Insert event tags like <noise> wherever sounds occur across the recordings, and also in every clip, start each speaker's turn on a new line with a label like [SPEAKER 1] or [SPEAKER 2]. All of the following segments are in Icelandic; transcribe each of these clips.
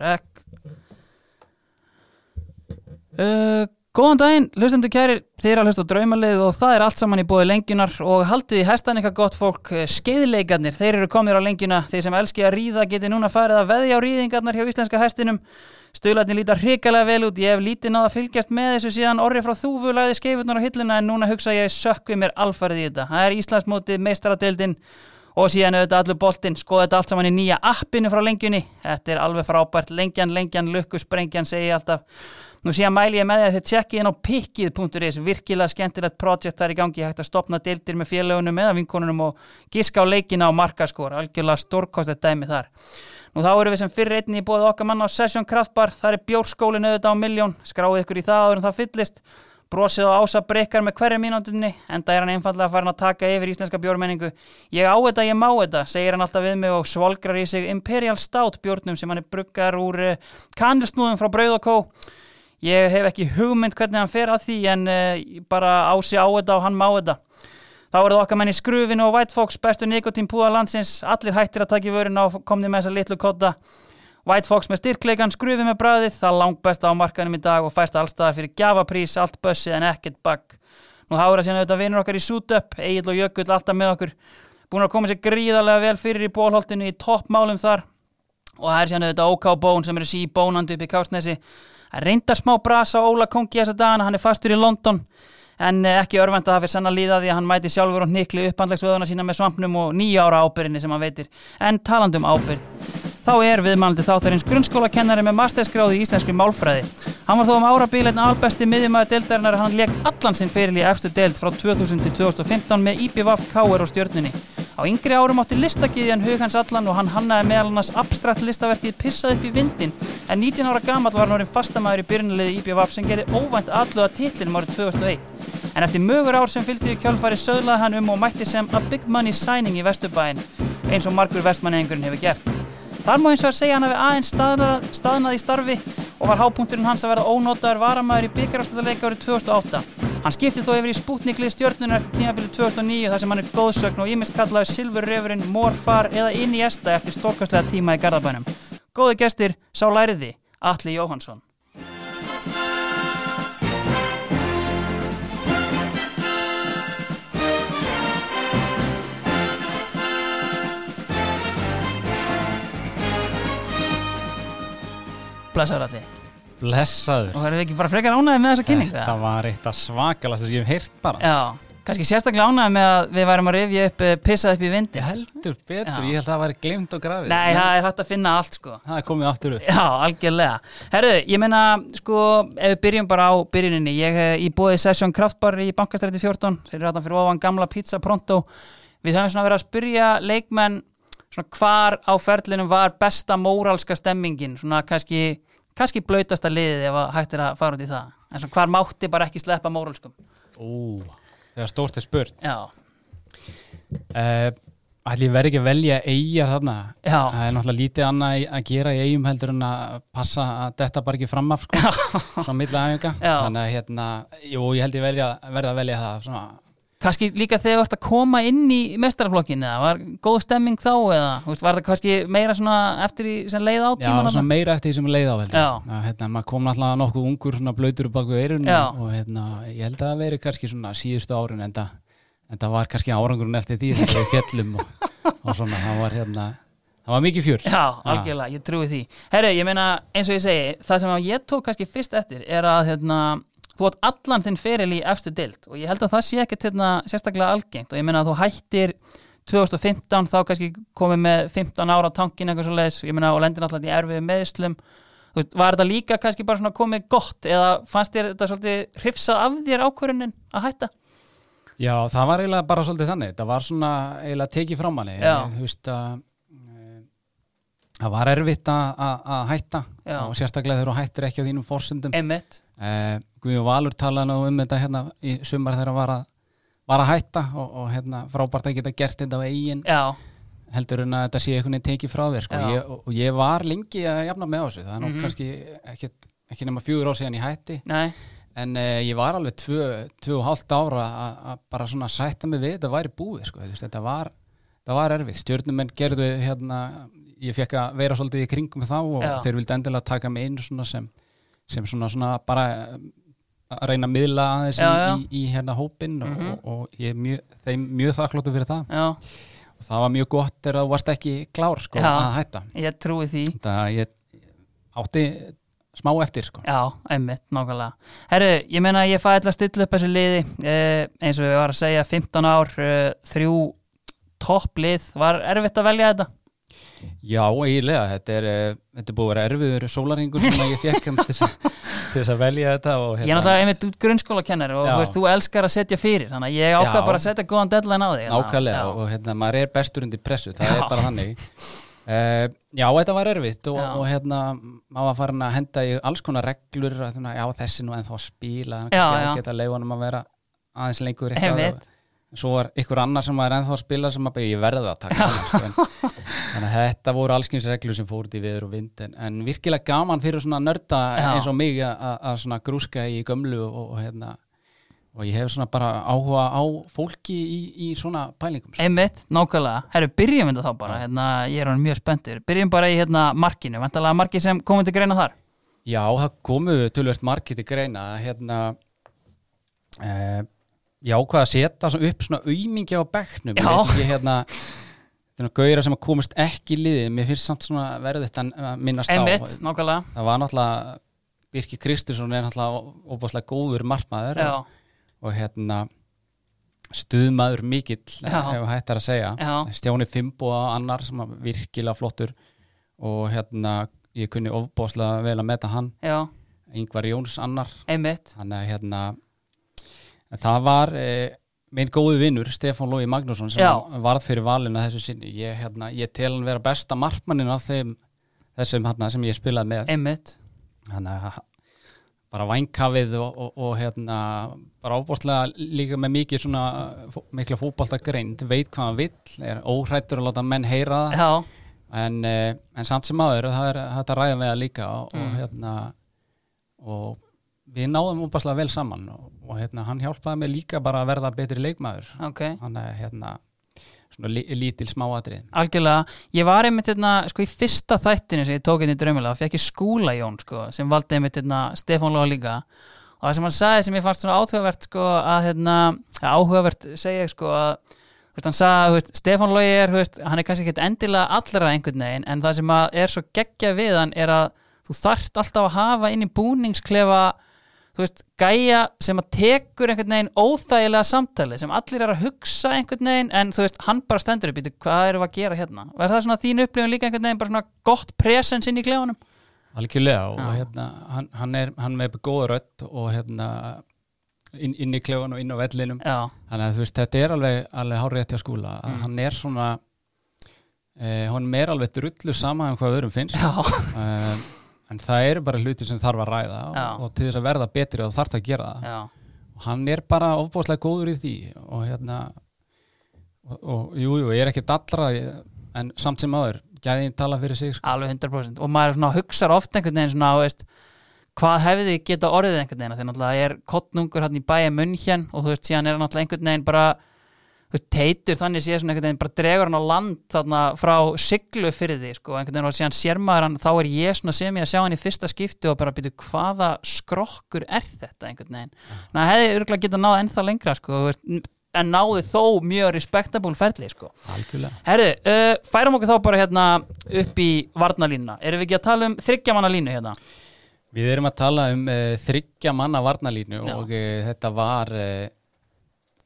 [SPEAKER 1] Rek uh, Góðan daginn, hlustendur kærir, þið er að hlusta á draumalið og það er allt saman í bóði lengjunar og haldið í hestan eitthvað gott fólk, eh, skeiðleikarnir, þeir eru komnir á lengjuna, þeir sem elski að ríða geti núna farið að veðja á ríðingarnar hjá íslenska hestinum, stöðlarnir líta hrikalega vel út, ég hef lítið náða að fylgjast með þessu síðan orri frá þúfu lagði skeifurnar á hilluna en núna hugsa ég sökku mér alfarið í þetta, það er Íslandsmótið meistaradeildin og síðan auðvitað allur boltinn, skoða þetta allt saman í nýja appinu frá lengjunni, þetta er alveg frábært, lengjan, lengjan, lukku, sprengjan, segi ég alltaf. Nú síðan mæli ég með því að þið tjekkið inn á pikkið.is, virkilega skemmtilegt projekt þar í gangi, hægt að stopna deildir með félögunum eða vinkonunum og giska á leikina og markaskor, algjörlega stórkostið dæmi þar. Nú þá erum við sem fyrir einni í bóða okkar manna á Session Kraftbar, þar er bjórskólin auðvitað á miljón, skráið ykkur í það áður en það fyllist, brosið á ása breykar með hverju mínúndunni, enda er hann einfallega farin að taka yfir íslenska bjórmenningu. Ég á þetta, ég má þetta, segir hann alltaf við mig og svolgrar í sig Imperial Stout bjórnum sem hann er bruggar úr uh, kannilsnúðum frá Brauð og Kó. Ég hef ekki hugmynd hvernig hann fer að því en uh, bara ási á þetta og hann má þetta. Þá eru það okkar menn í skrufinu og White Fox, bestu nikotín púða landsins, allir hættir að taka í vörun á komni með þessa litlu kotta. White Fox með styrkleikan, skrufið með bræðið, það langbesta á markanum í dag og fæst allstaðar fyrir gjafaprís, allt bössið en ekkert bagg. Nú þá eru að síðan auðvitað vinnur okkar í Sútöpp, Egil og Jökull alltaf með okkur. Búin að koma sér gríðarlega vel fyrir í bólholtinu í toppmálum þar og það er síðan auðvitað OK Bón sem eru síbónandi upp í Kársnesi að reynda smá brasa á Óla Kongi þessa dagana, hann er fastur í London en eh, ekki örvend að það fyrir sann að líða því að hann mæti sjálfur og nikli upphandlegsveðuna sína með svampnum og nýja ára ábyrðinni sem hann veitir en talandum ábyrð Þá er viðmælandi þáttarins grunnskólakennari með masterskráði í íslenskri málfræði. Hann var þó um árabíl einn albesti miðjumæður deildarinnar og hann leik allan sinn feril í efstu deild frá 2000 til 2015 með IBVF, KR og stjörnunni. Á yngri árum átti listakiðjan hug hans allan og hann hannaði meðal annars abstrakt listaverkið Pissað upp í vindin en 19 ára gamall var hann orðin fastamæður í byrjunaliði IBVF sem gerði óvænt alluða titlinum árið 2001. En eftir mögur ár sem fylgdu í kjálfari söðlaði hann um og mætti sem a big money signing í Vesturbæin eins og margur vestmanneingurinn hefur gert. Þar má hins vegar segja hann hafi aðeins staðnað, staðnað í starfi og var hápunkturinn hans að vera ónótaður varamæður í byggarástöðuleika árið 2008. Hann skipti þó yfir í spútniklið stjörnunar eftir tímabilið 2009 þar sem hann er góðsögn og ímist kallaður Silfurrefurinn, Morfar eða Iniesta eftir stórkastlega tíma í Garðabænum. Góði gestir, sá læriði, Atli Jóhansson. Blessaður Atli.
[SPEAKER 2] Blessaður.
[SPEAKER 1] Og erum við ekki bara frekar ánæðið með þessa kynning?
[SPEAKER 2] Þetta var eitt af svakalast sem ég hef heyrt bara.
[SPEAKER 1] Já, kannski sérstaklega ánægð með að við værum að rifja upp eh, pissað upp í vindi
[SPEAKER 2] Ég heldur betur,
[SPEAKER 1] Já.
[SPEAKER 2] ég held að það væri glemt og grafið.
[SPEAKER 1] Nei, það er hægt að finna allt sko
[SPEAKER 2] Það er komið aftur upp.
[SPEAKER 1] Já, algjörlega Herru, ég meina, sko, ef við byrjum bara á byrjuninni Ég eh, í bóði Session Kraftbar í Bankastræti 14 Þeir eru hættan fyrir ofan gamla pizza pronto Við höfum svona verið að spyrja leikmenn Svona hvar á ferlinum var besta móralska stemmingin Svona kannski, kannski blautasta liðið ef að hægt er að fara út í það En svona hvar mátti bara ekki sleppa móralskum
[SPEAKER 2] Ú, þegar stórt er spurt.
[SPEAKER 1] Já,
[SPEAKER 2] Uh, Ætli ég verði ekki að velja eigjar þarna.
[SPEAKER 1] Já.
[SPEAKER 2] Það er náttúrulega lítið annað í- að gera í eigum heldur en að passa að detta bara ekki fram af, sko. Svona milli aðeinga.
[SPEAKER 1] Já.
[SPEAKER 2] Þannig að hérna, jú, ég held ég velja, verði að velja það svona.
[SPEAKER 1] kannski líka þegar þú ert að koma inn í mestaraflokkinu, eða var góð stemming þá eða, þú veist, var það kannski meira svona eftir í sem leið á
[SPEAKER 2] Já,
[SPEAKER 1] tíma
[SPEAKER 2] svona meira eftir því sem leið á heldur.
[SPEAKER 1] Já.
[SPEAKER 2] Að, hérna, maður kom náttúrulega nokkuð ungur svona blöytur upp baku eirun
[SPEAKER 1] Já.
[SPEAKER 2] og hérna, ég held að það veri kannski svona síðustu árin en það, en það var kannski árangurinn eftir því þegar við fjallum og, og svona, það var hérna, það var mikið fjör.
[SPEAKER 1] Já, algjörlega, ég trúi því Herri, ég meina, eins og ég segi, það sem ég tók kannski fyrst eftir er að hérna, þú átt allan þinn feril í efstu deild og ég held að það sé ekkert hérna, sérstaklega algengt og ég meina að þú hættir 2015, þá kannski komið með 15 ára á tankin eitthvað svo leiðis ég meina, og lendir náttúrulega í erfið meðslum Þú veist, var þetta líka kannski bara svona komið gott eða fannst þér þetta svolítið hrifsað af þér ákvörunin að hætta?
[SPEAKER 2] Já, það var eiginlega bara svolítið þannig, það var svona eiginlega tekið frá manni,
[SPEAKER 1] Já.
[SPEAKER 2] þú veist að eh, það var erfitt að- að að hætta
[SPEAKER 1] Já.
[SPEAKER 2] og sérstaklega þegar þú hættir ekki á þínum forsendum.
[SPEAKER 1] Einmitt
[SPEAKER 2] Eh, Guðjón Valur talaði nú um þetta hérna í sumar þegar hann var að, var að hætta og, og hérna frábært að geta gert þetta á eigin
[SPEAKER 1] Já,
[SPEAKER 2] heldur en að þetta sé einhvern veginn tekið frá þér sko.
[SPEAKER 1] Já.
[SPEAKER 2] ég, og og ég var lengi að jafna með á þessu það er nú kannski ekkit, ekki nema fjögur á síðan ég hætti
[SPEAKER 1] nei,
[SPEAKER 2] en eh, ég var alveg tvö, tvö og hálft ára að- að bara svona sætta mig við þetta væri búið sko. Þú veist, þetta var, þetta var erfið, stjörnumenn gerðu hérna, ég fekk að vera svolítið í kringum þá og
[SPEAKER 1] Já.
[SPEAKER 2] þeir vildi endilega taka mig inn svona sem, sem svona, svona bara um, að reyna að miðla aðeins
[SPEAKER 1] Já, já.
[SPEAKER 2] Í, í, í hérna hópinn og,
[SPEAKER 1] Mhm.
[SPEAKER 2] og, og ég er mjög, þeim mjög þakkláttu fyrir það
[SPEAKER 1] Já,
[SPEAKER 2] og það var mjög gott þegar þú varst ekki klár sko,
[SPEAKER 1] Já.
[SPEAKER 2] að hætta
[SPEAKER 1] ég trúi því
[SPEAKER 2] það ég átti smá eftir sko.
[SPEAKER 1] Já, einmitt, nákvæmlega Herru, ég meina að ég fæ ætla að stilla upp þessu liði eh, eins og við varum að segja 15 ár, eh, þrjú topplið, var erfitt að velja þetta
[SPEAKER 2] já, eiginlega, þetta er, eh, þetta er búið að vera erfiður sólaringur sem að ég fekk um, til, þess að- <laughs> til þess að velja þetta og, hérna,
[SPEAKER 1] Ég er náttúrulega einmitt út grunnskólakennar og
[SPEAKER 2] Já.
[SPEAKER 1] þú, veist, þú elskar að setja fyrir þannig að ég ákvað
[SPEAKER 2] Já.
[SPEAKER 1] bara að setja góðan deadline á því þannig að-
[SPEAKER 2] Nákvæmlega
[SPEAKER 1] já.
[SPEAKER 2] og hérna, maður er bestur undir pressu, það
[SPEAKER 1] Já.
[SPEAKER 2] er bara þannig uh, Já, þetta var erfitt og,
[SPEAKER 1] Já.
[SPEAKER 2] og hérna, maður var farin að henda í alls konar reglur, að svona, já þessi nú ennþá að spila, þannig
[SPEAKER 1] Já,
[SPEAKER 2] að
[SPEAKER 1] já.
[SPEAKER 2] ég geta leifunum að vera aðeins lengur
[SPEAKER 1] Einmitt.
[SPEAKER 2] og, svo var ykkur annar sem maður er ennþá að spila sem maður ég verði að taka hann, sko, en, þannig að þetta voru allskins reglur sem fóruð í viður og vind en, en virkilega gaman fyrir svona nörda
[SPEAKER 1] Já.
[SPEAKER 2] eins og mig að- að að svona grúska í gömlu og, og hérna og ég hef svona bara áhuga á fólki í, í svona pælingum sko.
[SPEAKER 1] Einmitt, nákvæmlega, herru, byrjum þetta þá bara hérna, ég er hann mjög spenntur, byrjum bara í hérna markinu, vantalega marki sem komum til greina þar
[SPEAKER 2] Já, það komuðu tölvert margir til greina hérna eh, ég ákvað að setja svona upp svona aumingi á bekknum
[SPEAKER 1] Já.
[SPEAKER 2] ég, ég hérna þannig gauðra sem að komist ekki í liðið mér finnst samt svona verðitt að að minnast
[SPEAKER 1] Einmitt,
[SPEAKER 2] á
[SPEAKER 1] nákvæmlega
[SPEAKER 2] það var náttúrulega Birki Kristinsson er náttúrulega óbáslega góður markmaður
[SPEAKER 1] Já,
[SPEAKER 2] og, og hérna stuðmaður mikill
[SPEAKER 1] Já.
[SPEAKER 2] ef hættar að segja
[SPEAKER 1] Já.
[SPEAKER 2] Stjáni Fimboa annar sem var virkilega flottur og hérna ég kunni ofbáslega vel að meta hann
[SPEAKER 1] já,
[SPEAKER 2] Ingvar Jóns annar
[SPEAKER 1] einmitt
[SPEAKER 2] þannig að hérna en það var eh, minn góði vinnur Stefán Lói Magnússon sem
[SPEAKER 1] Já.
[SPEAKER 2] varð fyrir valinu þessu sinni ég, hérna, ég tel hann vera besta markmannin af þeim þessum hérna, sem ég spilaði með
[SPEAKER 1] Einmitt,
[SPEAKER 2] þannig að bara vænkafið og, og, og hérna bara ábúrslega líka með mikið svona fó- mikla fótboltagreind veit hvað hann vill, er óhrættur að láta menn heyra það
[SPEAKER 1] já,
[SPEAKER 2] en, eh, en samt sem aður það er hægt að ræða við það líka og, og hérna og við náðum óbúrslega vel saman og, og hérna hann hjálpaði mig líka bara að verða betri leikmaður
[SPEAKER 1] ok
[SPEAKER 2] hann er hérna svona li, lítil smáatrið
[SPEAKER 1] Algjörlega, ég var einmitt hérna, sko, í fyrsta þættinu sem ég tók hérna í draumilega, fekk ég skúla Jón sko, sem valdi einmitt hérna, Stefán Lóa líka og það sem hann sagði sem ég fannst svona áhugavert sko, að hérna, að áhugavert segja sko, að þú veist, hann sagði að, þú veist, Stefán Lói er, þú veist, hann er kannski ekkert endilega allra einhvern veginn en það sem að er svo geggja við hann er að þú þarft alltaf að hafa inn í búningsklefa þú veist, gæja sem að tekur einhvern veginn óþægilega samtali sem allir er að hugsa einhvern veginn en þú veist, hann bara stendur upp í þetta, hvað erum við að gera hérna? Var það svona þín upplifun líka einhvern veginn bara svona gott presens inn í klefanum?
[SPEAKER 2] Algjörlega og
[SPEAKER 1] Já.
[SPEAKER 2] hérna, hann, hann er hann með góða rödd og hérna inn, inn í klefan og inn á vellinum
[SPEAKER 1] Já,
[SPEAKER 2] þannig að þú veist þetta er alveg, alveg hárið eftir að skúla
[SPEAKER 1] Mm.
[SPEAKER 2] að hann er svona eh, honum er alveg drullu sama en hvað öðrum finnst
[SPEAKER 1] <laughs> já,
[SPEAKER 2] eh, en það eru bara hluti sem þarf að ræða og,
[SPEAKER 1] Já.
[SPEAKER 2] og til þess að verða betri og þarf það að gera það
[SPEAKER 1] já,
[SPEAKER 2] og hann er bara ofbúðslega góður í því og hérna og, og jú, jú, ég er ekki dallra en samt sem aður, gæðin tala fyrir sig sko.
[SPEAKER 1] alveg 100% og maður svona hugsar oft einhvern veginn svona, þú veist, hvað hefði geta orðið einhvern veginn, þannig að það er kottnungur hann í bæja munn hér og þú veist, síðan er hann alltaf einhvern veginn bara þú veist, teitur þannig sé svona einhvern veginn bara dregur hann á land þarna frá siglu fyrir því sko, einhvern veginn og síðan sér maður hann þá er ég svona sem ég að sjá hann í fyrsta skipti og bara býtu hvaða skrokkur er þetta einhvern veginn, þannig að hefði örgulega geta náð ennþá lengra sko, þú veist, en náði þó mjög respectable ferli sko.
[SPEAKER 2] algjörlega
[SPEAKER 1] Herðu, uh, færum okkur þá bara hérna upp í varnalínuna erum við ekki að tala um þryggjamanalínu hérna
[SPEAKER 2] Við erum að tala um uh, þryggja manna varnalínu
[SPEAKER 1] Já.
[SPEAKER 2] og uh, þetta var uh,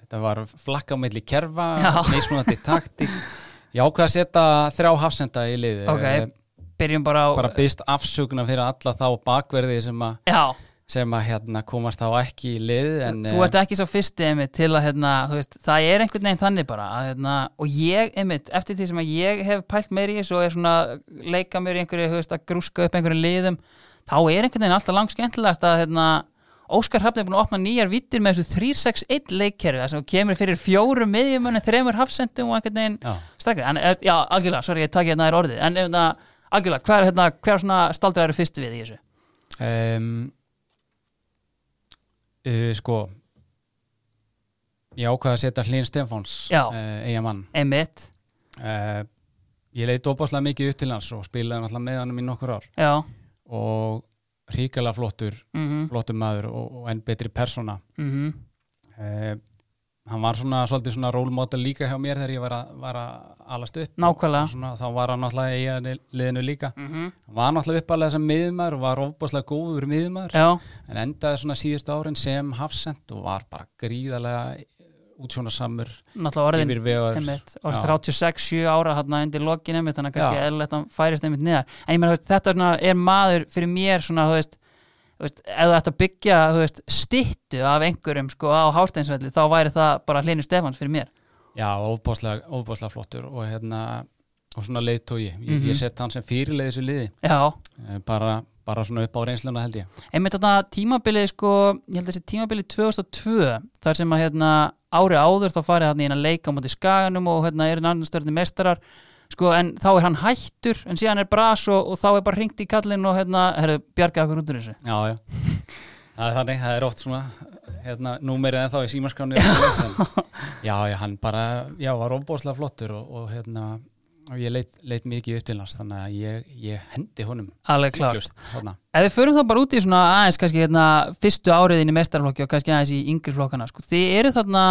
[SPEAKER 2] þetta var flakka á milli kerfa,
[SPEAKER 1] Já. <laughs>
[SPEAKER 2] mismunandi taktík Ég ákvað að setja þrjá hafsenda í liði
[SPEAKER 1] ok,
[SPEAKER 2] Eh,
[SPEAKER 1] byrjum bara á
[SPEAKER 2] bara byggst afsögna fyrir alla þá bakverði sem að
[SPEAKER 1] já,
[SPEAKER 2] sem að hérna komast þá ekki í lið en eh,
[SPEAKER 1] þú ert ekki svo fyrsti einmitt til að hérna, þú veist, það er einhvern veginn þannig bara að, hérna, og ég einmitt, eftir því sem að ég hef pælt meir í þessu og er svona leika mér í einhverju, þú veist, að grúska upp einhverju liðum, þá er einhvern veginn alltaf langskemmtilegast að hérna, Óskar Hrafn er búin að opna nýjar vittir með þessu 3-6-1 leikkerfi, þess að kemur fyrir fjórum miðjumunum, þremur hafsendum og einhvern veginn
[SPEAKER 2] Já.
[SPEAKER 1] Strækri, en eh, já, algjörlega, sorry, ég takk hérna þær orðið En hérna, algjörlega, hver, hérna, hver svona staldrar eru fyrst við í þessu?
[SPEAKER 2] um, uh, sko ég ákvað að setja Hlín Stefáns
[SPEAKER 1] Já.
[SPEAKER 2] uh, eiga mann
[SPEAKER 1] Einmitt,
[SPEAKER 2] uh, ég leit opaslega mikið upp til hans og spilaði hann alltaf með hann í nokkur ár
[SPEAKER 1] já,
[SPEAKER 2] og ríkala flottur,
[SPEAKER 1] mhm,
[SPEAKER 2] flottur maður og, og enn betri persóna
[SPEAKER 1] mhm,
[SPEAKER 2] eh, hann var svona svolítið svona rólmóta líka hjá mér þegar ég var að, var að alast upp
[SPEAKER 1] nákvæmlega
[SPEAKER 2] svona, þá var hann alltaf í eiga liðinu líka
[SPEAKER 1] mhm,
[SPEAKER 2] hann var náttúrulega uppalega sem miðmaður og var ofbáslega góður miðmaður
[SPEAKER 1] já,
[SPEAKER 2] en endaði svona síðustu árin sem hafsend og var bara gríðalega útsjónasamur
[SPEAKER 1] náttúrulega orðin
[SPEAKER 2] yfir vegar
[SPEAKER 1] einmitt, orð
[SPEAKER 2] Já.
[SPEAKER 1] 36-7 ára hann undir lokin einmitt, þannig að kannski
[SPEAKER 2] Já.
[SPEAKER 1] eðlilegt að hann færist einmitt niðar en ég meina, þú veist, þetta er, svona, er maður fyrir mér svona, þú veist, þú veist ef þú ætti að byggja, þú veist, stittu af einhverjum, sko, á hásteinsvelli þá væri það bara hlinu Stefans fyrir mér
[SPEAKER 2] já, ofbáslega, ofbáslega flottur og hérna og svona leiðtói, ég,
[SPEAKER 1] Mhm.
[SPEAKER 2] ég sett hann sem fyrirleið þessu liði,
[SPEAKER 1] já,
[SPEAKER 2] Eh, bara, bara svona upp á reynsluna held ég
[SPEAKER 1] einmitt þarna tímabilið, sko ég held að þessi tímabilið 2002 þar sem að, hérna, ári áður þá farið hann í eina leika á móti skaganum og hérna er hann störni mestarar sko, en þá er hann hættur, en síðan er bras og, og þá er bara hringt í kallinn og hérna, herru, bjargaði okkur út úr þessu
[SPEAKER 2] já, já, það er þannig, það er oft svona hérna, númerið en þá í símaskráni en, já, já, hann bara já, var ofbáslega flottur og, og hérna og ég leit, leit mikið upp til hans þannig að ég, ég hendi honum
[SPEAKER 1] Alveg klart.
[SPEAKER 2] klart, þarna
[SPEAKER 1] Ef við förum þá bara út í svona aðeins kannski hérna fyrstu áriðin í mestarflokki og kannski aðeins í yngri flokkana sko. Þið eru þarna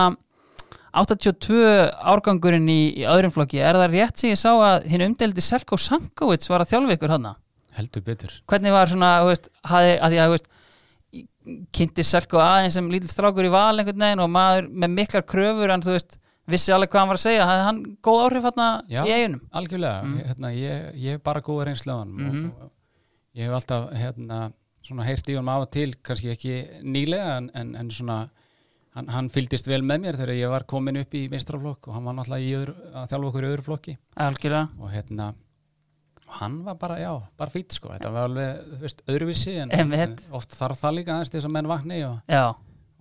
[SPEAKER 1] 82 árgangurinn í, í öðrum flokki. Er það rétt sem ég sá að hinn umdeldi Selko Sankovits var að þjálfa ykkur hann?
[SPEAKER 2] heldur betur
[SPEAKER 1] Hvernig var svona, þú veist, hafi, að því að, þú veist, kynnti Selko aðeins sem lítill strákur í val einhvern veginn og maður með miklar kröfur en þú veist, vissi alveg hvað hann var að segja. Hafði hann góð áhrif hann í
[SPEAKER 2] Já.
[SPEAKER 1] eiginum?
[SPEAKER 2] Algjörlega, hérna, ég, ég er bara góð reynslegan mm
[SPEAKER 1] Mm. Mhm.
[SPEAKER 2] og, og ég hef alltaf hérna, svona heyrt í honum af og til kannski ekki nýlega en, en, en svona hann, hann fylgdist vel með mér þegar ég var komin upp í mistraflokk og hann var náttúrulega í öðru, að þjálfa okkur í öðru flokki
[SPEAKER 1] Algjörlega.
[SPEAKER 2] og hérna og hann var bara, já, bara fýtt sko þetta var alveg, þú veist, öðruvísi en
[SPEAKER 1] Einmitt.
[SPEAKER 2] oft þarf það líka aðeins til þess að menn vakni og,
[SPEAKER 1] Já.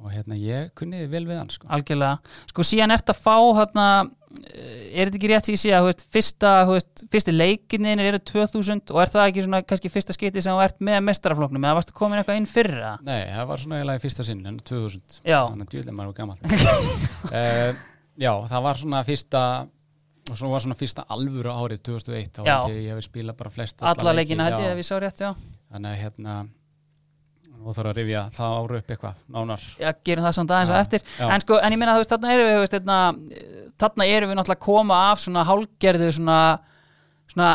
[SPEAKER 2] og hérna, ég kunni vel við hann sko.
[SPEAKER 1] algjörlega, sko síðan ert að fá hérna, er þetta ekki rétt sem ég sé að þú veist, fyrsta, þú veist, fyrsti leikinin eru 2000 og er það ekki svona kannski fyrsta skiti sem þú ert með mestarafloknum eða varstu komin eitthvað inn fyrra
[SPEAKER 2] Nei, það var svona eiginlega í fyrsta sinn, en 2000
[SPEAKER 1] Já.
[SPEAKER 2] Þannig að djúlega maður var gammal <laughs> uh, Já, það var svona fyrsta og svo var svona fyrsta alvöru árið 2001, þá
[SPEAKER 1] Já.
[SPEAKER 2] held ég að ég hefði spilað bara flest
[SPEAKER 1] alla leikina held ég
[SPEAKER 2] já.
[SPEAKER 1] að við sá rétt, já
[SPEAKER 2] Þannig að hérna og þarf að rifja það ára upp eitthvað nánar
[SPEAKER 1] Já, gerum það samt aðeins
[SPEAKER 2] Já,
[SPEAKER 1] að eftir
[SPEAKER 2] já.
[SPEAKER 1] en sko, en ég meina, þú veist, þarna erum við þú veist, þarna, þarna erum við náttúrulega að koma af svona hálgerðu svona, svona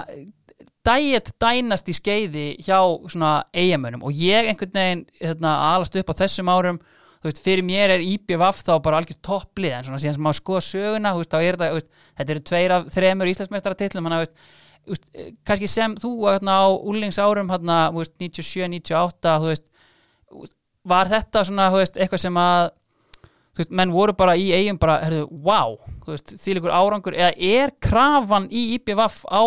[SPEAKER 1] diet dænast í skeiði hjá svona eigamönum og ég einhvern veginn þarna, alast upp á þessum árum þú veist, fyrir mér er IBVF þá bara algjör topplið en svona síðan sem maður skoða söguna þú veist, þá er það, þú veist, þetta eru tveir af þremur íslensmestara titlum, hann að, þú veist, þú veist, eh, kannski sem þú hérna, á úlingsárum hérna, þú veist, 97, 98 þú veist, þú veist, var þetta svona, þú veist, eitthvað sem að þú veist, menn voru bara í eigum bara, herðu, wow, þú veist, þýlikur árangur eða er krafan í IPVF á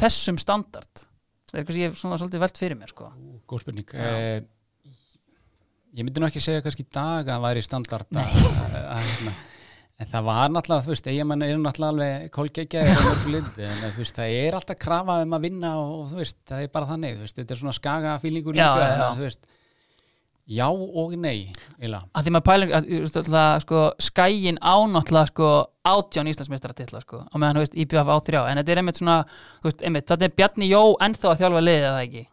[SPEAKER 1] þessum standard það er eitthvað sem ég hef svona svolítið velt fyrir mér sko.
[SPEAKER 2] Ú, Góð spurning uh, Ég myndi nú ekki segja kannski í dag að það væri standard að, að, að, hérna, En það var náttúrulega, þú veist, eigamenn eru náttúrulega alveg kólgeggja en þú veist, það er alltaf krafa um að vinna og, og þú veist, það er bara þannig, þú veist, þetta er svona skaga fílingur
[SPEAKER 1] Já,
[SPEAKER 2] líka,
[SPEAKER 1] já,
[SPEAKER 2] þannig
[SPEAKER 1] já.
[SPEAKER 2] að, þú veist, já og nei, eila.
[SPEAKER 1] að því maður pæling, að, þú veist, alltaf, sko, skæin ánáttúrulega sko, átján Íslandsmeistara titla sko, á meðan, þú veist, IPVF á þrjá en þetta er einmitt svona, þú veist, einmitt, þetta er Bjarni Jó ennþá að þjálfa liðið, er það ekki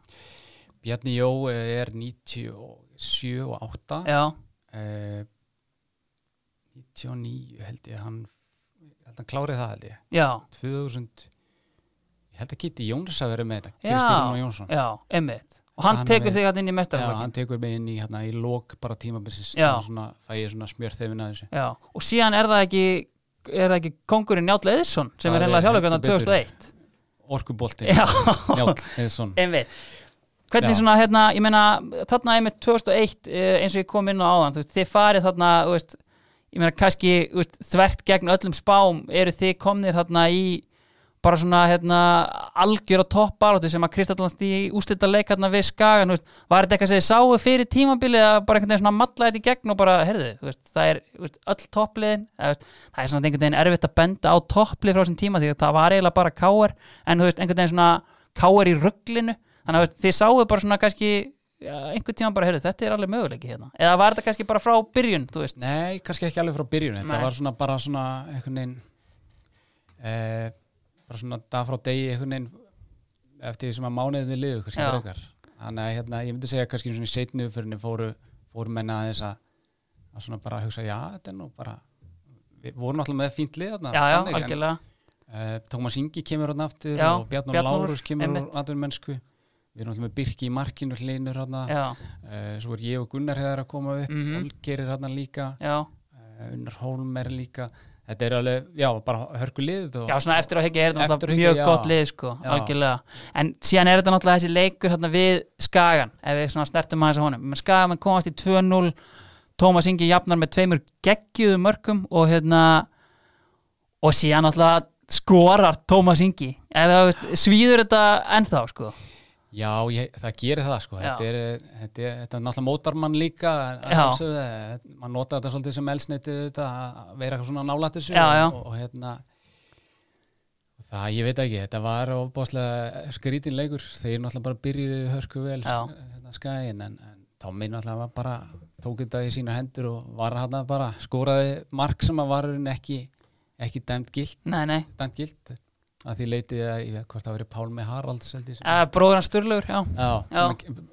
[SPEAKER 2] Bjarni Jó er 97 og 8
[SPEAKER 1] já,
[SPEAKER 2] eh, 99 held ég, hann, ég held hann klárið það held ég,
[SPEAKER 1] já,
[SPEAKER 2] 2000, ég held að Kitty Jóns að vera með þetta,
[SPEAKER 1] já,
[SPEAKER 2] Kristín Jónsson.
[SPEAKER 1] já, einmitt og hann,
[SPEAKER 2] Hann
[SPEAKER 1] tekur
[SPEAKER 2] er-
[SPEAKER 1] þig hann inn í
[SPEAKER 2] Já,
[SPEAKER 1] mestarflokkin
[SPEAKER 2] hann tekur mig inn í, hérna, í lók bara tímabilsins,
[SPEAKER 1] Já.
[SPEAKER 2] þá svona, fæ ég svona smjörþefin að þessu.
[SPEAKER 1] Já, og síðan er það ekki er það ekki kongurinn Njáll Eðsson sem
[SPEAKER 2] Það
[SPEAKER 1] er
[SPEAKER 2] er
[SPEAKER 1] reynilega þjálfugöndan
[SPEAKER 2] heldur betur.
[SPEAKER 1] 2001
[SPEAKER 2] orkubolti
[SPEAKER 1] Já,
[SPEAKER 2] Njáll Eðsson
[SPEAKER 1] einmitt Hvernig
[SPEAKER 2] Já.
[SPEAKER 1] svona, hérna, ég meina þarna einmitt 2001 eh, eins og ég kom inn á áðan þú veist, þið farið þarna, þú veist ég meina kannski þú veist, þvert gegn öllum spám eru þið komnir þarna í bara svona, hérna, algjör og topparóttu sem að Kristallans í úslita leik hérna við skagan, þú veist, var þetta eitthvað sem þið sáu fyrir tímabilið að bara einhvern veginn svona matla þetta í gegn og bara, heyrðu, þú veist, það er þú veist, öll toppliðin, eða, þú veist, það er svona einhvern veginn erfitt að benda á topplið frá þessum tíma því að það var eiginlega bara káar en þú veist, einhvern veginn svona káar í rugglinu þannig að þú veist, þið sáu bara svona kannski ja, einhvern tíma bara, heyrðu, þetta er alveg möguleiki hérna eða var þetta kannski bara frá byrjun, þú veist
[SPEAKER 2] Nei, kannski ekki alveg frá byrjun þetta
[SPEAKER 1] Nei.
[SPEAKER 2] var svona bara svona einhvern veginn eh, bara svona dag frá degi einhvern veginn eftir því sem að mánuðinni liðu kannski
[SPEAKER 1] Já.
[SPEAKER 2] frekar þannig að hérna, ég myndi segja kannski svona í seinni umfyrinni fóru, fóru menna aðeins að, að svona bara hugsa, já, þetta er nú bara við vorum alltaf með fínt lið þarna,
[SPEAKER 1] já, já,
[SPEAKER 2] þannig, en-
[SPEAKER 1] algjörlega
[SPEAKER 2] Uh, Tómas Ingi kemur hann aftur
[SPEAKER 1] Já,
[SPEAKER 2] og Bjarnur
[SPEAKER 1] Bjarnólfur,
[SPEAKER 2] Lárus kemur úr
[SPEAKER 1] einmitt.
[SPEAKER 2] aðvun mennsku við erum alltaf með Birki í markinu hlinur hann uh,
[SPEAKER 1] já,
[SPEAKER 2] svo er ég og Gunnar hefðar að koma upp
[SPEAKER 1] Mhm.
[SPEAKER 2] Olgerir hann líka
[SPEAKER 1] já,
[SPEAKER 2] uh, Unnar Hólm er líka þetta er alveg, já, bara hörku lið og,
[SPEAKER 1] já, svona eftir á higgja er þetta
[SPEAKER 2] Sko. Eftir á
[SPEAKER 1] náttúrulega
[SPEAKER 2] hyggja,
[SPEAKER 1] mjög
[SPEAKER 2] já.
[SPEAKER 1] gott lið sko,
[SPEAKER 2] Já.
[SPEAKER 1] algjörlega en síðan er þetta náttúrulega þessi leikur hérna við Skagan, ef við svona snertum aðeins á honum Men Skagan mann komast í 2-0 Tómas Ingi jafnar með tveimur geggjuðu mörkum og hérna og síðan náttúrulega skorar Tómas Ingi, eða þú veist, svíður þetta ennþá sko
[SPEAKER 2] já, ég, það gerir það sko
[SPEAKER 1] Já.
[SPEAKER 2] þetta er, þetta, er, þetta er náttúrulega mótar mann líka að
[SPEAKER 1] Já.
[SPEAKER 2] sjálfsögðu, eh, mann nota þetta svolítið sem elsneiti þetta að vera eitthvað svona nálætt þessu
[SPEAKER 1] Já, já.
[SPEAKER 2] Og, og hérna Það, ég veit ekki, þetta var ofbáslega skrítin leikur, þeir náttúrulega bara byrjuðu hörku vel
[SPEAKER 1] Já.
[SPEAKER 2] hérna, skæin en, en Tommy náttúrulega var bara tók þetta í sína hendur og var hann bara skoraði mark sem að varurinn ekki, ekki dæmt gilt,
[SPEAKER 1] Nei, nei,
[SPEAKER 2] dæmt gilt að því leitið að, ég veit hvort það verið Pálmi Haralds held ég sem,
[SPEAKER 1] eða bróður hann Sturlaugur, já
[SPEAKER 2] já,
[SPEAKER 1] Já.
[SPEAKER 2] sem að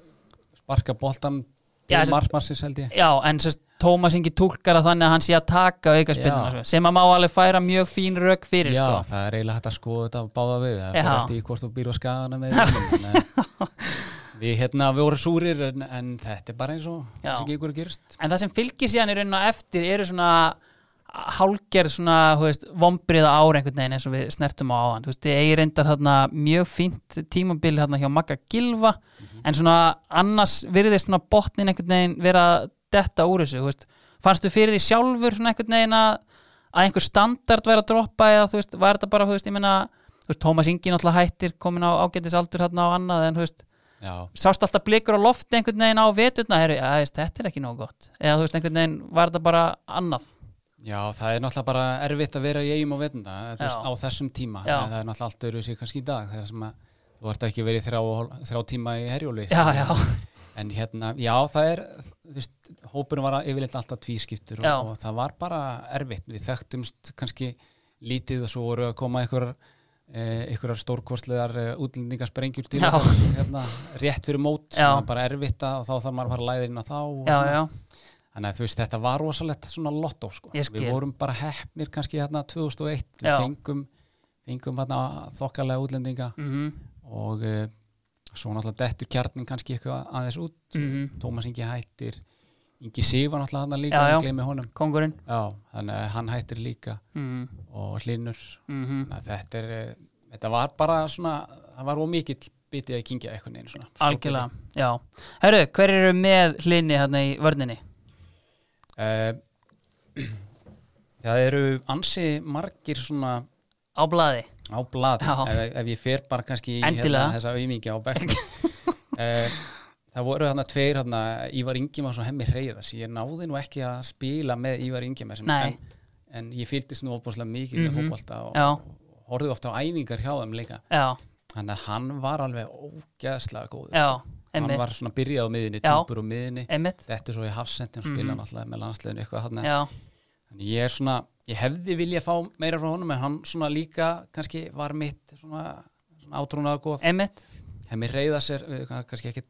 [SPEAKER 2] sparka boltan
[SPEAKER 1] Já,
[SPEAKER 2] til
[SPEAKER 1] sem-
[SPEAKER 2] markmannsins held ég
[SPEAKER 1] Já, en sérst, Tómas Ingi túlkar að þannig að hann sé að taka
[SPEAKER 2] Já.
[SPEAKER 1] aukaspinnuna sko, sem að má alveg færa mjög fín rök fyrir
[SPEAKER 2] Já,
[SPEAKER 1] sko.
[SPEAKER 2] það er eiginlega hægt að skoða þetta báða við það
[SPEAKER 1] Já.
[SPEAKER 2] er alltaf í hvort þú býr á skagana
[SPEAKER 1] <laughs>
[SPEAKER 2] með vinnum, en, eh, Við hérna, við vorum súrir en, en þetta er bara eins og
[SPEAKER 1] Já.
[SPEAKER 2] eins og ekki ykkur er gerst
[SPEAKER 1] En það sem fylgir síðan í rauninu eftir eru svona hálgerð svona, hú veist, vombriða ár einhvern veginn eins og við snertum á áðan. Þú veist, ég er reyndar þarna mjög fínt tímabil þarna hjá Magga Gilva en svona annars virðist svona botnin einhvern veginn vera að detta úr þessu, þú veist. Fannstu fyrir því sjálfur svona einhvern veginn að að einhver standard væri að droppa eða þú veist, var þetta bara, þú veist, ég meina þú veist, Tómas Ingi náttúrulega hættir komin á ágætis aldur þarna á annað en, þú veist,
[SPEAKER 2] Já,
[SPEAKER 1] sást alltaf blikur á lofti einhvern veginn á veturna heru, að, veist, þetta er ekki nóg gott eða þú veist einhvern veginn var þetta bara annað
[SPEAKER 2] já, það er náttúrulega bara erfitt að vera í eigum og vetna eh, veist,
[SPEAKER 1] Já.
[SPEAKER 2] á þessum tíma,
[SPEAKER 1] Já.
[SPEAKER 2] það er náttúrulega allt öðru sér kannski í dag þegar sem að þú ert ekki verið í þrjá, og hál- þrjá tíma í herjóli
[SPEAKER 1] já, <laughs> já,
[SPEAKER 2] En hérna, já, það er þú veist, hópurinn var yfirleitt alltaf tvískiptur
[SPEAKER 1] Já.
[SPEAKER 2] og, og það var bara erfitt við þekktumst kannski lítið og svo voru að koma einhver eh, einhverjar stórkostlegar eh, útlendingasprengjur til
[SPEAKER 1] Já.
[SPEAKER 2] okkar, hérna, rétt fyrir mót sem
[SPEAKER 1] Já.
[SPEAKER 2] var bara erfitt að, og þá þarf maður að fara að læða inn á þá og
[SPEAKER 1] já,
[SPEAKER 2] svona.
[SPEAKER 1] já,
[SPEAKER 2] þannig að þú veist, þetta var rosalegt svona lottó sko.
[SPEAKER 1] Ég
[SPEAKER 2] við
[SPEAKER 1] skil.
[SPEAKER 2] vorum bara heppnir kannski hérna 2001 við
[SPEAKER 1] Já.
[SPEAKER 2] fengum, fengum hérna, þokkalega útlendinga
[SPEAKER 1] mhm,
[SPEAKER 2] og uh, svo náttúrulega dettur kjarnin kannski eitthvað aðeins út
[SPEAKER 1] mhm,
[SPEAKER 2] Tómas Ingi hættir Ingi Sig var náttúrulega hann líka,
[SPEAKER 1] Já, já.
[SPEAKER 2] hann gleymi honum
[SPEAKER 1] kongurinn
[SPEAKER 2] já, þannig að hann hættir líka
[SPEAKER 1] mhm,
[SPEAKER 2] og hlinur
[SPEAKER 1] mhm,
[SPEAKER 2] Þannig að þetta, er, eh, þetta var bara svona það var ómikill bitið að kingja eitthvað neina svona
[SPEAKER 1] algjörlega já, herru, hver eru með hlinni hérna í vörninni
[SPEAKER 2] uh, <clears throat> það eru ansi margir svona
[SPEAKER 1] á blaði,
[SPEAKER 2] á blad
[SPEAKER 1] Já.
[SPEAKER 2] ef, ef ég fer bara kannski í hérna,
[SPEAKER 1] Endilega.
[SPEAKER 2] þessa auðmingi á bekknum <laughs> uh, það voru þarna tveir þarna, Ívar Ingemar og Hemmi Reyðas ég náði nú ekki að spila með Ívar Ingemar sem,
[SPEAKER 1] Nei.
[SPEAKER 2] en, en ég fylgdist nú opaslega mikið með
[SPEAKER 1] Mhm.
[SPEAKER 2] fótbolta og,
[SPEAKER 1] Já.
[SPEAKER 2] og horfði ofta á æfingar hjá þeim líka
[SPEAKER 1] já,
[SPEAKER 2] þannig að hann var alveg ógeðslega góð
[SPEAKER 1] já
[SPEAKER 2] hann
[SPEAKER 1] einmitt,
[SPEAKER 2] var svona byrjað á miðinni,
[SPEAKER 1] Já.
[SPEAKER 2] týpur á miðinni
[SPEAKER 1] einmitt
[SPEAKER 2] þetta svo í hafsendin og spila
[SPEAKER 1] Mhm.
[SPEAKER 2] náttúrulega með landsliðinu eitthvað þarna
[SPEAKER 1] já,
[SPEAKER 2] Þannig ég er svona, ég hefði viljað fá meira frá honum en hann svona líka kannski var mitt svona, svona átrúnaða góð.
[SPEAKER 1] einmitt
[SPEAKER 2] Hef mér reyða sér, við, kannski ekki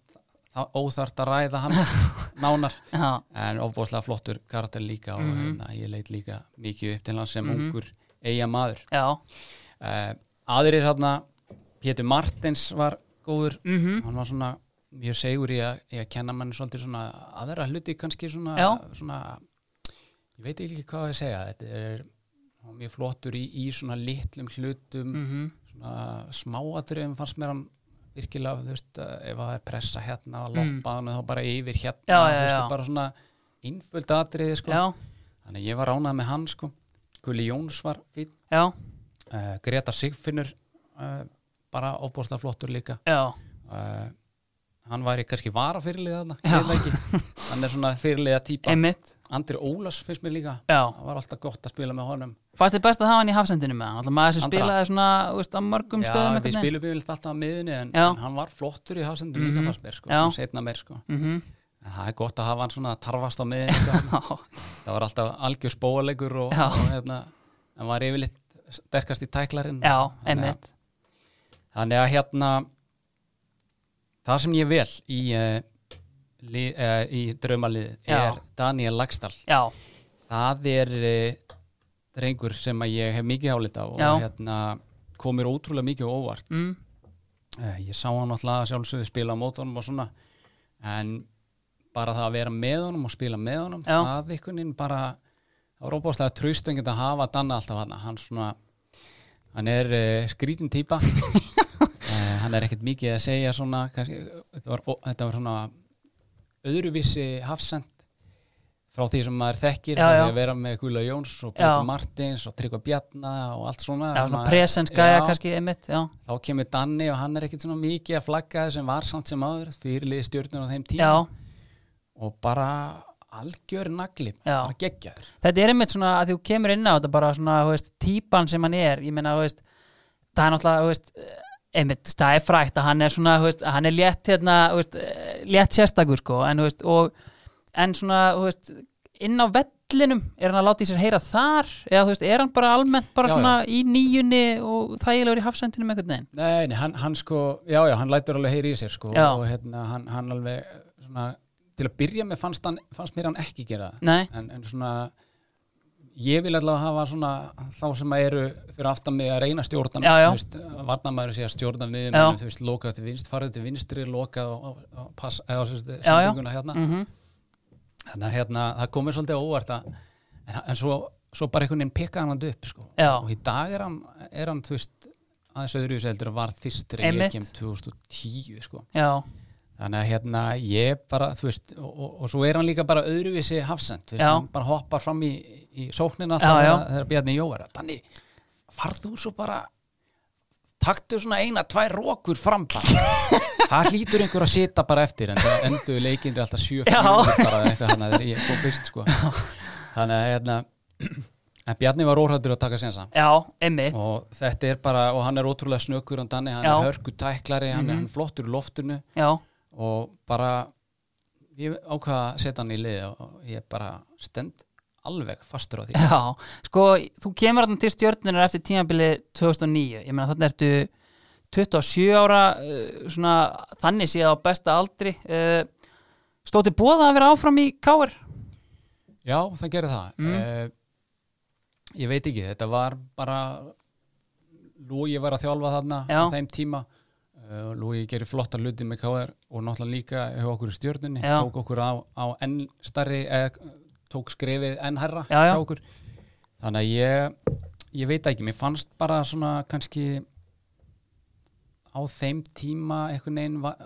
[SPEAKER 2] þa- óþarft að ræða
[SPEAKER 1] <laughs>
[SPEAKER 2] hann nánar
[SPEAKER 1] já,
[SPEAKER 2] en ofbúðslega flottur karakter líka og
[SPEAKER 1] Mhm.
[SPEAKER 2] hérna, ég leit líka mikið upp til hans sem
[SPEAKER 1] Mhm.
[SPEAKER 2] ungur eiga maður.
[SPEAKER 1] já,
[SPEAKER 2] Uh, aðrir hérna, Pétur Martins var góður,
[SPEAKER 1] mhm
[SPEAKER 2] hann var svona mjög segur í að, í að kenna mann svolítið svona aðra hluti kannski svona,
[SPEAKER 1] Já.
[SPEAKER 2] svona ég veit ekki hvað ég segja þetta er hann var mjög flottur í, í svona litlum hlutum
[SPEAKER 1] mhm,
[SPEAKER 2] svona smáatriðum fannst mér hann virkilega þú veist, að ef það er pressa hérna að loppa hann þá bara yfir
[SPEAKER 1] Mm.
[SPEAKER 2] hérna
[SPEAKER 1] Já,
[SPEAKER 2] þú
[SPEAKER 1] já,
[SPEAKER 2] veist,
[SPEAKER 1] já.
[SPEAKER 2] bara svona innföld atriði sko.
[SPEAKER 1] já,
[SPEAKER 2] þannig að ég var ránað með hann sko. Gulli Jóns var fín
[SPEAKER 1] já,
[SPEAKER 2] uh, Greta Sigfinnur uh, bara óbúrslega flottur líka
[SPEAKER 1] já
[SPEAKER 2] uh, hann væri kannski vara fyrirliða þarna, ég
[SPEAKER 1] <laughs>
[SPEAKER 2] veit það ekki. hann er svona fyrirliða típa
[SPEAKER 1] einmitt,
[SPEAKER 2] Andri Ólas finnst mér líka
[SPEAKER 1] já
[SPEAKER 2] það var alltaf gott að spila með honum
[SPEAKER 1] Fannst þið best að hafa hann í hafsendinu með hann? Alltaf maður sem
[SPEAKER 2] Andra.
[SPEAKER 1] spilaði svona, þú veist, á mörgum
[SPEAKER 2] já,
[SPEAKER 1] stöðum
[SPEAKER 2] við spilum yfirleitt alltaf á miðunni en,
[SPEAKER 1] Já.
[SPEAKER 2] en hann var flottur í hafsendum mm
[SPEAKER 1] Mhm.
[SPEAKER 2] líka fannst mér sko,
[SPEAKER 1] Já.
[SPEAKER 2] svona seinna meir sko
[SPEAKER 1] mm
[SPEAKER 2] en það er gott að hafa hann svona að
[SPEAKER 1] <laughs>
[SPEAKER 2] tarfast á miðunni sko.
[SPEAKER 1] Já,
[SPEAKER 2] það var alltaf algjör spóalegur og,
[SPEAKER 1] Já.
[SPEAKER 2] og hérna, hann var yfirleitt sterkast í tæklarinn
[SPEAKER 1] já, einmitt
[SPEAKER 2] Þannig að hérna það sem ég vel í, uh, lið, uh, í draumalið
[SPEAKER 1] Já.
[SPEAKER 2] er Daniel Lagstall
[SPEAKER 1] já,
[SPEAKER 2] það er uh, drengur sem að ég hef mikið álita og
[SPEAKER 1] Já.
[SPEAKER 2] hérna komir ótrúlega mikið á óvart
[SPEAKER 1] mm,
[SPEAKER 2] uh, ég sá hann alltaf sjálfsögðu spila á mótunum og svona en bara það að vera með honum og spila með honum
[SPEAKER 1] Já.
[SPEAKER 2] það einhvern veginn bara það var óbáslega traustöngið að hafa Danna alltaf hann hann svona hann er uh, skrítin
[SPEAKER 1] <laughs>
[SPEAKER 2] típa uh, hann er ekkert mikið að segja svona kannski, þetta, var, ó, þetta var svona öðruvísi hafsend frá því sem maður þekkir
[SPEAKER 1] Já,
[SPEAKER 2] frá því
[SPEAKER 1] já.
[SPEAKER 2] að vera með Gula Jóns og
[SPEAKER 1] Já.
[SPEAKER 2] Peter Martins og Tryggva Bjarna og allt svona
[SPEAKER 1] já, svona
[SPEAKER 2] Maður-
[SPEAKER 1] presensgæja
[SPEAKER 2] Já,
[SPEAKER 1] kannski einmitt, já,
[SPEAKER 2] þá kemur Danni og hann er ekkert svona mikið að flagga sem var samt sem áður fyrirlið stjórnur á þeim tíma
[SPEAKER 1] já
[SPEAKER 2] og bara algjör nagli
[SPEAKER 1] Já.
[SPEAKER 2] bara geggjaður
[SPEAKER 1] þetta er einmitt svona að þú kemur inn á þetta bara svona, þú veist, típan sem hann er ég meina, þú veist, það er náttúrulega þú veist, einmitt, þú veist, það er frægt að hann er svona, þú veist, hann er létt hérna, þú veist, eh, létt sérstakur sko, en þú veist, og en svona, þú veist, inn á vellinum er hann að láta í sér heyra þar eða þú veist, er hann bara almennt bara
[SPEAKER 2] Já,
[SPEAKER 1] svona í nýjunni og þægilegur í hafsendinum einhvern veginn?
[SPEAKER 2] nei, nei, hann, hann sko, já, já, hann lætur alveg heyri í sér sko
[SPEAKER 1] Já.
[SPEAKER 2] og hérna, hann, hann alveg svona, til að byrja með fannst, hann, fannst mér hann ekki gera það
[SPEAKER 1] Nei,
[SPEAKER 2] en, en svona ég vil allavega hafa svona þá sem að eru fyrir aftan mig að reyna að stjórna mig,
[SPEAKER 1] Já, já.
[SPEAKER 2] þú veist, varnamæður sé að stjórna mig
[SPEAKER 1] Já.
[SPEAKER 2] þú veist, lokað til vinst, farið til vinstri lokað og, og, og pass, eða, þú veist,
[SPEAKER 1] Já, já.
[SPEAKER 2] sendinguna hérna
[SPEAKER 1] mhm,
[SPEAKER 2] þannig að hérna, það komið svolítið á óvart að, en, en svo, svo bara einhvern veginn pikkaði hann upp sko.
[SPEAKER 1] Já.
[SPEAKER 2] og í dag er hann, er hann þú veist, aðeins öðruvísi heldur að varð fyrst þegar
[SPEAKER 1] Einmitt.
[SPEAKER 2] ég kem 2010 sko.
[SPEAKER 1] já,
[SPEAKER 2] þannig að hérna ég bara, þú veist, og, og, og svo er hann líka bara öðruvísi hafsend, þú veist,
[SPEAKER 1] Já.
[SPEAKER 2] hann bara hoppar fram í, í sóknina
[SPEAKER 1] Já,
[SPEAKER 2] alltaf
[SPEAKER 1] já.
[SPEAKER 2] þegar- þegar Bjarni Jó er að þannig, farðu svo bara taktu svona eina, tvær rókur fram
[SPEAKER 1] <laughs>
[SPEAKER 2] bara, það hlýtur einhver að sita bara eftir, en það endur leikinri alltaf sjö
[SPEAKER 1] Já.
[SPEAKER 2] fjóður bara eða eitthvað hann að ég kom fyrst sko, þannig að hérna <clears throat> en Bjarni var óhrættur að taka sensa
[SPEAKER 1] já, einmitt
[SPEAKER 2] og þetta er bara, og hann er ótrúlega snökkur hann danni, hann
[SPEAKER 1] Já. Mhm.
[SPEAKER 2] er hörku tæklari hann er hann er flottur í loftinu
[SPEAKER 1] já,
[SPEAKER 2] og bara ég ákvaða að setja hann í lið og ég bara stend alveg fastur á því
[SPEAKER 1] já, sko þú kemur hann til stjörnunar eftir tímabili 2009, ég meina þarna ertu 27 ára uh, svona, þannig séð á besta aldri uh, stóti bóða að vera áfram í Káir
[SPEAKER 2] já, það gerir það mm. ég veit ekki, þetta var bara Lúi var að þjálfa þarna
[SPEAKER 1] Já.
[SPEAKER 2] á þeim tíma uh, Lúi gerir flotta hluti með KR og náttúrulega líka hjá okkur í stjörnunni
[SPEAKER 1] Já.
[SPEAKER 2] tók okkur á, á enn starri eh, tók skrefið enn herra
[SPEAKER 1] Já, já.
[SPEAKER 2] hjá okkur þannig að ég, ég veit ekki, mér fannst bara svona kannski á þeim tíma einhvern veginn va-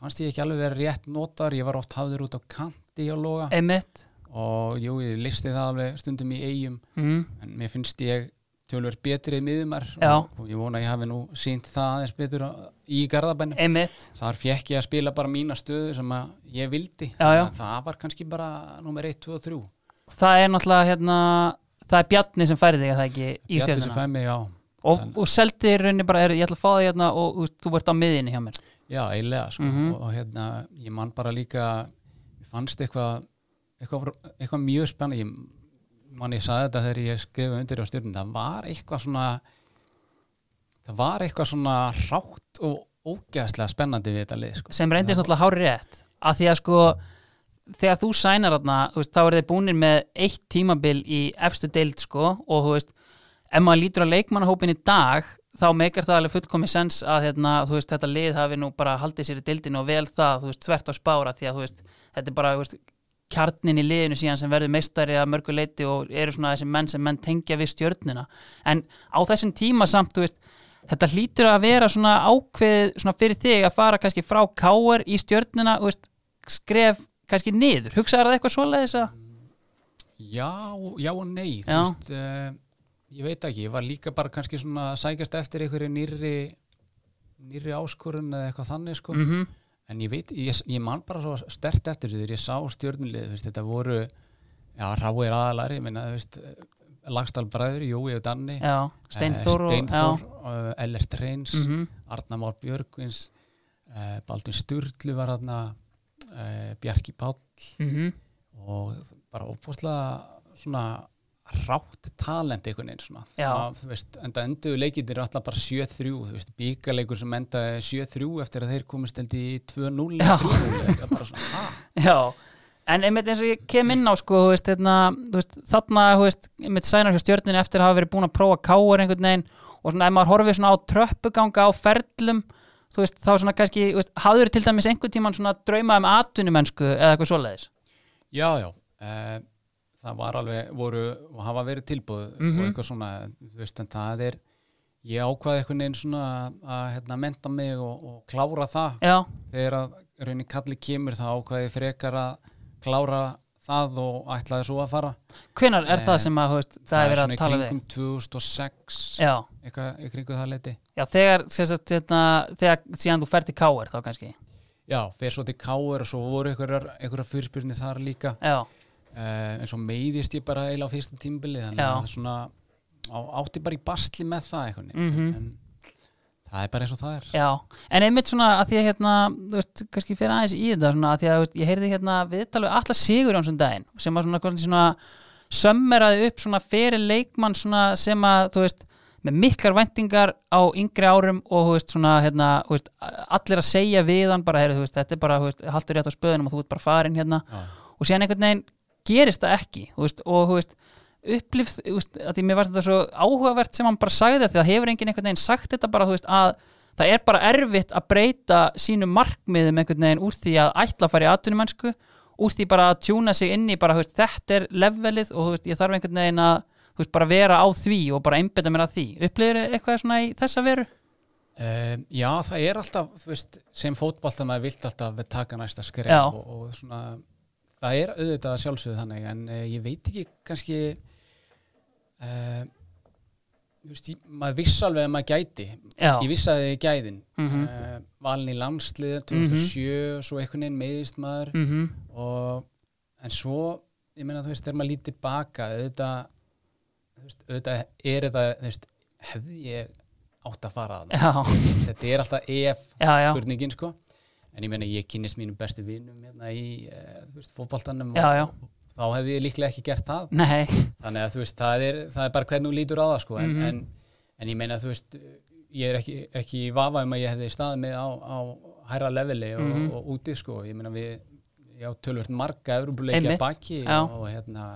[SPEAKER 2] fannst ég ekki alveg vera rétt notar ég var oft hafður út á kanti hjá loga
[SPEAKER 1] einmitt
[SPEAKER 2] og jú, ég listi það alveg stundum í eigum
[SPEAKER 1] mm.
[SPEAKER 2] en mér finnst ég tölver betri miðumar
[SPEAKER 1] Já.
[SPEAKER 2] og, og ég vona að ég hafi nú sínt það aðeins betur á- í Garðabænum
[SPEAKER 1] einmitt,
[SPEAKER 2] þar fekk ég að spila bara mína stöðu sem að ég vildi
[SPEAKER 1] Já, já.
[SPEAKER 2] Þannig að það var kannski bara nummer 1, 2 og 3
[SPEAKER 1] það er náttúrulega hérna, það er Bjarni sem færi þig að það ekki í
[SPEAKER 2] Bjarni sem
[SPEAKER 1] stjörnuna
[SPEAKER 2] fæði mig, já,
[SPEAKER 1] og, og seldi í rauninni bara, er, ég ætla að fá þig hérna og þú, þú ert á miðinni hjá mér
[SPEAKER 2] já, eiginlega sko.
[SPEAKER 1] Mhm.
[SPEAKER 2] og, og hérna, ég man bara líka ég fannst eitthvað eitthvað, eitthvað mjög spennandi ég man ég sagði þetta þegar ég skrifa undir á stjórnum, það var eitthvað svona það var eitthvað svona rátt og ógeðslega spennandi við þetta lið sko.
[SPEAKER 1] sem reyndist náttúrulega hári rétt að því að sko þegar þú sænar þarna, þú veist, þá eru þið búnir með eitt tímabil í efstu deild sko og þú veist, ef maður lítur á leikmannahópin í dag, þá meikar það alveg fullkomi sens að hérna, þú veist, þetta lið hafi nú bara haldið sér í deildinu og vel það þú veist, þvert á spára því að þú veist, þetta er bara þú veist, kjarnin í liðinu síðan sem verður meistari að mörgu leiti og eru svona þessi menn sem menn tengja við stjörnina en á þessum tíma samt, þú veist þetta hlýtur að vera svona ákveð svona fyrir þig að fara kannski frá káar í stjörnina og veist, skref kannski niður, hugsaður það eitthvað svoleiðis að
[SPEAKER 2] Já, já og nei þú
[SPEAKER 1] Já.
[SPEAKER 2] veist, uh, ég veit ekki, ég var líka bara kannski svona að sækjast eftir einhverju nýrri nýrri áskorun eða eitthvað þannig sko
[SPEAKER 1] mm -hmm.
[SPEAKER 2] en ég veit, ég, ég man bara svo stert eftir þessu þegar ég sá stjörnulið, veist, þetta voru já, ráir aðalari, ég minna, þú veist Lagstall bræður, Jói og Danni
[SPEAKER 1] já, Steinþór og
[SPEAKER 2] Steinþór uh, Ellert Reyns,
[SPEAKER 1] mm
[SPEAKER 2] mm Arna Már Björgvins uh, Baldur Sturlu var hann uh, Bjarki Páll
[SPEAKER 1] -hmm.
[SPEAKER 2] og bara óbúslega svona rátt talent einhvern veginn svona,
[SPEAKER 1] Já.
[SPEAKER 2] Svona, þú veist, enda enduðu leikindir alltaf bara 7-3, þú veist, bíkaleikur sem endaði 7-3 eftir að þeir komist held í 2-0 eða
[SPEAKER 1] Já.
[SPEAKER 2] 3-0, eitthvað bara
[SPEAKER 1] <laughs>
[SPEAKER 2] svona, ha?
[SPEAKER 1] Já, en einmitt eins og ég kem inn á sko, þú veist, hérna, þú veist, þarna þú veist, einmitt sænar hjá stjörninu eftir að hafa verið búin að prófa káar einhvern veginn og svona ef maður horfið svona á tröppuganga á ferlum þú veist, þá svona kannski þú veist, hafður til dæmis einhvern tíman svona drauma um atvinnumennsku eða eitthvað svoleiðis
[SPEAKER 2] Já, já, eh, það var alveg, voru, hafa verið tilbúð
[SPEAKER 1] Mhm.
[SPEAKER 2] og eitthvað svona, þú veist, en það er, ég ákvaði einhvern veginn svona að, að hérna, menta mig og, og klára það.
[SPEAKER 1] Já,
[SPEAKER 2] Þegar að raunin kalli kemur þá ákvaði ég frekar að klára það og ætlaði svo að fara.
[SPEAKER 1] hvenar er
[SPEAKER 2] Eh,
[SPEAKER 1] það sem að þú veist, það, er verið
[SPEAKER 2] svona
[SPEAKER 1] að tala
[SPEAKER 2] í
[SPEAKER 1] við þig?
[SPEAKER 2] kringum 2006,
[SPEAKER 1] Já,
[SPEAKER 2] eitthvað í kringum það leiti.
[SPEAKER 1] já, þegar, sem sagt, hérna, þegar síðan þú fer til káar þá kannski
[SPEAKER 2] Já, fyrir svo til Káur og svo voru einhverjar, einhverjar fyrirspyrni þar líka.
[SPEAKER 1] Já,
[SPEAKER 2] uh, en svo meiðist ég bara eiginlega á fyrsta tímbili þannig
[SPEAKER 1] Já.
[SPEAKER 2] að það er svona á, átti bara í basli með það einhvern veginn
[SPEAKER 1] Mhm.
[SPEAKER 2] en það er bara eins og það er
[SPEAKER 1] já, en einmitt svona að því að hérna, þú veist, kannski fyrir aðeins í þetta svona að því að þú veist, ég heyrði hérna viðtalið allar Sigur Jónsson daginn sem að svona, hvernig svona sömmeraði upp svona fyrir leikmann svona sem að, þú veist, með miklar væntingar á yngri árum og þú veist svona, hérna, þú veist, allir að segja við hann bara, heyrðu, þú veist, þetta er bara, þú veist, haldur rétt á spöðunum og þú ert bara farin hérna
[SPEAKER 2] Já.
[SPEAKER 1] og síðan einhvern veginn gerist það ekki þú veist, og þú veist upplifð, þú veist, að því mér varst þetta svo áhugavert sem hann bara sagði því að hefur enginn einhvern veginn sagt þetta bara, þú veist, að það er bara erfitt að breyta sínum markmiðum einhvern veginn úr því að ætla að fara í atvinnumennsku, úr því bara að tjúna sig inn í bara, þú veist, þetta er levelið og þú veist, ég þarf einhvern veginn að þú veist, bara vera á því og bara einbytta mér að því upplifir eitthvað svona í þessa veru?
[SPEAKER 2] Um, já, það er alltaf, þú veist, sem fótballtamaður vilt alltaf við taka næsta skref
[SPEAKER 1] Já.
[SPEAKER 2] og, og svona, það er auðvitað sjálfsögðu þannig, en uh, ég veit ekki kannski, uh, þú veist, ég, maður viss alveg að maður gæti,
[SPEAKER 1] Já.
[SPEAKER 2] ég viss að þið gæðin,
[SPEAKER 1] Mhm.
[SPEAKER 2] uh, valin í landslið 2007, svo einhvern veginn meðist maður
[SPEAKER 1] Mm
[SPEAKER 2] og, en svo, ég meina, þú veist, þegar maður lítið baka, auðvitað, þú veist, auðvitað er þetta, þú veist, hefði ég átt að fara að það
[SPEAKER 1] Já,
[SPEAKER 2] þetta er alltaf ef
[SPEAKER 1] já, já,
[SPEAKER 2] spurningin sko en ég meina ég kynist mínum bestu vinnum hérna í uh, veist, fótboltanum
[SPEAKER 1] Já, já.
[SPEAKER 2] og þá hefði ég líklega ekki gert það
[SPEAKER 1] nei,
[SPEAKER 2] þannig að þú veist það er, það er bara hvernig þú lítur á það sko en,
[SPEAKER 1] Mhm.
[SPEAKER 2] en, en ég meina þú veist ég er ekki, ekki í vafa um að ég hefði staðið mig á, á hærra leveli og,
[SPEAKER 1] Mhm.
[SPEAKER 2] og úti sko ég meina við já tölvört marga Evrópuleikja
[SPEAKER 1] Einmitt,
[SPEAKER 2] að baki
[SPEAKER 1] já.
[SPEAKER 2] og, og hérna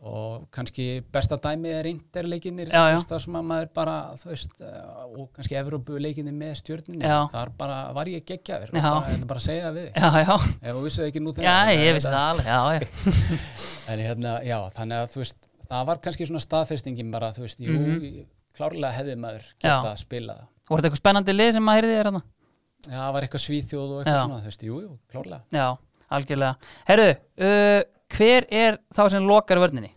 [SPEAKER 2] og kannski besta dæmið er interleikinir
[SPEAKER 1] Já, já.
[SPEAKER 2] það sem að maður bara þú veist, eh, og kannski Evrópuleikinir með stjörninu
[SPEAKER 1] Já.
[SPEAKER 2] þar bara var ég geggjaður
[SPEAKER 1] Já.
[SPEAKER 2] og bara, þetta er bara að segja það við þig
[SPEAKER 1] já, já,
[SPEAKER 2] ef þú vissið ekki nú
[SPEAKER 1] já,
[SPEAKER 2] þegar
[SPEAKER 1] ég
[SPEAKER 2] en
[SPEAKER 1] vissi
[SPEAKER 2] þetta-
[SPEAKER 1] það alveg, já, já.
[SPEAKER 2] en hérna, já, þannig að þú veist það var kannski svona staðfestingin bara þú veist, jú, klárlega hefði maður
[SPEAKER 1] Mhm. Já.
[SPEAKER 2] geta að spila það
[SPEAKER 1] Voru þetta eitthvað spennandi lið sem maður heyrði þér hérna?
[SPEAKER 2] Já, það var eitthvað svíþjóð og eitthvað
[SPEAKER 1] Já.
[SPEAKER 2] svona, þú veist, jú, jú, klárlega
[SPEAKER 1] Já, algjörlega. Herru, uh, hver er þá sem lokar vörninni?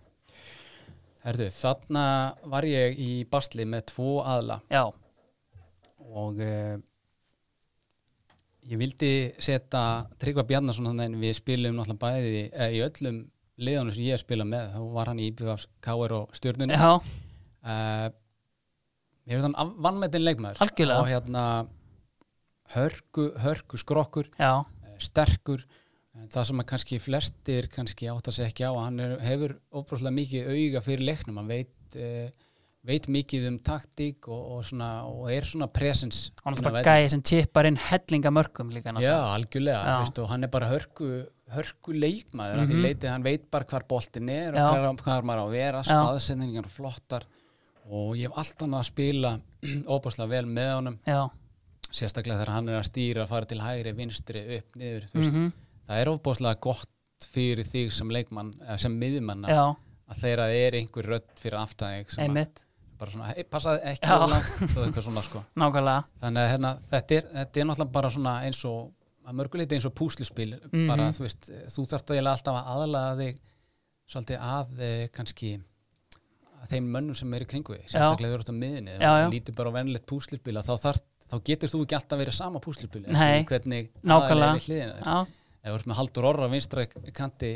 [SPEAKER 2] Herðu, þarna var ég í basli með tvo aðla
[SPEAKER 1] Já,
[SPEAKER 2] og eh, ég vildi setja Tryggva Bjarnason hann en við spilum náttúrulega bæði eh, í öllum liðanum sem ég spila með, þá var hann í IBF, KR og stjörnunni
[SPEAKER 1] já,
[SPEAKER 2] uh, ég finnst hann vannmetin leikmaður
[SPEAKER 1] Algjörlega.
[SPEAKER 2] og hérna hörku, hörku skrokkur
[SPEAKER 1] já,
[SPEAKER 2] eh, sterkur En það sem að kannski flestir kannski átta sig ekki á að hann er, hefur óbrúðslega mikið auga fyrir leiknum hann veit, uh, veit mikið um taktík og, og, svona, og er svona presens
[SPEAKER 1] hann er
[SPEAKER 2] inn á
[SPEAKER 1] bara
[SPEAKER 2] vellinum.
[SPEAKER 1] gæði sem tippar inn hellinga mörgum líka
[SPEAKER 2] Já,
[SPEAKER 1] náttúrulega.
[SPEAKER 2] algjörlega,
[SPEAKER 1] Já.
[SPEAKER 2] Veist, og hann er bara hörku, hörku leikmaður mm
[SPEAKER 1] Mhm.
[SPEAKER 2] því leitið hann veit bara hvar boltin er
[SPEAKER 1] Já.
[SPEAKER 2] og hvar, hvar maður á að vera,
[SPEAKER 1] Já.
[SPEAKER 2] staðsendningar flottar og ég hef alltaf náð að spila <clears throat> óbúslega vel með honum
[SPEAKER 1] Já,
[SPEAKER 2] sérstaklega þegar hann er að stýra, fara til hægri, vinstri, upp, niður þú
[SPEAKER 1] mm
[SPEAKER 2] veist. það er óbúslega gott fyrir þig sem leikmann, eh, sem miðmanna
[SPEAKER 1] já,
[SPEAKER 2] að þeirra er einhver rödd fyrir aftæðing sem að,
[SPEAKER 1] einmitt,
[SPEAKER 2] bara svona, hey, passaði ekki
[SPEAKER 1] Já.
[SPEAKER 2] of langt og eitthvað svona sko
[SPEAKER 1] nákvæmlega.
[SPEAKER 2] þannig að hérna, þetta, er, þetta er náttúrulega bara svona eins og að mörguleiti eins og púslispil
[SPEAKER 1] Mhm.
[SPEAKER 2] bara þú veist, þú þarft eiginlega alltaf að aðlaga þig svolítið að eh, kannski að þeim mönnum sem eru í kringu þig, sérstaklega þú eru út á miðinni
[SPEAKER 1] Já, já.
[SPEAKER 2] þú lítur bara á venlegt púslispil þá, þarft, þá getur þú ekki alltaf verið sama púslispil
[SPEAKER 1] Nei,
[SPEAKER 2] hvernig
[SPEAKER 1] nákvæmlega.
[SPEAKER 2] aðallega við hliðina þér.
[SPEAKER 1] Já,
[SPEAKER 2] ef þú ert með Haldur Orra á vinstra kanti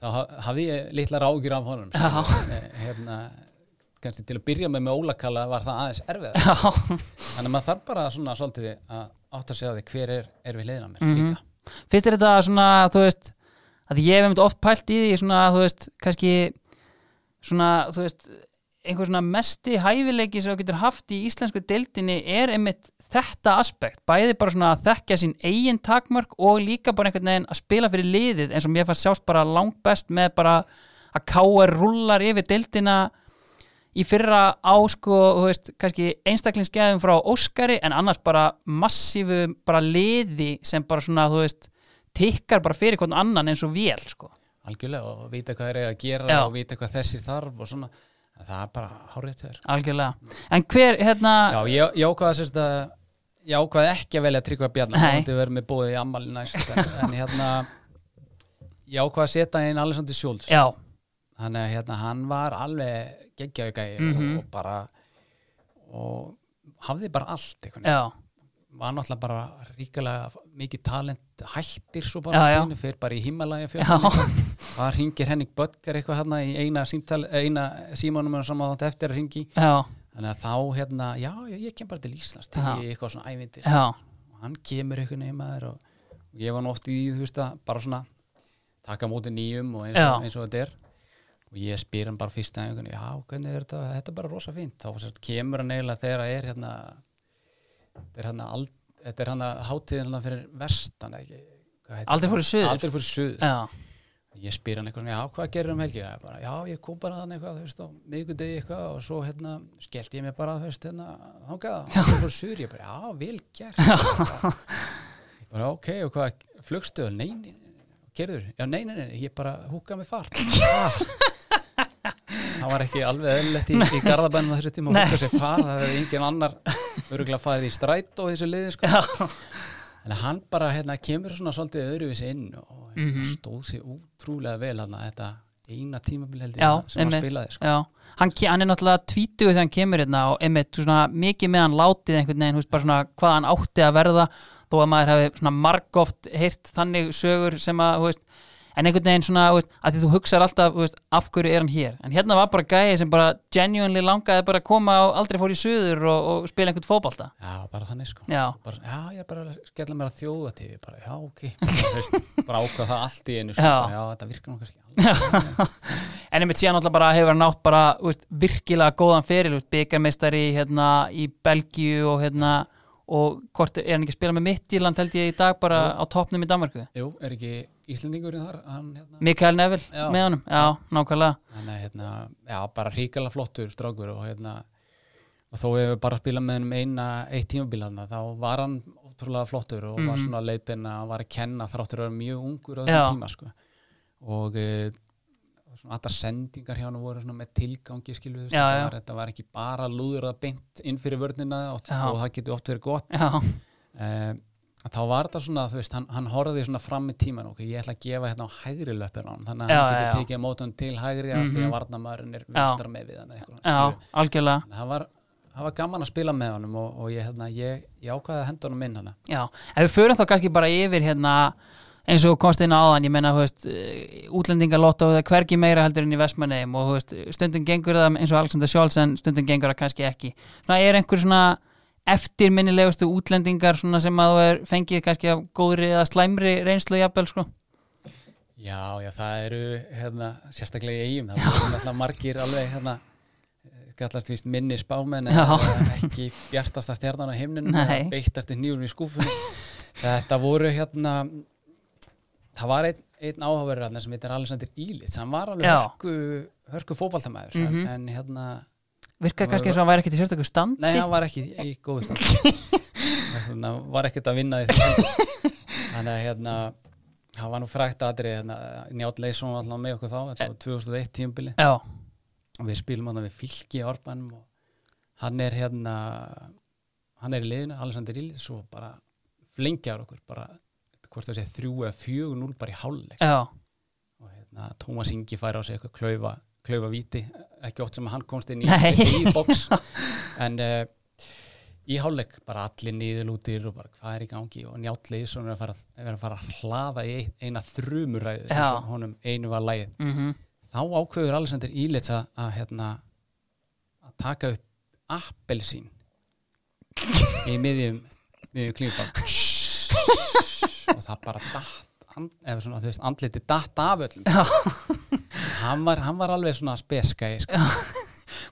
[SPEAKER 2] þá ha- hafði ég litlar ágjur af honum
[SPEAKER 1] <laughs> Já.
[SPEAKER 2] skilur. Eh, hérna, kannski til að byrja með með Ólakalla var það aðeins erfið
[SPEAKER 1] já,
[SPEAKER 2] Þannig að maður þarf bara svona svolítið að átta sig á því hver er, er við leiðina mér
[SPEAKER 1] mhm.
[SPEAKER 2] líka.
[SPEAKER 1] Fyrst er þetta svona, þú veist, að ég hef einmitt oft pælt í því svona, þú veist, kannski svona, þú veist einhver svona mesti hæfileiki sem þú getur haft í íslensku deildinni er einmitt þetta aspekt, bæði bara svona að þekkja sín eigin takmörk og líka bara einhvern veginn að spila fyrir liðið eins og mér fannst sjást bara langbest með bara að K.R. rullar yfir deildina í fyrra á sko, þú veist, kannski einstaklingsgeðum frá Óskari en annars bara massífu bara liði sem bara svona, þú veist, tikkar bara fyrir hvern annan eins og vél sko.
[SPEAKER 2] algjörlega og vita hvað er að gera
[SPEAKER 1] Já.
[SPEAKER 2] og vita hvað þessi þarf og svona það er bara hárið þér
[SPEAKER 1] algjörlega, en hver hérna,
[SPEAKER 2] Já, ég, ég ákvaða sérst að ég ákvaða ekki að velja Tryggva Bjarnar
[SPEAKER 1] Nei.
[SPEAKER 2] þetta verður með bóðið í ammali næst en, en hérna ég ákvaða að setja inn Alessandri Sjólds
[SPEAKER 1] já,
[SPEAKER 2] þannig að hérna, hann var alveg geggjaugæ mm
[SPEAKER 1] Mhm.
[SPEAKER 2] og bara og hafði bara allt einhvern veginn.
[SPEAKER 1] já,
[SPEAKER 2] var náttúrulega bara ríkilega mikið talent hættir svo bara
[SPEAKER 1] Já,
[SPEAKER 2] allt í
[SPEAKER 1] já.
[SPEAKER 2] einu, fer bara í himalæja
[SPEAKER 1] já
[SPEAKER 2] það ringir Henning Böttger eitthvað hérna í eina, símtal, eina símanum og saman þátt eftir að ringi
[SPEAKER 1] já,
[SPEAKER 2] þannig að þá hérna, já, já ég kem bara til Íslands til
[SPEAKER 1] Já.
[SPEAKER 2] ég eitthvað svona ævindir
[SPEAKER 1] já,
[SPEAKER 2] og hann kemur eitthvað neymaður og, og ég var nú oft í því, þú veist að bara svona taka á móti nýjum og eins,
[SPEAKER 1] Já.
[SPEAKER 2] og eins og þetta er og ég spyr hann bara fyrst að já, hvernig er þetta, þetta er bara rosa fínt þá sérst, kemur hann eiginlega þegar það er hérna þetta er hann að þetta er hann að hátíðin hérna fyrir vestan eða ekki, hvað heitir
[SPEAKER 1] Aldrei
[SPEAKER 2] það?
[SPEAKER 1] fóru suður.
[SPEAKER 2] aldrei fyrir suður
[SPEAKER 1] já
[SPEAKER 2] ég spyr hann eitthvað svona, já, hvað gerir um helgina Ég bara, já, ég kom bara þannig eitthvað, þú veist, á miðgudegi eitthvað og svo hérna, skellti ég mig bara, þú veist, hérna þangað, hann fór sur, ég bara, já, vel gert Ég bara, ok, og hvað, flugstöð nei, nei, nei, gerður, já, nei, nei, nei ég bara húkaði mig fart Ah.
[SPEAKER 1] <laughs>
[SPEAKER 2] það var ekki alveg eðlilegt í, í garðabænum á þessu tíma að húka sér far, það hefði engin annar örgulega farið í stræt og þessu liði, sko
[SPEAKER 1] já,
[SPEAKER 2] en hann bara hérna, kemur svona svolítið öðruvísi inn og hérna,
[SPEAKER 1] Mhm.
[SPEAKER 2] stóð sér útrúlega vel hann þetta eina tímabil held ég
[SPEAKER 1] Já,
[SPEAKER 2] sem hann
[SPEAKER 1] einmitt.
[SPEAKER 2] spilaði sko.
[SPEAKER 1] já hann, ke- hann er náttúrulega tvítugur þegar hann kemur hérna og einmitt þú svona, mikið með hann látið einhvern veginn, þú veist bara svona hvað hann átti að verða þó að maður hefði svona margóft heyrt þannig sögur sem að, þú veist en einhvern veginn svona, þú veist, að því þú hugsar alltaf þú veist, af hverju er hann hér, en hérna var bara gæði sem bara genuinely langaði bara að koma og aldrei fór í suður og, og spila einhvern fótbolta
[SPEAKER 2] já, bara þannig sko
[SPEAKER 1] Já.
[SPEAKER 2] bara, já, ég er bara að skella mér að þjóða til bara, já, ok, Þú veist, bara ákvað það allt í einu sko.
[SPEAKER 1] Já.
[SPEAKER 2] bara, já, þetta virkar nú kannski alveg
[SPEAKER 1] en einmitt síðan alltaf bara hefur hann átt bara þú veist, virkilega góðan feril, þú veist, byggarmeistari hérna í Belgíu og hérna og hvort er hann ekki að spila með Midtjylland held ég í dag bara á toppnum í Danmarku
[SPEAKER 2] jú, er ekki Íslendingurinn þar hann, hérna,
[SPEAKER 1] Mikael Neville
[SPEAKER 2] Já.
[SPEAKER 1] með honum, já, nákvæmlega
[SPEAKER 2] Þannig að hérna, já, bara ríkala flottur strákur og hérna og þó hefur bara spilað með hennum eina eitt tímabil hann, þá var hann ótrúlega flottur og var svona leipin að var að kenna þráttur að vera mjög ungur á
[SPEAKER 1] Mhm. Já.
[SPEAKER 2] þessum tíma sko. og eh, og svona alltaf sendingar hjá hann voru svona með tilgangi skilu
[SPEAKER 1] Já, já.
[SPEAKER 2] var, þetta var ekki bara lúður að beint inn fyrir vörnina og
[SPEAKER 1] Já.
[SPEAKER 2] þó það getur oft verið gott
[SPEAKER 1] já,
[SPEAKER 2] uh, þá var þetta svona, þú veist, hann, hann horfði svona fram í tíman ok, ég ætla að gefa hérna á hægri löppin á hann þannig að
[SPEAKER 1] Já,
[SPEAKER 2] hann
[SPEAKER 1] já,
[SPEAKER 2] geti
[SPEAKER 1] já.
[SPEAKER 2] tekið mótum til hægri mm -hmm. því að varnamaðurinn er vinstra með við hann eða eitthvað,
[SPEAKER 1] já,
[SPEAKER 2] skilur.
[SPEAKER 1] algjörlega
[SPEAKER 2] Þannig að það var, það var gaman að spila með honum og, og ég, hérna, ég, ég ákvaði að henda honum inn hann
[SPEAKER 1] Já, ef við förum þá kannski bara yfir hérna eins og þú komst inn áðan, ég meina þú veist, eh, útlendingalotto það er hvergi meira heldur enn í Vestmanneim og þú veist, stundum gengur það eins og Alexander Scholz en stundum gengur það kannski ekki svona er einhver svona eftirminnilegustu útlendingar svona sem að þú er fengið kannski af góðri eða slæmri reynslu jafnvel sko
[SPEAKER 2] já, já, það eru hérna, sérstaklega í eigum, það voru náttúrulega margir alveg hérna gallast víst minni spámenn
[SPEAKER 1] Já.
[SPEAKER 2] eða ekki bjartasta stjarnan á himninu
[SPEAKER 1] Nei.
[SPEAKER 2] beittast í nýjum í skúfunni þetta voru hérna það var einn ein áhafverður hérna sem heitir Alexander Ílits, hann var alveg
[SPEAKER 1] Já.
[SPEAKER 2] hörku, hörku fótballtamæður
[SPEAKER 1] Mhm.
[SPEAKER 2] en hérna,
[SPEAKER 1] virkar
[SPEAKER 2] Nú,
[SPEAKER 1] kannski
[SPEAKER 2] ef-
[SPEAKER 1] eins og hann væri ekkert í sérstöku standi
[SPEAKER 2] nei hann var ekki í góðu stand hérna, var ekkert að vinna í þessu þannig að hérna hann var nú frækt aðrið hérna, Njátt Leysson var alltaf með okkur þá þetta var 2001 tímbili
[SPEAKER 1] Já,
[SPEAKER 2] og við spilum hann við fylki í orbanum og hann er hérna hann er í liðinu, Alexander Illis og bara flengjar okkur bara hvort það sé þrjú eða fjögur núl bara í hálfleik
[SPEAKER 1] já,
[SPEAKER 2] og hérna Tómas Ingi fær á sig eitthvað klaufa, klaufa víti ekki oft sem hann komst inn í,
[SPEAKER 1] Nei.
[SPEAKER 2] í box en uh, í hálfleik bara allir niðurlútir og bara hvað er í gangi og Njátt Leysson er að fara, er að, fara að hlaða í ein- eina þrumuræðu
[SPEAKER 1] Já.
[SPEAKER 2] eins og honum einu var lægið
[SPEAKER 1] mhm
[SPEAKER 2] þá ákveður Alexander Ílits að, að, hérna, að taka upp appelsín í miðjum, miðjum klífbál og það bara datt and, eða svona, þú veist, andliti datt af öllum hann var, hann var alveg svona speska sko.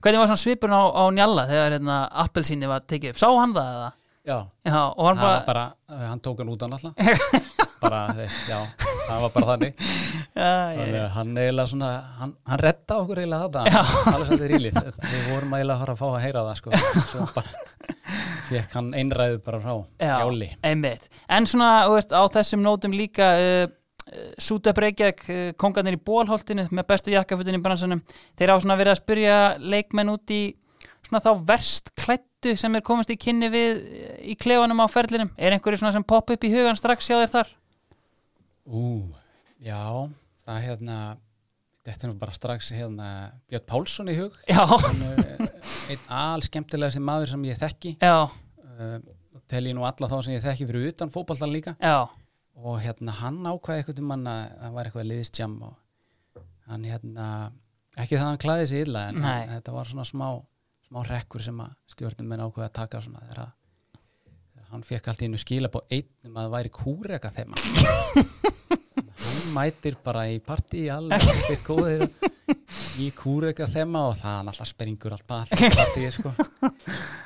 [SPEAKER 1] Hvernig var svona svipurinn á, á njalla þegar hérna appelsíni var tekið upp? Sá hann það eða?
[SPEAKER 2] já,
[SPEAKER 1] Já, og hann
[SPEAKER 2] hann,
[SPEAKER 1] bara,
[SPEAKER 2] var bara, eh, hann tók hann út hann alltaf bara, þú veist, já, það var bara þannig
[SPEAKER 1] já, já,
[SPEAKER 2] Þannig að hann eiginlega svona, hann, hann retta okkur eiginlega þetta, hann alveg sætti rílið, við vorum eiginlega að fara að fá að heyra það, sko, svo bara fekk hann einræðu bara frá,
[SPEAKER 1] já,
[SPEAKER 2] Jóli.
[SPEAKER 1] einmitt. En svona, þú veist, á þessum nótum líka uh, Sútep Reykjavík, uh, kongarnir í bólholtinu með bestu jakkafutin í bransanum, þeir hafa svona verið að spyrja leikmenn út í svona þá verst klættu sem er komist í kynni við eh, í klefanum á ferlinum. Er einhverju svona sem popp upp í hugan strax hjá þér þar?
[SPEAKER 2] Ú, já, það hérna, þetta er nú bara strax hérna Björn Pálsson í hug,
[SPEAKER 1] Já,
[SPEAKER 2] hann er einn al skemmtilegasti maður sem ég þekki,
[SPEAKER 1] já,
[SPEAKER 2] uh, tel ég nú alla þá sem ég þekki fyrir utan fótballtan líka.
[SPEAKER 1] já,
[SPEAKER 2] og hérna hann ákvaði eitthvað til mann að það var eitthvað liðstjam og hann hérna ekki það að hann klæði sig illa en
[SPEAKER 1] Nei.
[SPEAKER 2] hann, þetta var svona smá, smá rekkur sem að stjórnum menn ákvaði að taka svona þegar að þegar hann fekk allt í einu skila bá einn um að það væri kúreka þeim hann mætir bara í
[SPEAKER 1] <laughs>
[SPEAKER 2] partí alveg allir góðir í kúreka þeim og það hann alltaf springur allt bara partí
[SPEAKER 1] <laughs>
[SPEAKER 2] sko.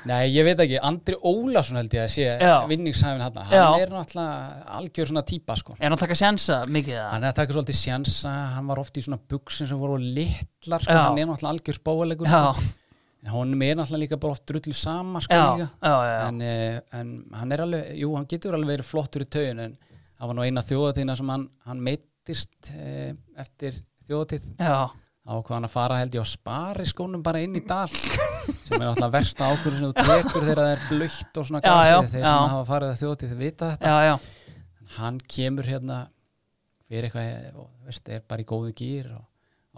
[SPEAKER 2] nei ég veit ekki Andri Ólason held ég að sé
[SPEAKER 1] Já.
[SPEAKER 2] vinningshæfin hann,
[SPEAKER 1] Já.
[SPEAKER 2] hann er náttúrulega algjör svona típa sko
[SPEAKER 1] er hann að taka sjensa mikið það?
[SPEAKER 2] hann er að taka svolítið sjansa, hann var oft í svona buksin sem voru litlar sko,
[SPEAKER 1] Já.
[SPEAKER 2] hann er náttúrulega algjör spáalegur
[SPEAKER 1] Já,
[SPEAKER 2] sko. en honum er náttúrulega líka bara oft drullu sama sko
[SPEAKER 1] já, já,
[SPEAKER 2] líka
[SPEAKER 1] já, já,
[SPEAKER 2] en, eh, en hann er alveg, jú hann getur alveg verið flottur í taun en það var nú eina þjóðatíðina sem hann, hann meittist eh, eftir þjóðatíð
[SPEAKER 1] já,
[SPEAKER 2] ákvað hann að fara held ég á spari skónum bara inn í dal sem er náttúrulega versta ákvörðu sem þú tekur þegar það er blöitt og svona
[SPEAKER 1] Já,
[SPEAKER 2] gasið
[SPEAKER 1] já,
[SPEAKER 2] þeir
[SPEAKER 1] já.
[SPEAKER 2] sem hafa farið að þjóðatíð vita þetta
[SPEAKER 1] já, já.
[SPEAKER 2] hann kemur hérna fyrir eitthvað, og, veist, er bara í góðu gýr og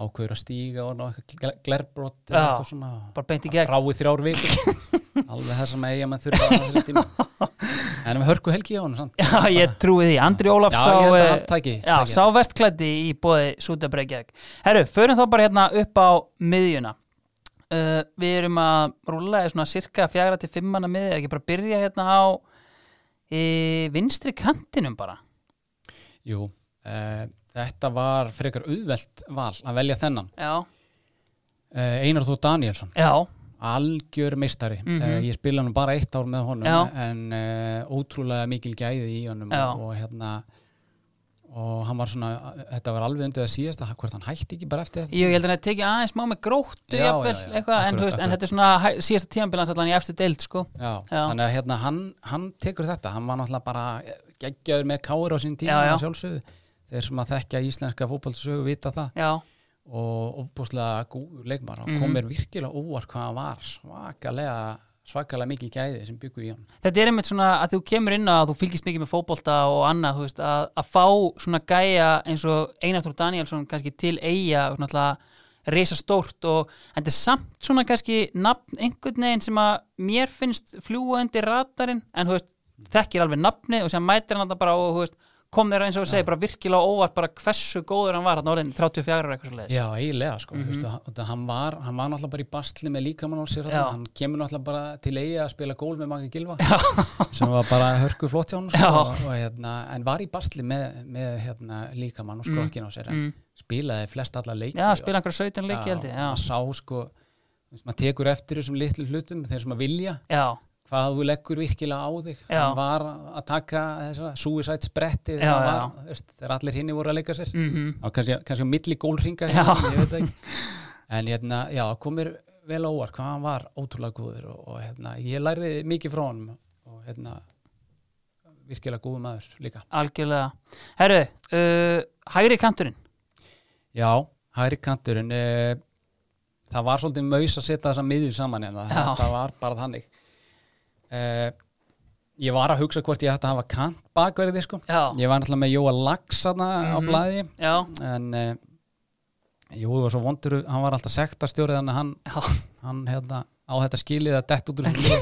[SPEAKER 2] ákveður að stíga og ná eitthvað gler- glerbrot eða
[SPEAKER 1] Já.
[SPEAKER 2] eitthvað svona,
[SPEAKER 1] bara beint í gegn.
[SPEAKER 2] ráið þrjár vikur alveg það sem eiga mann þurfa á þessu tíma en við hörku helgi á hann samt.
[SPEAKER 1] <laughs> Já, ég trúi því. Andri Ólaf
[SPEAKER 2] Já,
[SPEAKER 1] sá,
[SPEAKER 2] ég held að
[SPEAKER 1] eh,
[SPEAKER 2] hann taki-
[SPEAKER 1] já,
[SPEAKER 2] taki
[SPEAKER 1] sá vestklæddi í bóði Sútabreykjavík. Herru, förum þá bara hérna upp á miðjuna. Uh, við erum að rúlla í svona cirka fjara til fimmana miðja, ekki bara byrja hérna á í vinstri kantinum bara.
[SPEAKER 2] jú, uh, þetta var frekar auðvelt val að velja þennan
[SPEAKER 1] Já,
[SPEAKER 2] uh, Einar Þó Danielsson
[SPEAKER 1] já, algjör.
[SPEAKER 2] algjör meistari mm
[SPEAKER 1] Mhm.
[SPEAKER 2] ég spila hann bara eitt ár með honum
[SPEAKER 1] Já.
[SPEAKER 2] en uh, ótrúlega mikil gæði í honum
[SPEAKER 1] Já.
[SPEAKER 2] og, og hérna og hann var svona, þetta var alveg undir að síðast að hvort hann hætti ekki bara eftir þetta
[SPEAKER 1] Ég held að þetta tekið aðeins má með gróttu
[SPEAKER 2] Já,
[SPEAKER 1] jafnvel,
[SPEAKER 2] já,
[SPEAKER 1] eitthvað,
[SPEAKER 2] já.
[SPEAKER 1] en,
[SPEAKER 2] Akkurat,
[SPEAKER 1] þú veist, en
[SPEAKER 2] akkurat.
[SPEAKER 1] þetta er svona hæ- síðasta tíðanbilans allan í efstu deild, sko.
[SPEAKER 2] Já.
[SPEAKER 1] Já.
[SPEAKER 2] þannig að hérna, hann, hann tekur þetta hann var náttúrulega bara eh, geggjaður með káir á sín tíma
[SPEAKER 1] Já, já.
[SPEAKER 2] að sjálfsögðu þeir sem að þekkja íslenska fótballsögu vita það
[SPEAKER 1] Já,
[SPEAKER 2] og ofbúslega góður leikmar og
[SPEAKER 1] Mhm.
[SPEAKER 2] kom mér virkilega óvart hvað hann var svakalega, svakalega mikil gæði sem byggu í hann
[SPEAKER 1] Þetta er einmitt svona að þú kemur inn á að þú fylgist mikið með fótbolta og annað, þú veist, að, að fá svona gæja eins og Einar Þór Danielsson kannski til eiga og náttúrulega reysa stórt og en þetta er samt svona kannski nafn einhvern veginn sem að mér finnst fljúa undir radarinn en þú veist, þekkir alveg nafnið og sem mætir hann þetta bara og þú veist, kom þér eins og þú segir bara virkilega óvart bara hversu góður hann var hann orðin 34 ára eitthvað svo leiðis.
[SPEAKER 2] Já, eiginlega sko, mm -hmm. veistu, hann, var, hann var náttúrulega bara í bastli með líkamann á sér
[SPEAKER 1] Mhm. Já.
[SPEAKER 2] hann, hann kemur náttúrulega bara til eiga að spila gól með Maggi Gilva sem var bara hörku flott hjá hann sko,
[SPEAKER 1] Já.
[SPEAKER 2] og, og, hérna, en var í bastli með, með hérna, líkamann og skrokkin á sér en
[SPEAKER 1] Mm.
[SPEAKER 2] spilaði flest alla leiki
[SPEAKER 1] Já, spila einhverja 17 leiki held ég,
[SPEAKER 2] og maður
[SPEAKER 1] já.
[SPEAKER 2] sá sko þú veist, maður tekur eftir þessum litlu hlutum þeir sem að vilja
[SPEAKER 1] Já,
[SPEAKER 2] hvað þú leggur virkilega á þig
[SPEAKER 1] Já.
[SPEAKER 2] hann var að taka þessa suicide spretti
[SPEAKER 1] Já,
[SPEAKER 2] þegar, hann var, veist, þegar allir hinni voru að leika sér
[SPEAKER 1] mm
[SPEAKER 2] á, kannski, kannski á milli gólringa
[SPEAKER 1] Já.
[SPEAKER 2] hérna, ég veit það ekki en hérna, já, kom mér vel á óvart hvað hann var ótrúlega góður og, og hérna, ég lærði mikið frá honum og hérna virkilega góðu maður líka
[SPEAKER 1] algjörlega. Herru, uh, hægri kanturinn.
[SPEAKER 2] já, hægri kanturinn e, það var svolítið maus að setja þessa miður saman hérna,
[SPEAKER 1] Já.
[SPEAKER 2] það var bara þannig e, ég var að hugsa hvort ég ætti að hafa kant bakverði sko,
[SPEAKER 1] Já.
[SPEAKER 2] ég var náttúrulega með Jóa Lax þarna á
[SPEAKER 1] Mhm.
[SPEAKER 2] blaði
[SPEAKER 1] Já,
[SPEAKER 2] en uh, Jói var svo vondur hann var alltaf sektastjórið þannig að hann,
[SPEAKER 1] Já.
[SPEAKER 2] hann hérna, á þetta skilið að dett
[SPEAKER 1] <laughs>
[SPEAKER 2] út úr þessu liði.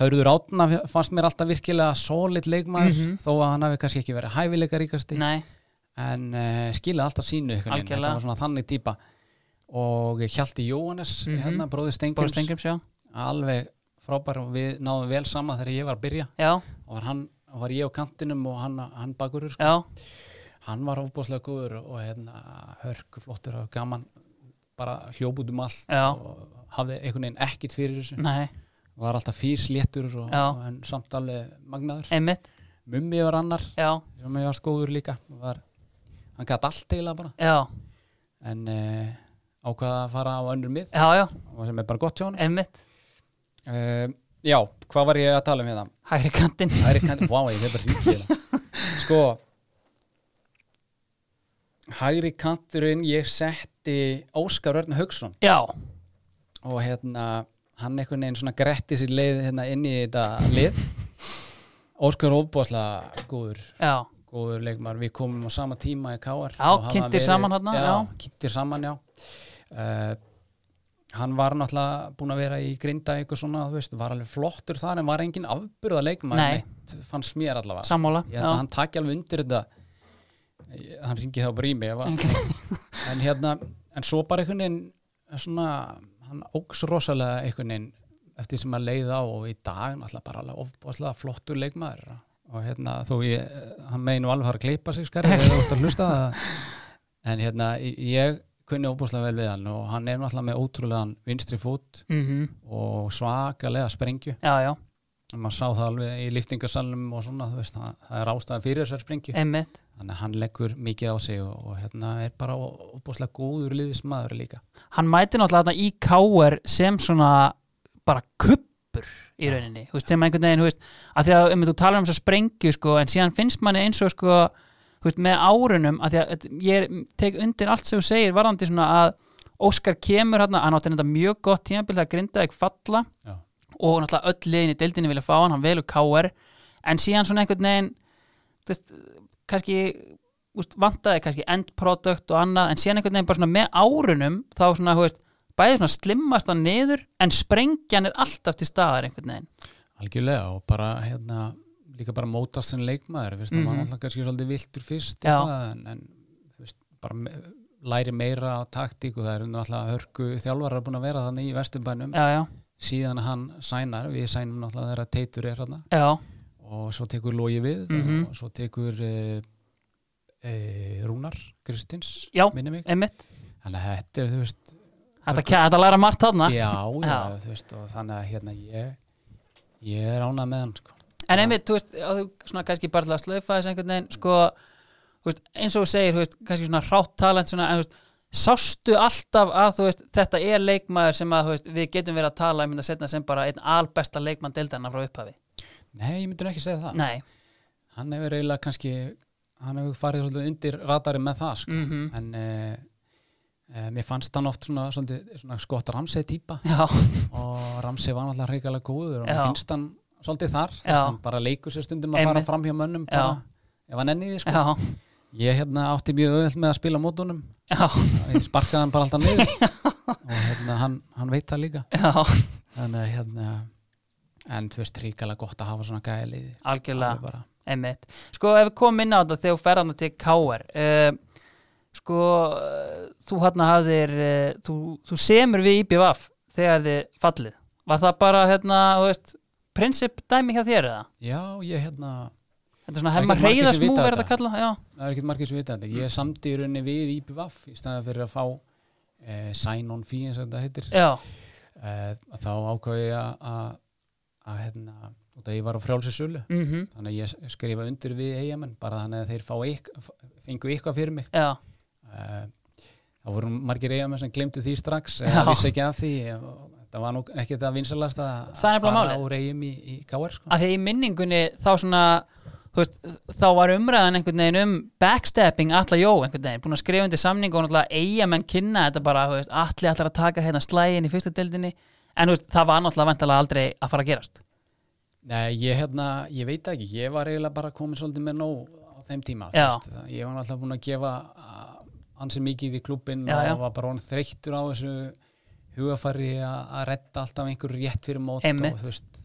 [SPEAKER 2] Hörður Átna fannst mér alltaf virkilega solid leikmaður
[SPEAKER 1] Mhm.
[SPEAKER 2] þó að hann hafi kannski ekki verið hæfileika ríkasti
[SPEAKER 1] nei,
[SPEAKER 2] en uh, skilaði alltaf sínu einhvern veginn.
[SPEAKER 1] Algjörlega.
[SPEAKER 2] þetta var svona þannig típa og Hjalti Jóhannes
[SPEAKER 1] Mhm.
[SPEAKER 2] hérna, bróði
[SPEAKER 1] Bóri
[SPEAKER 2] Stengjums
[SPEAKER 1] Stengjum sjá
[SPEAKER 2] alveg frábær og við náðum vel sama þegar ég var að byrja
[SPEAKER 1] Já,
[SPEAKER 2] og var, hann, var ég á kantinum og hann, hann bakurur
[SPEAKER 1] já,
[SPEAKER 2] hann var ofbúslega góður og, og hérna, hörku flottur og gaman bara hljóp út um allt
[SPEAKER 1] Já.
[SPEAKER 2] og hafði einhvern veginn ekkit fyrir þessu
[SPEAKER 1] Nei,
[SPEAKER 2] var alltaf fýrsléttur og,
[SPEAKER 1] Já.
[SPEAKER 2] og en samt alveg magnaður
[SPEAKER 1] einmitt
[SPEAKER 2] Mummi var annar
[SPEAKER 1] Já,
[SPEAKER 2] sem ég var skóður líka var, hann gæti allt eila bara
[SPEAKER 1] já,
[SPEAKER 2] en eh, ákvaða að fara á önnur mið
[SPEAKER 1] já, já,
[SPEAKER 2] og sem er bara gott hjá hann
[SPEAKER 1] einmitt
[SPEAKER 2] uh, já, hvað var ég að tala um hérna
[SPEAKER 1] Hægri kantinn
[SPEAKER 2] það er ekki wow, ég hefur ríkið sko hægri kanturinn ég setti Óskar Örn Hauksson
[SPEAKER 1] Já,
[SPEAKER 2] og hérna hann einhvern veginn svona gretti sér leið hérna inn í þetta lið Óskar Óbúasla góður
[SPEAKER 1] já,
[SPEAKER 2] góður leikmar, við komum á sama tíma í Káar
[SPEAKER 1] Já, kynntir saman þarna,
[SPEAKER 2] já,
[SPEAKER 1] já.
[SPEAKER 2] kynntir saman, já uh, hann var náttúrulega búin að vera í grinda eitthvað svona, þú veist, var alveg flottur þar en var engin afburða leikmar
[SPEAKER 1] Nei.
[SPEAKER 2] neitt, fannst mér allavega
[SPEAKER 1] sammála
[SPEAKER 2] ég held að
[SPEAKER 1] Já,
[SPEAKER 2] hann taki alveg undir þetta Ég- hann ringi þá bara í mig ef að- en hérna, en svo bara einhvern veginn svona, hann óks rosalega einhvern veginn eftir því sem að leið á og í dag náttúrulega bara alveg ofbáslega flottur leikmaður og hérna þó ég, hann megin nú alveg fara að kleipa sig skari eða þú ert að hlusta en hérna ég kunni ofbáslega vel við hann og hann er náttúrulega með ótrúlegan vinstri fót
[SPEAKER 1] <laughs> mhm,
[SPEAKER 2] og svakalega sprengju
[SPEAKER 1] já, já,
[SPEAKER 2] og maður sá það alveg í liftingasalum og svona, þú veist, það, það er ástæða fyrir þessar sprengju
[SPEAKER 1] einmitt
[SPEAKER 2] þannig að hann leggur mikið á sig og, og hérna er bara opaslega góður liðismadur líka
[SPEAKER 1] Hann mæti náttúrulega þarna í K.R. sem svona bara kuppur í rauninni, þú veist, sem einhvern veginn, þú veist að því að um þú talar um þess að sprengju sko, en síðan finnst manni eins og sko þú veist, með árunum, að því að þetta- ég er- tek undir allt sem þú segir, varðandi svona að Óskar kemur hérna, hann átti þetta mjög gott tímabil það grinda ekki falla
[SPEAKER 2] já,
[SPEAKER 1] og náttúrulega öll liðin í deildinni vilja fá hann, hann velur KR en síðan svona einhvern veginn þú veist, kannski úst, vantaði kannski end product og annað en síðan einhvern veginn bara svona með árunum þá svona, þú veist, bæði svona slimmast hann niður en sprengjan er alltaf til staðar einhvern veginn,
[SPEAKER 2] algjörlega og bara hérna líka bara mótast sem leikmaður veist, mm
[SPEAKER 1] Mhm.
[SPEAKER 2] hann var alltaf kannski svolítið viltur fyrst
[SPEAKER 1] Já.
[SPEAKER 2] eitthvað, en, en þú veist, bara me læri meira á taktík og það er náttúrulega hörku þjálfarar búin að vera þannig í vesturbænum
[SPEAKER 1] já, já,
[SPEAKER 2] síðan hann sænar, við sænum náttúrulega þegar teitur er hérna
[SPEAKER 1] já
[SPEAKER 2] og svo tekur Lógi við
[SPEAKER 1] Mhm.
[SPEAKER 2] og svo tekur e, e, Rúnar Kristins
[SPEAKER 1] Já.
[SPEAKER 2] minni mig
[SPEAKER 1] einmitt,
[SPEAKER 2] þannig að þetta er þú veist
[SPEAKER 1] þetta, ke- þetta læra margt þarna
[SPEAKER 2] já, já,
[SPEAKER 1] Já.
[SPEAKER 2] þú veist og þannig að hérna ég ég er ánað með hann sko.
[SPEAKER 1] En einmitt, þú veist, á þú- svona kannski bara til að slöfa þess einhvern veginn, sko, þú veist, eins og þú segir, þú veist, kannski svona hrátt talent, svona, en þú veist, sástu alltaf að, þú veist, þetta er leikmaður sem að, þú veist, við getum verið að tala, ég mynda setna sem bara einn albesta leikmann deildarna frá upphafi.
[SPEAKER 2] nei, ég myndi nú ekki segja það
[SPEAKER 1] Nei,
[SPEAKER 2] hann hefur eiginlega kannski hann hefur farið svolítið undir radari með það sko.
[SPEAKER 1] mm
[SPEAKER 2] en e, e, mér fannst hann oft svona, svolítið, svona skott Ramsey típa
[SPEAKER 1] já,
[SPEAKER 2] og Ramsey var náttúrulega hrikalega góður og
[SPEAKER 1] Já.
[SPEAKER 2] mér finnst hann svolítið þar þess
[SPEAKER 1] Já.
[SPEAKER 2] að hann bara leikur sér stundum að
[SPEAKER 1] Einmitt.
[SPEAKER 2] fara fram hjá mönnum
[SPEAKER 1] Já.
[SPEAKER 2] bara, ef hann enniði sko.
[SPEAKER 1] já,
[SPEAKER 2] ég hérna átti mjög öðvöld með að spila mótunum
[SPEAKER 1] já,
[SPEAKER 2] ég sparkaði hann bara
[SPEAKER 1] <laughs>
[SPEAKER 2] alltaf niður og hérna, hann, hann veit það líka
[SPEAKER 1] já,
[SPEAKER 2] þannig að hérna en þú veist ríkala gott að hafa svona gæði liði
[SPEAKER 1] algjörlega.
[SPEAKER 2] Alveg bara.
[SPEAKER 1] Einmitt. Sko, ef við komum inn á þetta þegar þú ferðan til KR uh, sko, uh, þú hann hafðir uh, þú, þú semur við IBVF þegar þið fallið var það bara, hérna, þú veist prinsip dæmi hjá þér eða?
[SPEAKER 2] já, ég hérna,
[SPEAKER 1] Þetta er svona
[SPEAKER 2] Það er
[SPEAKER 1] hemma
[SPEAKER 2] ekki margir
[SPEAKER 1] reyða
[SPEAKER 2] sem
[SPEAKER 1] smúf
[SPEAKER 2] vita
[SPEAKER 1] er þetta
[SPEAKER 2] þetta.
[SPEAKER 1] kalla já,
[SPEAKER 2] það er ekkert margir sem vita þetta ég samdi í rauninni við IPVAF í staðan fyrir að fá eh, sign on fee eins og þetta heitir
[SPEAKER 1] já,
[SPEAKER 2] eh, að þá ákvað ég að- að að hérna, út að ég var á frjálsinsölu
[SPEAKER 1] mm
[SPEAKER 2] þannig að ég skrifa undir við eigamenn bara þannig að þeir fá yk, fengu eitthvað fyrir mig
[SPEAKER 1] já,
[SPEAKER 2] Eh, Það voru margir eigamenn sem glemdu því strax
[SPEAKER 1] Já.
[SPEAKER 2] eða vissi ekki af því og það var nú ekki það vinsalast að
[SPEAKER 1] Það er nefnilega
[SPEAKER 2] fara
[SPEAKER 1] málið.
[SPEAKER 2] úr eigum í, í KR sko.
[SPEAKER 1] að því í minningunni þá svona þú veist, þá var umræðan einhvern veginn um backstabbing allar jó einhvern veginn, búin að skrifa undir samning og náttúrulega eiga menn kynna þetta bara, þú veist, allir allar að taka hérna slægin í fyrstu deildinni en þú veist, það var náttúrulega vantalega aldrei að fara að gerast
[SPEAKER 2] Nei, ég, hérna, ég veit það ekki, ég var eiginlega bara komin svolítið með nóg á þeim tíma þú
[SPEAKER 1] Já.
[SPEAKER 2] veist, það- ég var alltaf búin að gefa ah, ansi mikið í klubbin
[SPEAKER 1] Já, já.
[SPEAKER 2] og var bara honum þreyttur á þessu hugafari a- að redda alltaf einhver rétt fyrir mót
[SPEAKER 1] Einmitt.
[SPEAKER 2] og þú veist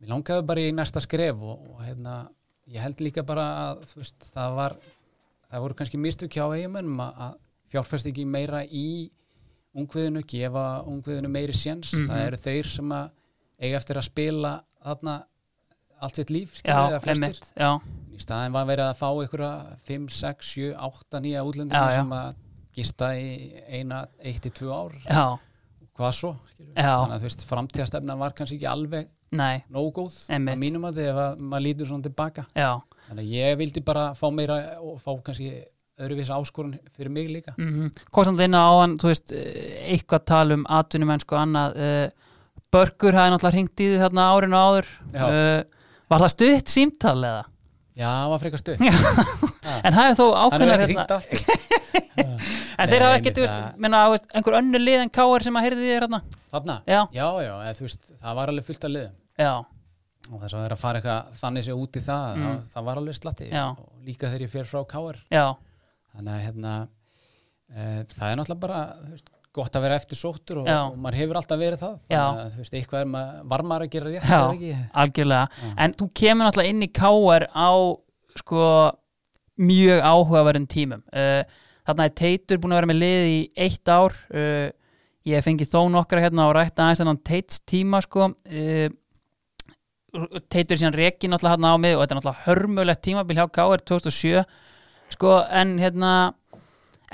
[SPEAKER 2] mér langaði bara í næsta skref og, og hérna, ég held líka bara að þú veist, það var það voru kannski mistök hjá eiginmennum að að fjárfesta ekki meira í ungviðinu, gefa ungviðinu meiri séns,
[SPEAKER 1] Mhm.
[SPEAKER 2] það eru þeir sem að eiga eftir að spila þarna allt sitt líf skilur,
[SPEAKER 1] já,
[SPEAKER 2] eða flestir
[SPEAKER 1] einmitt, já,
[SPEAKER 2] í staðin var verið að fá einhverja 5, 6, 7, 8, nýja
[SPEAKER 1] Já,
[SPEAKER 2] útlendingar
[SPEAKER 1] já.
[SPEAKER 2] sem að gista í eina, eitt til tvö ár
[SPEAKER 1] já,
[SPEAKER 2] hvað svo, skilur
[SPEAKER 1] Já.
[SPEAKER 2] þannig að þú veist, framtíðastefna var kannski ekki alveg
[SPEAKER 1] nei,
[SPEAKER 2] nóg góð
[SPEAKER 1] Einmitt.
[SPEAKER 2] að mínum að ef að maður lítur svona tilbaka
[SPEAKER 1] já
[SPEAKER 2] þannig að ég vildi bara fá meira og fá kannski öðruvísa áskorun fyrir mig líka
[SPEAKER 1] mm -hmm. kostandi inn á hann, þú veist eh, eitthvað tal um atvinnumennsku og annað eh, Börgur hafði náttúrulega hringt í því þarna árinu áður
[SPEAKER 2] Já.
[SPEAKER 1] Eh, var það stutt símtal eða?
[SPEAKER 2] já, það var frekar stuð
[SPEAKER 1] en hafði þó hérna-
[SPEAKER 2] hann er
[SPEAKER 1] ákveðnar
[SPEAKER 2] ekki hringt aftur
[SPEAKER 1] en þeir hafa
[SPEAKER 2] Nei,
[SPEAKER 1] ekki,
[SPEAKER 2] nei,
[SPEAKER 1] þú veist,
[SPEAKER 2] það-
[SPEAKER 1] menna, þú veist, einhver önnu lið en káir sem að heyrði því þarna
[SPEAKER 2] þarna,
[SPEAKER 1] Já.
[SPEAKER 2] já, já eða, þú veist, það var alveg fullt af liðum
[SPEAKER 1] já,
[SPEAKER 2] og þess að það er að fara eitthvað þannig sér út í það, það, það var alveg slatti
[SPEAKER 1] Mm. Já.
[SPEAKER 2] og líka þegar ég fer frá KR
[SPEAKER 1] já,
[SPEAKER 2] þannig að hérna, e, það er náttúrulega bara þú veist, gott að vera eftir sóttur og,
[SPEAKER 1] Já.
[SPEAKER 2] og maður hefur alltaf verið það
[SPEAKER 1] Já.
[SPEAKER 2] þannig að þú veist, eitthvað er maður, var maður að gera rétt
[SPEAKER 1] já,
[SPEAKER 2] eða ekki
[SPEAKER 1] algjörlega en þú kemur náttúrulega inn í káir á sko mjög áhugaverðin tímum uh, þarna er Teitur búin að vera með lið í eitt ár uh, ég hef fengið þó nokkra hérna og rætt aðeins þennan Teits tíma sko uh, Teitur er síðan reki náttúrulega hérna á mig og þetta er náttúrulega hörmulegt tímabil hjá KR 2007 sko en hérna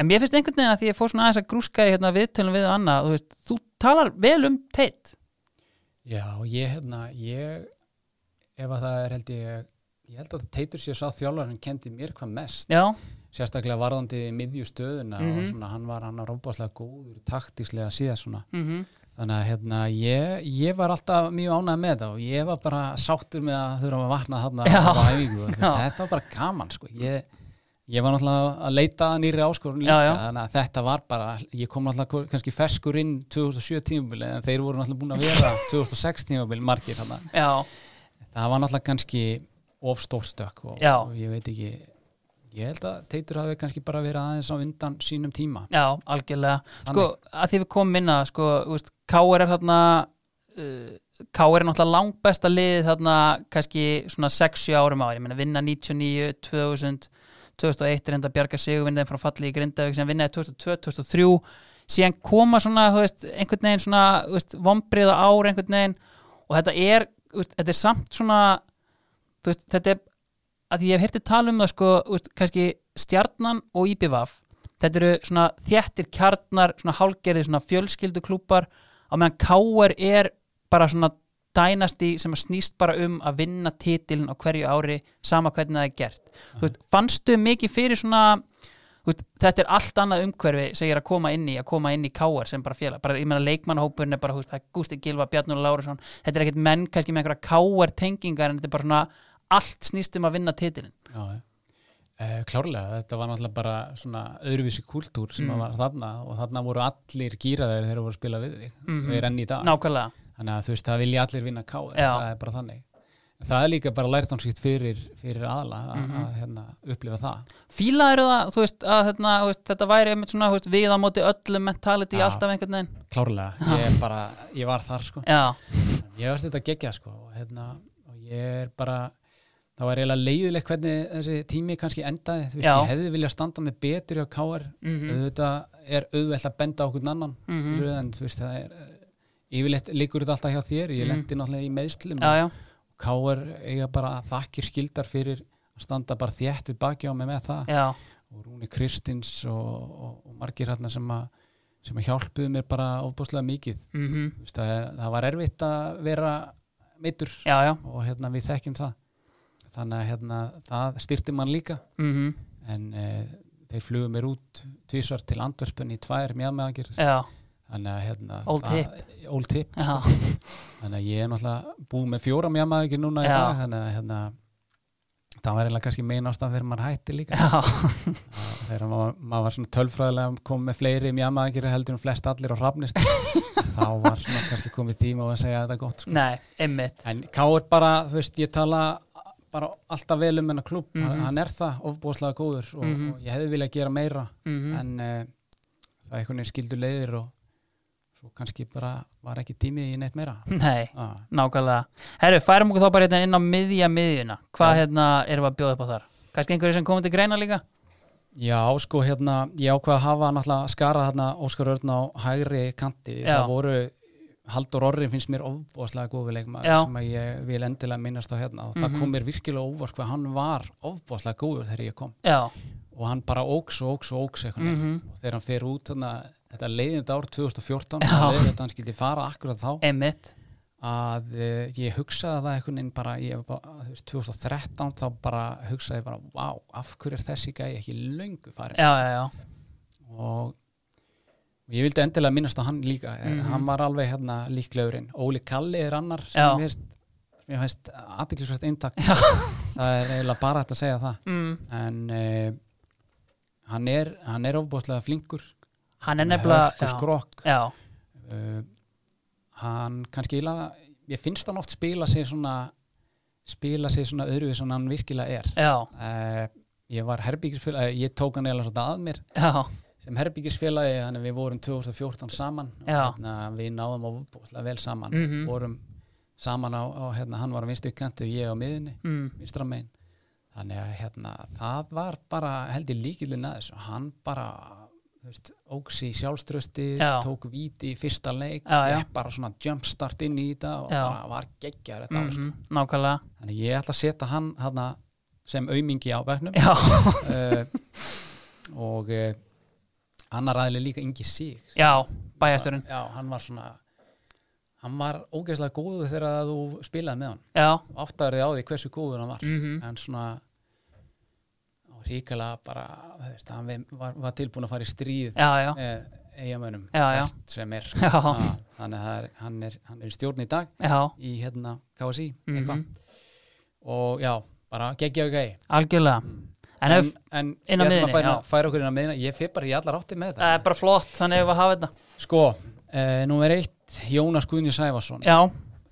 [SPEAKER 1] en mér finnst einhvern veginn að því ég fór svona aðeins að grúska í hérna viðtölum við og annað þú, veist, þú talar vel um Teit
[SPEAKER 2] já, ég, hérna, ég ef að það er held ég ég held að Teitur sé sá þjálfar hann kendi mér hvað mest
[SPEAKER 1] já,
[SPEAKER 2] sérstaklega varðandi miðjustöðuna mm
[SPEAKER 1] Mhm.
[SPEAKER 2] og svona, hann var hann að róbáslega góður taktíslega síðan svona
[SPEAKER 1] mm
[SPEAKER 2] Þannig að hérna, ég, ég var alltaf mjög ánægð með þetta og ég var bara sáttur með að þurfa að vakna þarna
[SPEAKER 1] Já.
[SPEAKER 2] á æfingu. og þú veist,
[SPEAKER 1] Já.
[SPEAKER 2] Þetta var bara gaman, sko. Ég, ég var náttúrulega að leita að nýri áskorun líka,
[SPEAKER 1] Já, já.
[SPEAKER 2] þannig að þetta var bara, ég kom náttúrulega kannski ferskur inn 2007 tímabili en þeir voru náttúrulega búin að
[SPEAKER 1] <laughs>
[SPEAKER 2] vera 2006 tímabili margir þarna.
[SPEAKER 1] já,
[SPEAKER 2] Það var náttúrulega kannski of stórstök og,
[SPEAKER 1] Já.
[SPEAKER 2] og ég veit ekki, ég held að Teitur hafi kannski bara verið aðeins á undan sínum tíma.
[SPEAKER 1] já, algjörlega sko, að því við komum inn að sko, þú veist, K.R. er þarna uh, K.R. er náttúrulega langbesta lið þarna kannski svona 60 árum ári, ég meina vinna 99, 2000 2001 reynda að bjarga sig vinna þeim frá falli í Grindavík sem vinnaði 2002, 2003 síðan koma svona, þú veist, einhvern veginn svona, þú veist, vombriða ár einhvern veginn og þetta er, þú veist, þetta er samt svona, þú veist, þetta er að því ég hef hirti tala um það sko, þú veist, kannski stjarnan og IPVAF þetta eru svona þjættir kjarnar svona hálgerði, svona fjölskylduklúpar á meðan KR er bara svona dænasti sem að snýst bara um að vinna titilin á hverju ári sama hvernig það er gert þú veist, fannstu mikið fyrir svona þú veist, þetta er allt annað umhverfi sem ég er að koma inn í, að koma inn í KR sem bara félag, bara ég meina leikmannhópurinn er bara þú veist, það er Gústi Gilva, Bjarnur Lárusson þetta er ekkert menn kannski með einhverja KR tengingar en þetta er bara svona allt snýst um að vinna titilin
[SPEAKER 2] Já, já. Eh, klárlega, þetta var náttúrulega bara svona öðruvísi kultúr sem mm. var þarna og þarna voru allir gýraðir þegar þeir voru að spila við þig mm -hmm. við erum enn í dag
[SPEAKER 1] nákvæmlega,
[SPEAKER 2] þannig að þú veist, það vilja allir vinna ká
[SPEAKER 1] Já.
[SPEAKER 2] það er bara þannig En það er líka bara lærtónskipt fyrir, fyrir aðla að, að hérna, upplifa það
[SPEAKER 1] fílaður það þú veist, að þetta, veist, þetta væri einmitt svona þú veist, við á móti öllu mentality
[SPEAKER 2] Já.
[SPEAKER 1] alltaf einhvern veginn
[SPEAKER 2] klárlega, ég, er bara, ég var þar sko
[SPEAKER 1] já,
[SPEAKER 2] ég varst þetta gegja sko og, hérna, og ég er bara það var eiginlega leiðilegt hvernig þessi tími kannski endaði, þú veist,
[SPEAKER 1] Já. Mhm.
[SPEAKER 2] ég hefði viljað standa með betur hjá KR auðvitað er auðvelt að benda okkur annan mm -hmm. en þú veist, það er eh, yfirleitt liggur þetta alltaf hjá þér, ég lendi náttúrulega í meðslum
[SPEAKER 1] Mhm. já, já,
[SPEAKER 2] og KR eiga bara þakkir skildar fyrir að standa bara þétt við baki á mig með það
[SPEAKER 1] já,
[SPEAKER 2] og Rúni Kristins og, og, og margir hérna sem að sem að hjálpuðu mér bara ofbúslega mikið
[SPEAKER 1] mm
[SPEAKER 2] Þú veist, það, það var erfitt að vera meittur
[SPEAKER 1] já, já
[SPEAKER 2] og hérna við þekkjum það þannig að hérna það styrti mann líka
[SPEAKER 1] mm
[SPEAKER 2] en e, þeir flugu mér út tvísvar til andverspun í tvær mjög meðangir
[SPEAKER 1] já,
[SPEAKER 2] þannig að hérna
[SPEAKER 1] Old
[SPEAKER 2] það, old tip
[SPEAKER 1] já,
[SPEAKER 2] þannig að ég er náttúrulega búið með fjóra mjög meðangir núna í
[SPEAKER 1] Já.
[SPEAKER 2] dag þannig að hérna það var eiginlega kannski meina ástæðan fyrir maður hætti
[SPEAKER 1] <laughs>
[SPEAKER 2] líka
[SPEAKER 1] já,
[SPEAKER 2] <laughs> þegar maður, maður var svona tölfræðilega komið með fleiri mjamaðingir heldur en flest allir og
[SPEAKER 1] <laughs>
[SPEAKER 2] hrafnist þá var svona kannski komið tíma á að segja þetta gott sko.
[SPEAKER 1] nei, einmitt
[SPEAKER 2] en Káur bara, þú veist, ég tala bara alltaf vel um hennar klubb
[SPEAKER 1] Mhm.
[SPEAKER 2] hann, hann er það ofbúðslega góður og, og ég hefði viljað gera meira
[SPEAKER 1] mm
[SPEAKER 2] en uh, það einhvern veginn skildu leiðir og svo kannski bara var ekki tími í neitt meira
[SPEAKER 1] nei,
[SPEAKER 2] ah.
[SPEAKER 1] nákvæmlega herru, færum okkur þá bara hérna inn á miðja miðjuna hvað
[SPEAKER 2] Já.
[SPEAKER 1] hérna erum við að bjóða upp á þar kannski einhverju sem komið til greina líka
[SPEAKER 2] Já, sko, hérna, ég ákvað að hafa náttúrulega skara hérna Óskar Örn á hægri kanti.
[SPEAKER 1] Já.
[SPEAKER 2] Það voru Haldur Orri finnst mér ofbóðslega góðu leikmaður
[SPEAKER 1] Já.
[SPEAKER 2] sem að ég vil endilega minnast á hérna og það
[SPEAKER 1] Mhm.
[SPEAKER 2] kom mér virkilega óvart hvað hann var ofbóðslega góður þegar ég kom
[SPEAKER 1] já,
[SPEAKER 2] og hann bara óks og óks og óks mm
[SPEAKER 1] Mhm.
[SPEAKER 2] og þegar hann fer út þarna, þetta leiðinda ár 2014
[SPEAKER 1] Já.
[SPEAKER 2] þetta hann skildi fara akkurat þá
[SPEAKER 1] einmitt
[SPEAKER 2] að eh, ég hugsaði það einhvern veginn bara, ég var bara þú veist, 2013 þá bara hugsaði ég bara, wow, af hverju er þessi gæi ekki löngu farin
[SPEAKER 1] já, já, já,
[SPEAKER 2] og ég vildi endilega minnast á hann líka mm
[SPEAKER 1] Mhm.
[SPEAKER 2] hann var alveg hérna líklegurinn Óli Kalli er annar
[SPEAKER 1] Já.
[SPEAKER 2] sem mér finnst- mér finnst aðdeglisvægt eintak það er eiginlega bara hægt að segja það
[SPEAKER 1] mm.
[SPEAKER 2] en uh, hann er hann er ofbúðslega flinkur
[SPEAKER 1] hann er nefnilega
[SPEAKER 2] hörku
[SPEAKER 1] já.
[SPEAKER 2] skrokk
[SPEAKER 1] já,
[SPEAKER 2] uh, hann kannski ila, ég finnst hann oft spila sig svona spila sig svona öðru sem hann virkilega er
[SPEAKER 1] já,
[SPEAKER 2] uh, ég var herbyggisfélag ég tók hann eiginlega svona að mér
[SPEAKER 1] já,
[SPEAKER 2] sem herbyggisfélagi, þannig að við vorum 2014 saman og
[SPEAKER 1] Já.
[SPEAKER 2] hérna, við náðum að búsla vel saman
[SPEAKER 1] Mhm.
[SPEAKER 2] vorum saman á, á hérna, hann var á vinstri kanti og ég á miðinni,
[SPEAKER 1] mm.
[SPEAKER 2] vinstra megin þannig að hérna, það var bara held ég líkilinn að þessu hann bara, þú veist, óks í sjálfströsti
[SPEAKER 1] Já.
[SPEAKER 2] tók víti í fyrsta leik
[SPEAKER 1] Já, já.
[SPEAKER 2] gekk bara svona jumpstart inn í þetta og
[SPEAKER 1] Já.
[SPEAKER 2] bara var geggjar þetta
[SPEAKER 1] Mm
[SPEAKER 2] mm -hmm.
[SPEAKER 1] nákvæmlega
[SPEAKER 2] þannig að ég ætla að setja hann hana, sem aumingi á
[SPEAKER 1] <laughs>
[SPEAKER 2] bekknum
[SPEAKER 1] já,
[SPEAKER 2] uh, og uh, annar aðli líka Ingi Sig
[SPEAKER 1] já, bæjasturinn
[SPEAKER 2] já, hann var svona hann var ógeðslega góður þegar að þú spilaði með hann
[SPEAKER 1] já,
[SPEAKER 2] áttaður þið á því hversu góður hann var
[SPEAKER 1] mm
[SPEAKER 2] en svona ríkala bara þú veist, hann vem- var, var tilbúin að fara í stríð
[SPEAKER 1] já, já,
[SPEAKER 2] með eigamönnum
[SPEAKER 1] Já, já.
[SPEAKER 2] sem er
[SPEAKER 1] Já.
[SPEAKER 2] sko. Ha, þannig að það er- hann er, hann er í stjórn í dag
[SPEAKER 1] já,
[SPEAKER 2] í hérna KSI
[SPEAKER 1] Mhm.
[SPEAKER 2] eitthvað og já, bara geggjaðu gæi
[SPEAKER 1] algjörlega en ef,
[SPEAKER 2] en
[SPEAKER 1] inn á
[SPEAKER 2] ég ætla
[SPEAKER 1] miðjunni,
[SPEAKER 2] að færa,
[SPEAKER 1] já.
[SPEAKER 2] færa okkur inn á miðina ég fyrir bara í allar átti með
[SPEAKER 1] það
[SPEAKER 2] þetta
[SPEAKER 1] er bara flott þannig ef að hafa þetta
[SPEAKER 2] sko, uh, númer eitt Jónas Guðni Sæfarsson
[SPEAKER 1] já,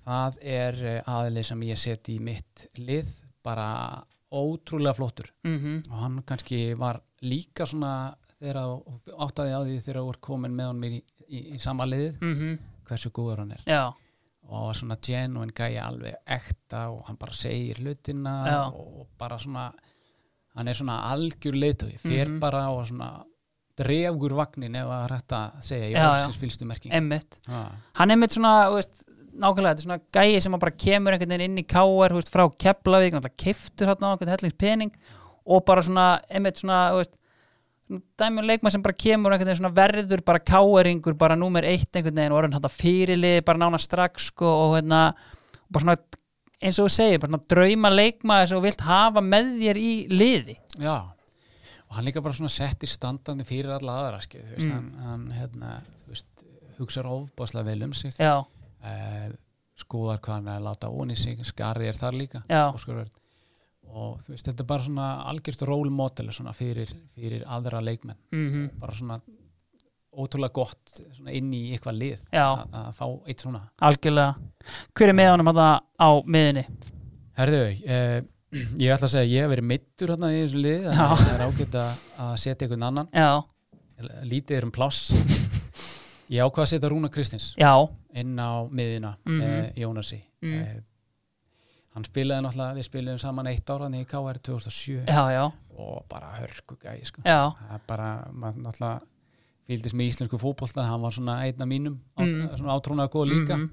[SPEAKER 2] það er eh, aðili sem ég set í mitt lið bara ótrúlega flottur
[SPEAKER 1] mm
[SPEAKER 2] og hann kannski var líka svona þegar þú áttaði á því þegar þú voru komin með honum í, í, í sama liðið
[SPEAKER 1] Mhm.
[SPEAKER 2] hversu góður hann er
[SPEAKER 1] já,
[SPEAKER 2] og svona genuine gæja alveg ekta og hann bara segir hlutina
[SPEAKER 1] Já.
[SPEAKER 2] og bara svona hann er svona algjör leiðtögi fer
[SPEAKER 1] Mhm.
[SPEAKER 2] bara og svona drefgur vagnin ef að rætt að segja
[SPEAKER 1] Já,
[SPEAKER 2] ég ósins fylgstu merking
[SPEAKER 1] emmitt
[SPEAKER 2] Já.
[SPEAKER 1] hann er mitt svona, þú veist, nákvæmlega þetta er svona gæi sem að bara kemur einhvern veginn inn í káar veist, frá Keflavík, náttúrulega kiftur hann á einhvern hellingspening og bara svona einmitt svona, þú veist dæmjum leikmað sem bara kemur einhvern veginn svona verður bara káeringur, bara númer eitt einhvern veginn og orðin hann fyrirlið, bara nána strax sko, og hérna bara svona eins og þú segir, bara svona drauma leikmaður sem þú vilt hafa með þér í liði
[SPEAKER 2] Já, og hann líka bara svona setti standandi fyrir alla aðra skið, þú veist,
[SPEAKER 1] Mm.
[SPEAKER 2] hann, hann hérna, þú veist, hugsar ofbáslega vel um sig
[SPEAKER 1] já,
[SPEAKER 2] eh, skoðar hvað hann er að láta ón í sig skari er þar líka
[SPEAKER 1] Já.
[SPEAKER 2] Óskar Örn. og þú veist, þetta er bara svona algjörst role model svona fyrir, fyrir aðra leikmenn
[SPEAKER 1] mm
[SPEAKER 2] bara svona ótrúlega gott svona inn í eitthvað lið
[SPEAKER 1] Já.
[SPEAKER 2] að- að fá eitt svona
[SPEAKER 1] algjörlega hver er með honum að það á miðinni
[SPEAKER 2] Herðu, eh, <clears throat> ég ætla að segja að ég hef verið mittur hérna í þessu lið en
[SPEAKER 1] Já.
[SPEAKER 2] það er ágætt að að setja einhvern annan
[SPEAKER 1] já,
[SPEAKER 2] lítið er um pláss ég ákvað að setja Rúna Kristins
[SPEAKER 1] já,
[SPEAKER 2] inn á miðina
[SPEAKER 1] Mhm.
[SPEAKER 2] mm Jónasi
[SPEAKER 1] Mm.
[SPEAKER 2] eh, hann spilaði náttúrulega, við spilaðum saman eitt ára í KR 2007
[SPEAKER 1] já, já
[SPEAKER 2] og bara hörku gæði sko.
[SPEAKER 1] já,
[SPEAKER 2] það er bara, maður náttúrulega fylgdist með íslensku fótbolta, hann var svona einn af mínum,
[SPEAKER 1] Mm.
[SPEAKER 2] á, svona átrúnaða góð líka
[SPEAKER 1] Mhm.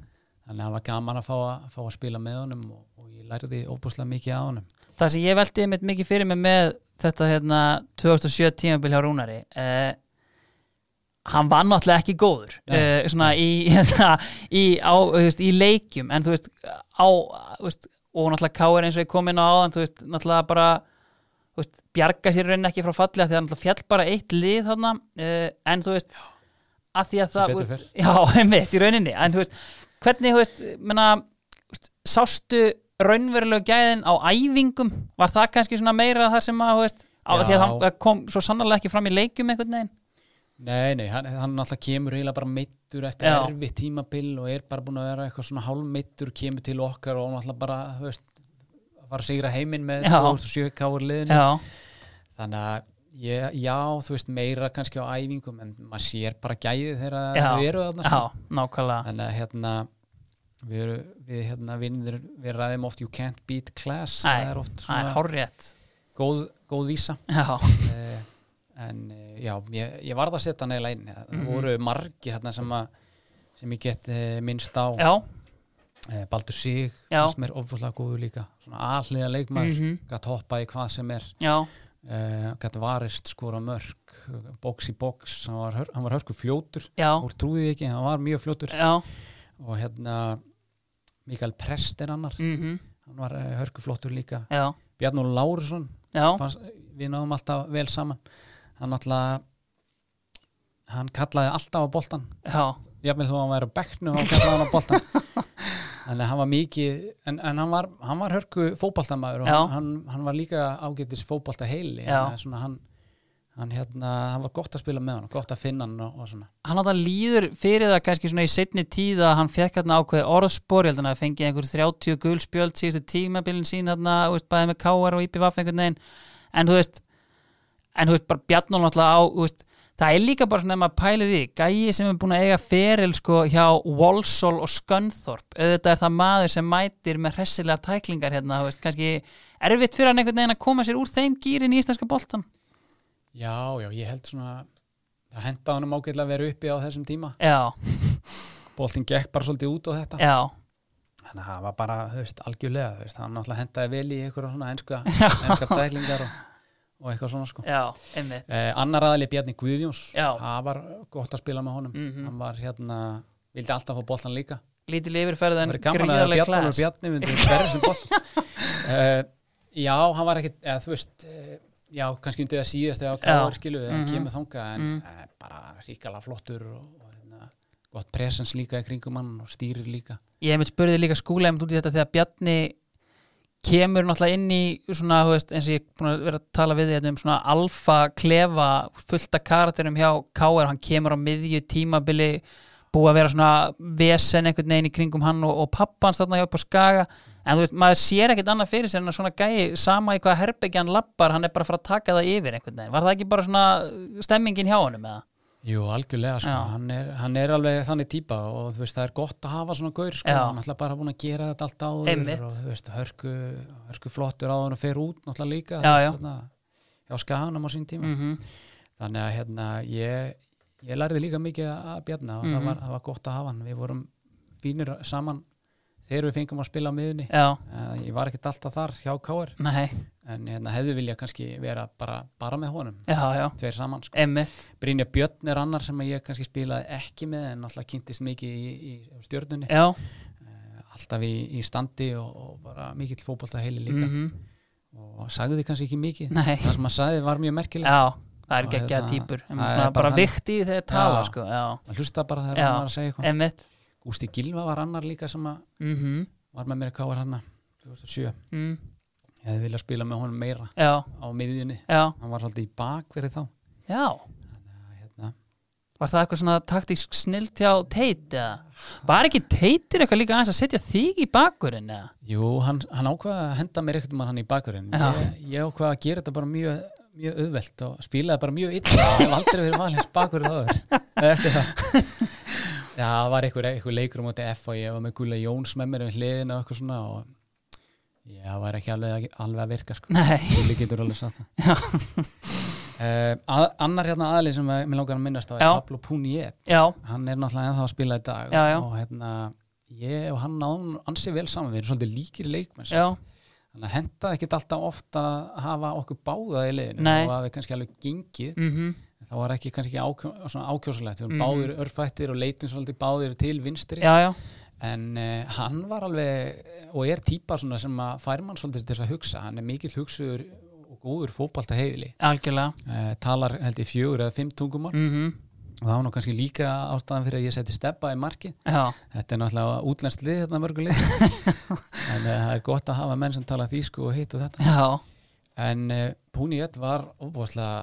[SPEAKER 2] þannig að það var gaman að fá að, fá að spila með honum og, og ég lærði óbúslega mikið að honum
[SPEAKER 1] það sem ég veldi einmitt mikið fyrir mig með þetta hérna 2007 tímabil hjá Rúnari eh, hann var náttúrulega ekki góður
[SPEAKER 2] Nei.
[SPEAKER 1] eh, svona í, <laughs> hérna, í, á, þú veist, í leikjum en þú veist, á, þú veist og náttúrulega Káir eins og ég kom inn á áðan þú veist, náttúrulega bara þú veist, bjarga sér í rauninni ekki frá falli af því að náttúrulega fjall bara eitt lið þarna eh, en þú veist, að því að það
[SPEAKER 2] betur fer.
[SPEAKER 1] já, <laughs> einmitt, í rauninni en þú veist, hvernig, þú veist, menna veist, sástu raunverulegu gæðin á æfingum var það kannski svona meira það sem að, þú veist, á,
[SPEAKER 2] Já.
[SPEAKER 1] því að það kom svo sannarlega ekki fram í leikjum einhvern veginn
[SPEAKER 2] Nei, nei, hann, hann alltaf kemur eiginlega bara meittur eftir
[SPEAKER 1] Já.
[SPEAKER 2] erfitt tímabil og er bara búin að vera eitthvað svona hálmeittur kemur til okkar og hann alltaf bara þú veist, var að sigra heiminn með
[SPEAKER 1] Já.
[SPEAKER 2] 2007 káur liðinu
[SPEAKER 1] já,
[SPEAKER 2] þannig að ég, já, þú veist meira kannski á æfingum en maður sér bara gæði þegar
[SPEAKER 1] Já.
[SPEAKER 2] þau eru þarna
[SPEAKER 1] já,
[SPEAKER 2] sko.
[SPEAKER 1] nákvæmlega
[SPEAKER 2] þannig að hérna við, eru, við hérna vinnir við ræðum oft you can't beat class
[SPEAKER 1] Nei,
[SPEAKER 2] það er oft
[SPEAKER 1] það er
[SPEAKER 2] svona
[SPEAKER 1] horrið
[SPEAKER 2] góð, góð vísa
[SPEAKER 1] já,
[SPEAKER 2] Eh,
[SPEAKER 1] Mhm.
[SPEAKER 2] en eh, já, ég, ég varð að setja hann eiginlega inn það voru margir hérna sem að sem ég get eh, minnst á
[SPEAKER 1] já,
[SPEAKER 2] eh, Baldur Sig,
[SPEAKER 1] Já.
[SPEAKER 2] sem er ofbúslega góður líka svona alliða leikmaður, mm
[SPEAKER 1] Mhm.
[SPEAKER 2] gætt hoppað í hvað sem er
[SPEAKER 1] já,
[SPEAKER 2] eh, gætt varist skora mörk box í box, hann var, hör- hann var hörku fljótur
[SPEAKER 1] já,
[SPEAKER 2] úr trúðið ekki, hann var mjög fljótur
[SPEAKER 1] já,
[SPEAKER 2] og hérna Mikael Prest er annar
[SPEAKER 1] mhm,
[SPEAKER 2] hann var eh, hörku flottur líka
[SPEAKER 1] já,
[SPEAKER 2] Bjarnur Lárusson,
[SPEAKER 1] já,
[SPEAKER 2] fannst, við náðum alltaf vel saman hann alltaf hann kallaði alltaf á boltan
[SPEAKER 1] já,
[SPEAKER 2] jafnvel þó að hann væri á bekknu og kallaði hann á
[SPEAKER 1] <laughs>
[SPEAKER 2] boltan þannig að hann var mikið en, en hann, var, hann var hörku fótboltamaður og
[SPEAKER 1] Já.
[SPEAKER 2] hann, hann var líka ágætis fótbolta heili
[SPEAKER 1] Já.
[SPEAKER 2] svona, hann, hann, hérna, hann var gott að spila með hann gott að finna hann og, og svona
[SPEAKER 1] hann átt líður fyrir það kannski svona í setni tíð að hann fekk hérna ákveði orðspor, ég held hann að fengið einhver 30 gulspjöld síðustu tímabilin sín hérna, þú veist, bæði með KR og IPVF einhvern veginn, en þú veist en þú veist, bara Bjarnól náttúrulega á, þú veist það er líka bara svona ef maður pælir í því, gæi sem er búin að eiga feril sko hjá Walsall og Skönþorp, auðvitað er það maður sem mætir með hressilega tæklingar hérna, þú veist, kannski erfitt fyrir hann einhvern veginn að koma sér úr þeim gýrin í íslenska boltan
[SPEAKER 2] já, já, ég held svona það henda honum ágætlega að vera uppi á þessum tíma
[SPEAKER 1] Já,
[SPEAKER 2] boltin gekk bara svolítið út á þetta
[SPEAKER 1] já,
[SPEAKER 2] þannig að það var bara, þú veist, algjörlega þú veist, hann náttúrulega hendaði vel í einhverja
[SPEAKER 1] <laughs>
[SPEAKER 2] svona enska, enska dæklingar og, og eitthvað svona sko.
[SPEAKER 1] já, einmitt
[SPEAKER 2] Eh, annar aðali Bjarni Guðjóns
[SPEAKER 1] Já.
[SPEAKER 2] það var gott að spila með honum
[SPEAKER 1] Mhm.
[SPEAKER 2] hann var hérna, vildi alltaf fá boltan líka
[SPEAKER 1] lítil yfirferð
[SPEAKER 2] það
[SPEAKER 1] en
[SPEAKER 2] var gaman að
[SPEAKER 1] gríðarlega
[SPEAKER 2] Bjarni og
[SPEAKER 1] klæs
[SPEAKER 2] Bjarni myndi verður sem boltan
[SPEAKER 1] <laughs>
[SPEAKER 2] eh, já, hann var ekkit eða þú veist, eh, já, kannski undir það síðast eða
[SPEAKER 1] Já.
[SPEAKER 2] káður skilu, þegar hann
[SPEAKER 1] Mhm.
[SPEAKER 2] kemur þangað en
[SPEAKER 1] Mm.
[SPEAKER 2] eh, bara ríkala flottur og, og hérna, gott presens líka í kringum hann og stýrir líka
[SPEAKER 1] ég hef með spurði líka skúla um út í þetta þegar Bjarni kemur náttúrulega inn í svona, þú veist, eins og ég er búin að vera að tala við þetta um svona alfa klefa fullta karakterum hjá KR hann kemur á miðju tímabili búið að vera svona vesen einhvern veginn í kringum hann og, og pappans þarna hjá upp á skaga en þú veist, maður sér ekkert annað fyrir sér en að svona gæi, sama í hvað herbyggjan lappar hann er bara að fara að taka það yfir einhvern veginn var það ekki bara svona uh, stemmingin hjá honum eða?
[SPEAKER 2] Jú, algjörlega, sko.
[SPEAKER 1] Já.
[SPEAKER 2] hann, er, hann er alveg þannig típa og þú veist, það er gott að hafa svona gaur, sko.
[SPEAKER 1] Já.
[SPEAKER 2] hann er alltaf bara búin að gera þetta allt áður
[SPEAKER 1] Einmitt.
[SPEAKER 2] og þú veist, hörku, hörku flottur áður og fer út náttúrulega líka
[SPEAKER 1] Já,
[SPEAKER 2] þú
[SPEAKER 1] já.
[SPEAKER 2] veist, þarna, hjá skaganum á sín tíma
[SPEAKER 1] Mm
[SPEAKER 2] þannig að hérna, ég, ég lærði líka mikið að bjarna og
[SPEAKER 1] Mhm.
[SPEAKER 2] það, var, það var gott að hafa hann, við vorum fínir saman þegar við fengum að spila á miðunni
[SPEAKER 1] Já,
[SPEAKER 2] uh, ég var ekkert alltaf þar hjá Káir
[SPEAKER 1] nei,
[SPEAKER 2] en hérna, hefði vilja kannski vera bara, bara með honum,
[SPEAKER 1] já, já
[SPEAKER 2] tveir saman sko.
[SPEAKER 1] Einmitt,
[SPEAKER 2] Brynja Björn er annar sem að ég kannski spilaði ekki með en alltaf kynntist mikið í, í stjörnunni Eh,
[SPEAKER 1] já
[SPEAKER 2] alltaf í, í standi og, og bara mikill fótbolta heili líka
[SPEAKER 1] Mhm.
[SPEAKER 2] og sagði kannski ekki mikið
[SPEAKER 1] Nei.
[SPEAKER 2] það sem að sagði var mjög merkilegt
[SPEAKER 1] Já, það er
[SPEAKER 2] Og
[SPEAKER 1] geggjaða
[SPEAKER 2] hérna,
[SPEAKER 1] týpur Einmitt,
[SPEAKER 2] það er
[SPEAKER 1] svona
[SPEAKER 2] bara
[SPEAKER 1] bara
[SPEAKER 2] þannig.
[SPEAKER 1] vikt í þegar tala
[SPEAKER 2] Já.
[SPEAKER 1] sko, já,
[SPEAKER 2] að hlusta bara þegar
[SPEAKER 1] Já.
[SPEAKER 2] hann var að segja eitthvað
[SPEAKER 1] einmitt
[SPEAKER 2] Gústi Gilva var annar líka sem að
[SPEAKER 1] mm
[SPEAKER 2] var með mér að káar hann 2007
[SPEAKER 1] mm,
[SPEAKER 2] ég hefði viljað spila með honum meira
[SPEAKER 1] Já,
[SPEAKER 2] á miðjunni
[SPEAKER 1] já,
[SPEAKER 2] hann var svolítið í bakverið þá
[SPEAKER 1] já
[SPEAKER 2] Að hérna.
[SPEAKER 1] Var það eitthvað svona taktísk snilt hjá teit eða? Var ekki teitur eitthvað líka aðeins að setja þig í bakurinn eða?
[SPEAKER 2] Jú, hann, hann ákvaða að henda mér ekkert um hann í bakverðin
[SPEAKER 1] Já.
[SPEAKER 2] ég, ég ákvaða að gera þetta bara mjög mjög auðvelt og spilaði bara mjög illa ég hef aldrei verið valins bakverð áður Nei, eftir það Já, það var einhver, einhver leikur á móti F og ég var með Gula Jóns með mér um hliðina og eitthvað svona og ég það var ekki alveg, alveg að virka sko
[SPEAKER 1] Nei,
[SPEAKER 2] Gulli getur alveg sagt það uh, að, Annar hérna aðli sem að- mér langar að minnast á er
[SPEAKER 1] Já.
[SPEAKER 2] Pablo Punier
[SPEAKER 1] já,
[SPEAKER 2] hann er náttúrulega ennþá að spila í dag
[SPEAKER 1] Já, já.
[SPEAKER 2] og hérna ég og hann náðum ansi vel saman við erum svolítið líkir leikmenn samt.
[SPEAKER 1] já,
[SPEAKER 2] þannig að henda ekkit alltaf oft að hafa okkur báða í liðinu
[SPEAKER 1] Nei.
[SPEAKER 2] og að við kannski alveg gengið
[SPEAKER 1] mhm
[SPEAKER 2] þá var ekki kannski ákjó, svona ákjósulegt við erum
[SPEAKER 1] Mhm.
[SPEAKER 2] báðir örfættir og leitum svolítið báðir til vinstri
[SPEAKER 1] Já, já,
[SPEAKER 2] en uh, hann var alveg og er típa svona sem að fær mann svolítið til þess að hugsa hann er mikill hugsuður og góður fótbalta heiðli
[SPEAKER 1] algjörlega
[SPEAKER 2] talar held ég fjögur eða fimm tungumál
[SPEAKER 1] mm
[SPEAKER 2] og það var nú kannski líka ástæðan fyrir að ég seti steppa í markið
[SPEAKER 1] Já,
[SPEAKER 2] Þetta er náttúrulega útlenskt lið hérna mörgum lið en uh, það er gott að hafa menn sem tala þýsku og hitt og þetta
[SPEAKER 1] já,
[SPEAKER 2] en uh, Púni 1 var ofbúðslega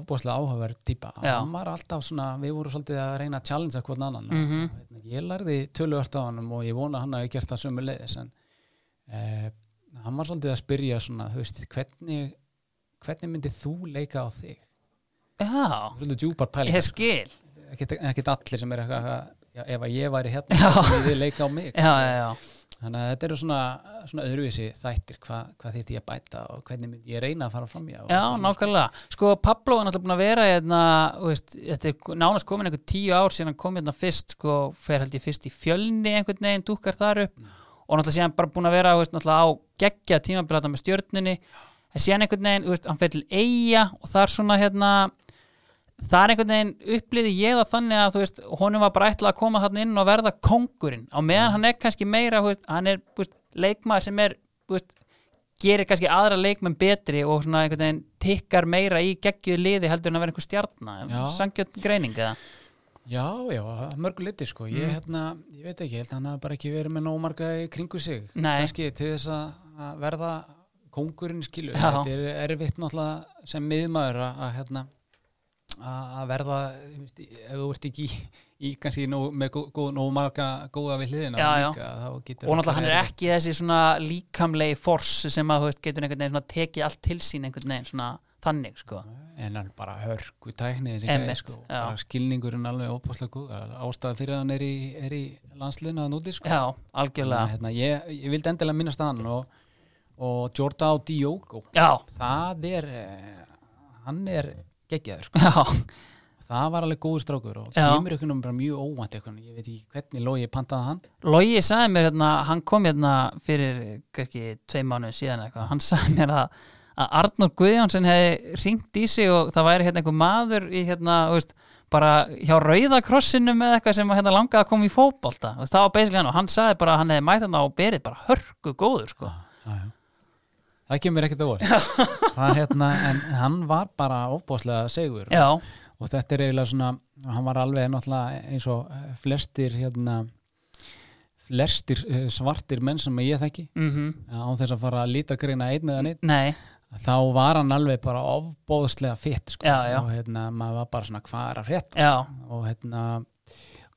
[SPEAKER 2] ofbúðslega áhugaverð típa
[SPEAKER 1] Já.
[SPEAKER 2] hann var alltaf svona, við vorum svolítið að reyna að challengea hvort annan hérna,
[SPEAKER 1] Mhm.
[SPEAKER 2] ég lærði töluvert á hann og ég vona að hann hafi gert það sömu leiðis en uh, hann var svolítið að spyrja svona, þú veist, hvernig hvernig myndið þú leika á þig
[SPEAKER 1] já
[SPEAKER 2] svolítið djúpar pæling
[SPEAKER 1] Ég skil
[SPEAKER 2] ekkert, ekkert allir sem er eitthvað, já, ef að ég væri hérna myndið leika á mig
[SPEAKER 1] Já, já, já,
[SPEAKER 2] þannig að þetta eru svona, svona öðruvísi þættir hvað hva þýtti ég að bæta og hvernig myndi ég reyna að fara fram í
[SPEAKER 1] Já, nákvæmlega. Sko, Pablo er náttúrulega búin að vera hérna, þú veist, þetta er nánast komin einhver tíu ár síðan hann kom hérna fyrst, sko, fer held ég fyrst í fjölni einhvern veginn, dúkkar þar upp og náttúrulega síðan bara búin að vera, þú veist, náttúrulega á geggja tímabilata með stjörnunni en síðan einhvern veginn, þú veist, hann fer til eiga og þar svona, hérna, þar einhvern veginn upplýði ég það þannig að, þú veist, honum var bara ætla að koma þarna inn og verða kongurinn á meðan hann er kannski meira, þú veist, hann er, þú veist, leikmaður sem er, þú veist, gerir kannski aðra leikmenn betri og svona einhvern veginn tikkar meira í geggjuðu liði heldur en að vera einhver stjarna
[SPEAKER 2] Já.
[SPEAKER 1] sangjöld greining eða
[SPEAKER 2] Já, já, að mörgu liti sko ég, hérna, ég veit ekki, ég held að hann hafi bara ekki verið með nómarga í kringu sig
[SPEAKER 1] Nei.
[SPEAKER 2] kannski til þess að að verða kóngurinn skilu,
[SPEAKER 1] Já.
[SPEAKER 2] þetta er erfitt náttúrulega sem miðmaður að, að hérna að að verða, þú veist, í- ef þú ert ekki í, í kannski nóg, með góð, góð, nómarga góða við hliðina
[SPEAKER 1] Já, já.
[SPEAKER 2] Líka, þá getur
[SPEAKER 1] og náttúrulega hann er
[SPEAKER 2] erfitt.
[SPEAKER 1] ekki þessi svona líkamlegi fors sem að þú veist, getur einhvern veginn svona tekið allt til sín einhvern veginn svona þannig sko
[SPEAKER 2] en hann bara hörku tæknið
[SPEAKER 1] Einmitt,
[SPEAKER 2] sko,
[SPEAKER 1] já.
[SPEAKER 2] bara skilningurinn alveg óbúslega góð ástæða fyrir að hann er í, er í landsliðinu að núti sko.
[SPEAKER 1] já,
[SPEAKER 2] Þannig að,
[SPEAKER 1] algjörlega
[SPEAKER 2] hérna, ég, ég vildi endilega minnast hann og, og Jordao Diogo
[SPEAKER 1] já, <laughs>
[SPEAKER 2] það er eh, hann er geggjaður sko.
[SPEAKER 1] já,
[SPEAKER 2] það var alveg góður strákur og
[SPEAKER 1] Já.
[SPEAKER 2] kemur ykkur bara mjög óvænt ykkur ég veit ekki hvernig logi pantaði hann
[SPEAKER 1] Logi sagði mér hérna, hann kom hérna fyrir kannski tvei mánuði síðan eitthvað, hann sagði mér að, að Arnur Guðjónsson hefði ringt í sig og það væri hérna einhver maður í hérna, þú veist, bara hjá rauðakrossinum eða eitthvað sem hérna langaði að koma í fótbolta og það var basically hann og hann sagði bara að hann hefði mætt hérna og berið bara hörku góður sko.
[SPEAKER 2] Ah, Já, já. það kemur ekkert að
[SPEAKER 1] <laughs>
[SPEAKER 2] voru það, hérna, en hann var bara óbúslega segur
[SPEAKER 1] Já,
[SPEAKER 2] og þetta er eiginlega svona hann var alveg náttúrulega eins og eh, flestir hérna flestir eh, svartir menn sem ég þekki eh,
[SPEAKER 1] mhm,
[SPEAKER 2] án þess að fara að líta greina einn eða neitt
[SPEAKER 1] nei,
[SPEAKER 2] þá var hann alveg bara ofbóðslega fitt sko.
[SPEAKER 1] Já, já.
[SPEAKER 2] og hérna maður var bara svona hvað er að frétt
[SPEAKER 1] já,
[SPEAKER 2] og hérna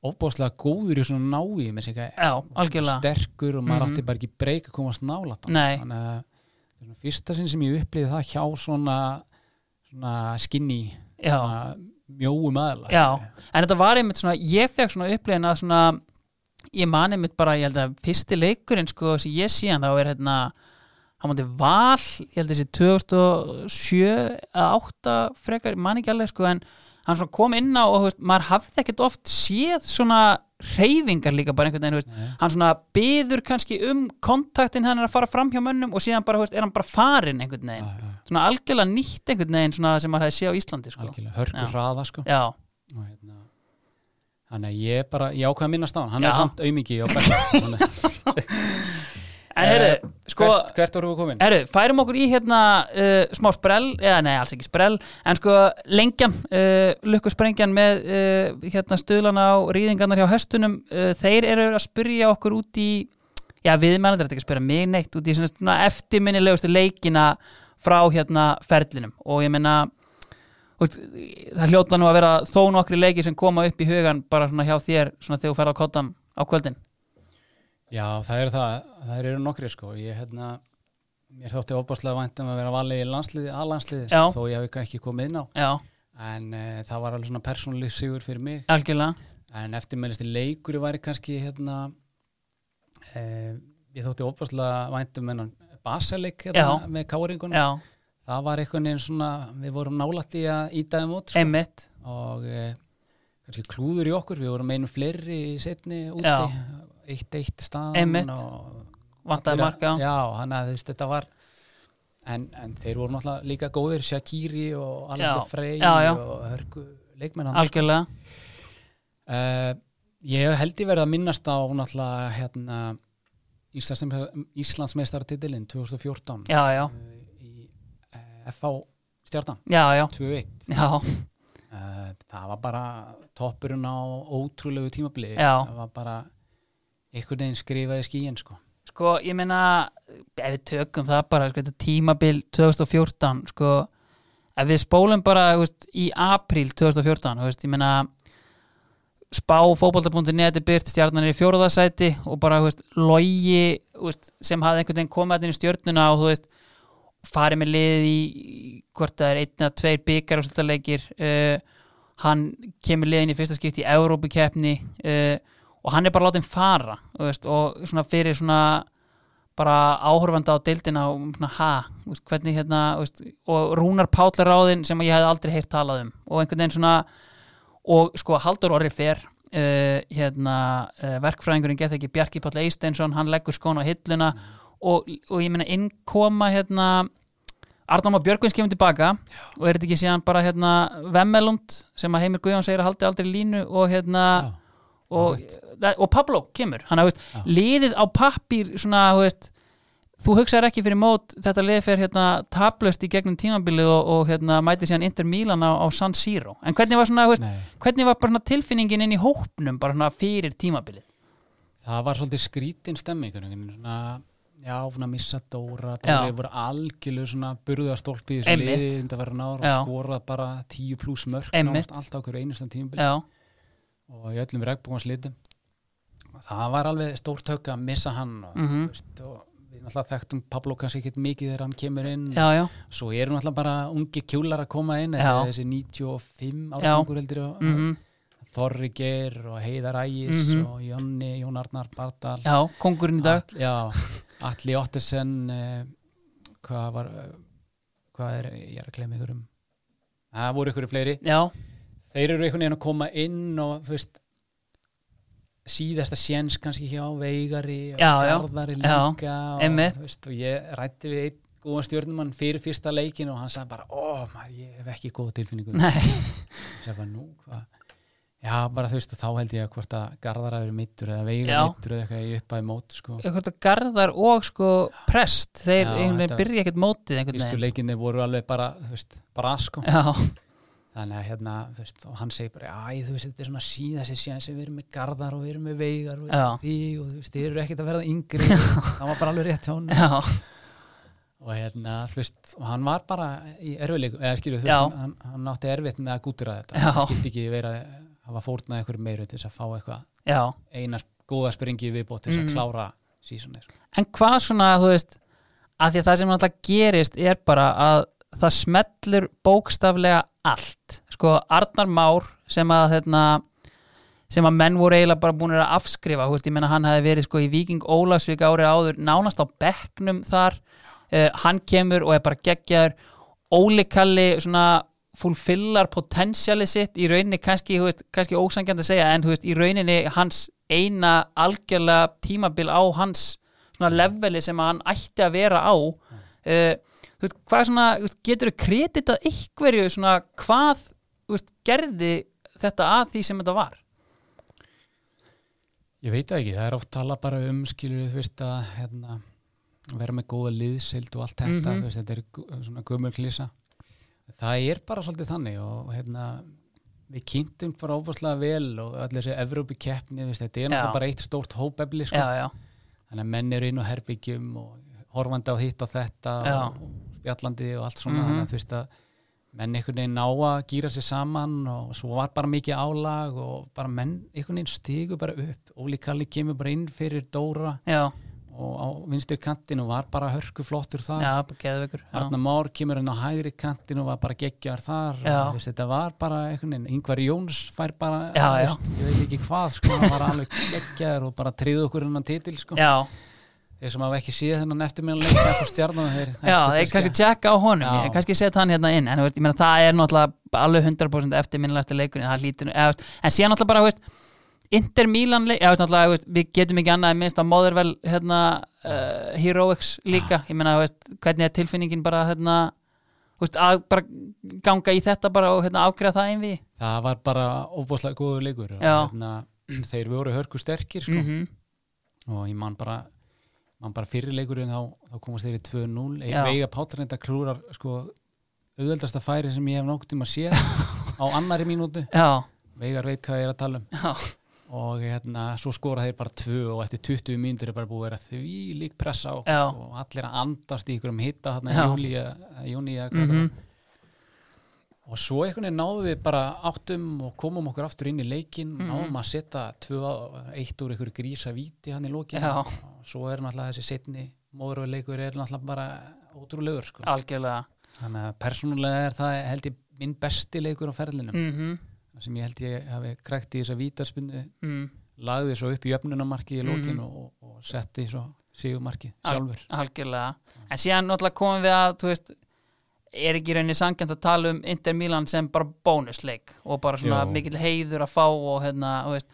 [SPEAKER 2] ofbóðslega góður í svona návi með sig
[SPEAKER 1] já, algjörlega,
[SPEAKER 2] sterkur og maður
[SPEAKER 1] Mhm.
[SPEAKER 2] átti bara ekki breyk að komast nálat
[SPEAKER 1] Nei.
[SPEAKER 2] þannig að þetta er svona fyrsta sinn sem ég upplýði það hjá svona, svona skinny
[SPEAKER 1] já.
[SPEAKER 2] svona mjóum aðla
[SPEAKER 1] Já, en þetta var einmitt svona, ég fekk svona upplýðin að svona, ég man einmitt bara, ég held að fyrsti leikurinn sko sem ég sé hann þá er hérna, hann mátti val, ég held að þessi 2007 eða 8 frekar, ég man ekki alveg sko, en hann svona kom inn á og þú veist, maður hafði ekkert oft séð svona reyfingar líka bara einhvern veginn, þú veist,
[SPEAKER 2] Nei.
[SPEAKER 1] hann svona byður kannski um kontaktin hann er að fara fram hjá mönnum og síðan bara, þú veist, er hann bara farin einhvern veginn,
[SPEAKER 2] Já, já,
[SPEAKER 1] svona algjörlega nýtt einhvern veginn svona sem maður hefði séð á Íslandi sko.
[SPEAKER 2] algjörlega, hörku
[SPEAKER 1] Já.
[SPEAKER 2] hraða sko.
[SPEAKER 1] Já,
[SPEAKER 2] og hérna þannig að ég bara, ég ákvað að minnast á hann hann
[SPEAKER 1] Já.
[SPEAKER 2] er samt aumingi á bæðum
[SPEAKER 1] en heyrðu, <laughs> sko
[SPEAKER 2] Eh, hvert, hvert vorum við komin?
[SPEAKER 1] Herru, færum okkur í hérna uh, smá sprell, eða nei, alls ekki sprell en sko lengjan, uh, lukkusprengjan með uh, hérna stuðlana á rýðingarnar hjá höstunum uh, þeir eru að spyrja okkur út í já, við mennandur þetta ekki að spyrja mig neitt út í svona- svona eftirminnilegustu leikina frá hérna ferlinum og ég meina þú veist, það hljóta nú að vera þó nokkri leiki sem koma upp í hugan bara svona hjá þér svona þegar þú ferð á kottan á kvöldin
[SPEAKER 2] já, það eru það, það eru nokkri sko. ég hérna, mér þótti óbáslega vænt um að vera valið í landsliði, aðlandsliði
[SPEAKER 1] Já.
[SPEAKER 2] þó ég hafi ekki komið inn á
[SPEAKER 1] Já,
[SPEAKER 2] en uh, það var alveg svona persónuleg sigur fyrir mig
[SPEAKER 1] algjörlega
[SPEAKER 2] en eftirmennist leikur væri kannski hérna uh, ég þótti óbáslega vænt um hennan basaleik hérna,
[SPEAKER 1] Já.
[SPEAKER 2] með káringunum
[SPEAKER 1] Já,
[SPEAKER 2] það var einhvern veginn svona, við vorum nálætt í að íta þeim út sko.
[SPEAKER 1] einmitt
[SPEAKER 2] og eh, kannski klúður í okkur, við vorum einu fleiri í setni úti,
[SPEAKER 1] Já.
[SPEAKER 2] eitt eitt staðan
[SPEAKER 1] Einmitt.
[SPEAKER 2] og
[SPEAKER 1] vantaði marka
[SPEAKER 2] já, hann að þess, þetta var en, en þeir voru náttúrulega líka góðir Shakiri og
[SPEAKER 1] Já.
[SPEAKER 2] Alanda Frey
[SPEAKER 1] Já, já.
[SPEAKER 2] og Hörgu leikmennan
[SPEAKER 1] Algjörlega,
[SPEAKER 2] uh, ég held ég verið að minnast á náttúrulega hérna Íslandsmeistar- Íslandsmeistaratitilinn 2014
[SPEAKER 1] já, já,
[SPEAKER 2] í uh, FH stjartan
[SPEAKER 1] já, já,
[SPEAKER 2] 2-1
[SPEAKER 1] já,
[SPEAKER 2] Eh, það var bara toppurinn á ótrúlegu tímabili
[SPEAKER 1] Já.
[SPEAKER 2] það var bara einhvern veginn skrifaði skíin sko.
[SPEAKER 1] sko, ég meina ef við tökum það bara, sko, þetta tímabil 2014, sko ef við spólum bara, þú veist, í apríl 2014, þú veist, ég meina spá fótbolta.net er byrt, stjarnan er í fjóruðasæti og bara, þú veist, logi þú veist, sem hafði einhvern veginn komið að inn í stjörnuna og, þú veist, farið með liðið í í hvort það er einn að tveir byggar og sluttarleikir uh, hann kemur liðin í fyrsta skipti í Evrópukeppni uh, og hann er bara látið fara þú veist, og svona fyrir svona bara áhorfanda á deildina og svona ha, þú veist, hvernig hérna þú veist, og Rúnar Páll er ráðinn sem ég hefði aldrei heyrt talað um og einhvern veginn svona og sko Haldur Orri fer uh, hérna uh, verkfræðingurinn gett ekki Bjarki Páll Eisteinsson, hann leggur skón á hilluna og, og ég meina innkoma hérna Arnáma Björgvins kemur tilbaka og er þetta ekki síðan bara hérna Vemmelund sem að Heimir Guðjón segir að haldi aldrei línu og hérna og, það- og Pablo kemur hann að veist, liðið á pappír svona, þú veist þú hugsaðir ekki fyrir mót þetta lið fer hérna tablöst í gegnum tímabilið og, og hérna mæti síðan Inter Milan á, á San Siro en hvernig var svona, þú veist,
[SPEAKER 2] Nei.
[SPEAKER 1] hvernig var bara svona tilfinningin inn í hópnum bara svona fyrir tímabilið
[SPEAKER 2] það var svolítið skrítin stemming einhvern veginn, svona, já, svona missa Dóra
[SPEAKER 1] Já.
[SPEAKER 2] Dóri voru algjörlega svona burðastólpi í þessu
[SPEAKER 1] Einmitt.
[SPEAKER 2] liði þetta verður náður
[SPEAKER 1] Já.
[SPEAKER 2] að skora bara 10 pluss mörk
[SPEAKER 1] Einmitt.
[SPEAKER 2] nánast allt á hverju einustan tímabili
[SPEAKER 1] já,
[SPEAKER 2] og í öllum regnbúans litum það var alveg stórt högg að missa hann og, mm
[SPEAKER 1] Mhm.
[SPEAKER 2] veist, og við náttúrulega þekktum Pablo kannski ekkit mikið þegar hann kemur inn
[SPEAKER 1] já, já,
[SPEAKER 2] svo eru náttúrulega bara ungi kjúlar að koma inn
[SPEAKER 1] Já.
[SPEAKER 2] eða þessi 95 áttungur heldur og
[SPEAKER 1] mm
[SPEAKER 2] Þorri Geir og Heiðar Ægis
[SPEAKER 1] Mhm.
[SPEAKER 2] og Jonni, Jón Arnar Bardal
[SPEAKER 1] já kongurinn í dag
[SPEAKER 2] All- Já, Alli Ottesen eh, hvað var eh, hvað er, ég er að klema ykkur um það voru ykkur fleiri
[SPEAKER 1] já,
[SPEAKER 2] þeir eru einhvern veginn að koma inn og þú veist síðasta séns kannski hjá Veigari og
[SPEAKER 1] Já, já.
[SPEAKER 2] Garðari
[SPEAKER 1] Já,
[SPEAKER 2] líka og,
[SPEAKER 1] einmitt.
[SPEAKER 2] þú veist, og ég rætti við einn góðan stjórnumann fyrir fyrsta leikin og hann sagði bara, ó maður, ég hef ekki góða tilfinningu
[SPEAKER 1] nei,
[SPEAKER 2] Ég sagði bara, nú, hvað já, bara þú veist, og þá held ég að hvort að Garðar hafi verið mittur eða Veigar
[SPEAKER 1] Já.
[SPEAKER 2] mittur eða eitthvað í uppaði mót sko.
[SPEAKER 1] einhvern veginn garðar og sko prest, þeir
[SPEAKER 2] Já,
[SPEAKER 1] einhvern veginn
[SPEAKER 2] þetta-
[SPEAKER 1] byrja ekkert mótið einhvern
[SPEAKER 2] fyrstu
[SPEAKER 1] veginn
[SPEAKER 2] leikinni voru alveg bara, þú veist, bara sko.
[SPEAKER 1] já,
[SPEAKER 2] þannig að hérna, þú veist, og hann segir bara æ, þú veist, þetta er svona síðan sér síðan sem við erum með Garðar og við erum með Veigar og, við erum
[SPEAKER 1] Já.
[SPEAKER 2] með þig og þú veist, þið eru ekkert að verða yngri það var bara alveg rétt hjá hann
[SPEAKER 1] já,
[SPEAKER 2] og hérna, þú veist, og hann var bara í erfileikum, eða skilju, þú
[SPEAKER 1] Já.
[SPEAKER 2] veist, hann, hann átti erfitt með að gútira þetta,
[SPEAKER 1] Já.
[SPEAKER 2] hann skildi ekki vera hafa fórnað einhverju meiru til þess að fá eitthvað
[SPEAKER 1] já
[SPEAKER 2] eina góða springi í viðbót til þess að
[SPEAKER 1] Mhm.
[SPEAKER 2] klára sísonir
[SPEAKER 1] en hvað svona, þú veist að því að það sem náttúrulega gerist er bara að það smellur bókstaflega allt sko Arnar Már sem að hérna, þetta sem að menn voru eiginlega bara búinir að afskrifa þú veist, ég menna hann hefði verið sko í Viking Ólasvík árið áður, nánast á bekknum þar uh, hann kemur og er bara geggjaður, Óli Kalli svona fullfillar potensiali sitt í rauninni kannski, þú veist, kannski ósangjandi að segja en þú veist, í rauninni hans eina algjörlega tímabil á hans svona leveli sem að hann ætti að vera á uh, þú veist, hvað svona þú veist, getur þú kreditað ykkurju svona hvað þú veist, gerði þetta að því sem þetta var
[SPEAKER 2] Ég veit það ekki, það er oft tala bara um skilur þú veist að hérna, vera með góða liðsild og allt þetta
[SPEAKER 1] Mhm.
[SPEAKER 2] þú veist, þetta er gu- svona gömur klísa það er bara svolítið þannig og hérna, við kynntum bara óbúslega vel og allir þessi Evrópi keppni, þú veist, þetta er
[SPEAKER 1] Já.
[SPEAKER 2] náttúrulega bara eitt stórt hópefli, sko.
[SPEAKER 1] já, já,
[SPEAKER 2] þannig að menn eru inn á herbyggjum og horfandi á hitt og þetta
[SPEAKER 1] Já.
[SPEAKER 2] og, og spjallandi og allt svona
[SPEAKER 1] Mhm.
[SPEAKER 2] þannig að þú veist að menn einhvern veginn ná að gýra sér saman og svo var bara mikið álag og bara menn einhvern veginn stigu bara upp Óli Kalli kemur bara inn fyrir Dóra
[SPEAKER 1] já,
[SPEAKER 2] og á vinstir kantin og var bara hörku flottur þar
[SPEAKER 1] já, bara geðveikur já,
[SPEAKER 2] Arna Már kemur inn á hægri kantin og var bara geggjar þar
[SPEAKER 1] Já.
[SPEAKER 2] og, þú veist, þetta var bara einhvern veginn yngvar Jóns fær bara,
[SPEAKER 1] Já,
[SPEAKER 2] þú
[SPEAKER 1] já.
[SPEAKER 2] Veist, ég veit ekki hvað sko, hann var alveg geggjar og bara tríð okkur hennan titil sko
[SPEAKER 1] já,
[SPEAKER 2] þeir sem hafa ekki séð þennan eftirminnilega leik eftir stjarnan þeir
[SPEAKER 1] já
[SPEAKER 2] ættu
[SPEAKER 1] ég kannski tjekka á honum
[SPEAKER 2] Já.
[SPEAKER 1] ég kannski setja hann hérna inn en þú veist, ég meina, það er náttúrulega alveg 100% eftir minnilegasti leikunni það lítur, eða, þú veist, en síðan náttúrulega bara þú veist, Inter Milan leik, eða, þú veist, náttúrulega, þú veist, við getum ekki annað en minnst að Motherwell hérna, uh, Heroics líka ég meina, þú veist, hvernig er tilfinningin bara hérna, þú veist, að bara ganga í þetta bara og hérna, afgreða það einvið
[SPEAKER 2] það var bara óbúslega góður leikur og
[SPEAKER 1] Já.
[SPEAKER 2] hérna, <clears throat> þeir voru hörku sterkir sko.
[SPEAKER 1] mm
[SPEAKER 2] og ég man bara man bara fyrir leikurinn þá, þá komast þeir í 2-0 Eik
[SPEAKER 1] Já.
[SPEAKER 2] veiga pátarnenda klúrar sko, auðveldasta færi sem ég hef nógt um að
[SPEAKER 1] <laughs>
[SPEAKER 2] sé á annari mínútu
[SPEAKER 1] já,
[SPEAKER 2] veigar veit hvað ég er að tala um
[SPEAKER 1] já,
[SPEAKER 2] og hérna, svo skora þeir bara tvö og eftir 20 mínútur er bara búið að vera því lík pressa á okkur,
[SPEAKER 1] Já.
[SPEAKER 2] sko, og allir að andast í ykkur um hitta þarna
[SPEAKER 1] Já.
[SPEAKER 2] í júli eða júni eða hvað það
[SPEAKER 1] Mhm.
[SPEAKER 2] var. og svo einhvern veginn náðum við bara áttum og komum okkur aftur inn í leikin
[SPEAKER 1] Mhm.
[SPEAKER 2] náðum að setja tvö á- eitt úr ykkur grísa víti hann í lokin
[SPEAKER 1] Já.
[SPEAKER 2] og svo er náttúrulega þessi setni móðurveileikur er náttúrulega bara ótrúlegur sko.
[SPEAKER 1] algjörlega
[SPEAKER 2] þannig að persónulega er það held ég minn besti leikur á ferlinum
[SPEAKER 1] mm -hmm.
[SPEAKER 2] sem ég held ég hafi krækt í þessa vítarspunni
[SPEAKER 1] mm.
[SPEAKER 2] lagði svo upp í jöfnunamarki í lókin og, og setti svo sígumarki
[SPEAKER 1] Al-
[SPEAKER 2] sjálfur
[SPEAKER 1] algjörlega, en síðan náttúrulega komum við að, þú veist er ekki í rauninni sangjönd að tala um Inter Milan sem bara bónusleik og bara svona
[SPEAKER 2] Jú.
[SPEAKER 1] mikill heiður að fá og hérna, þú veist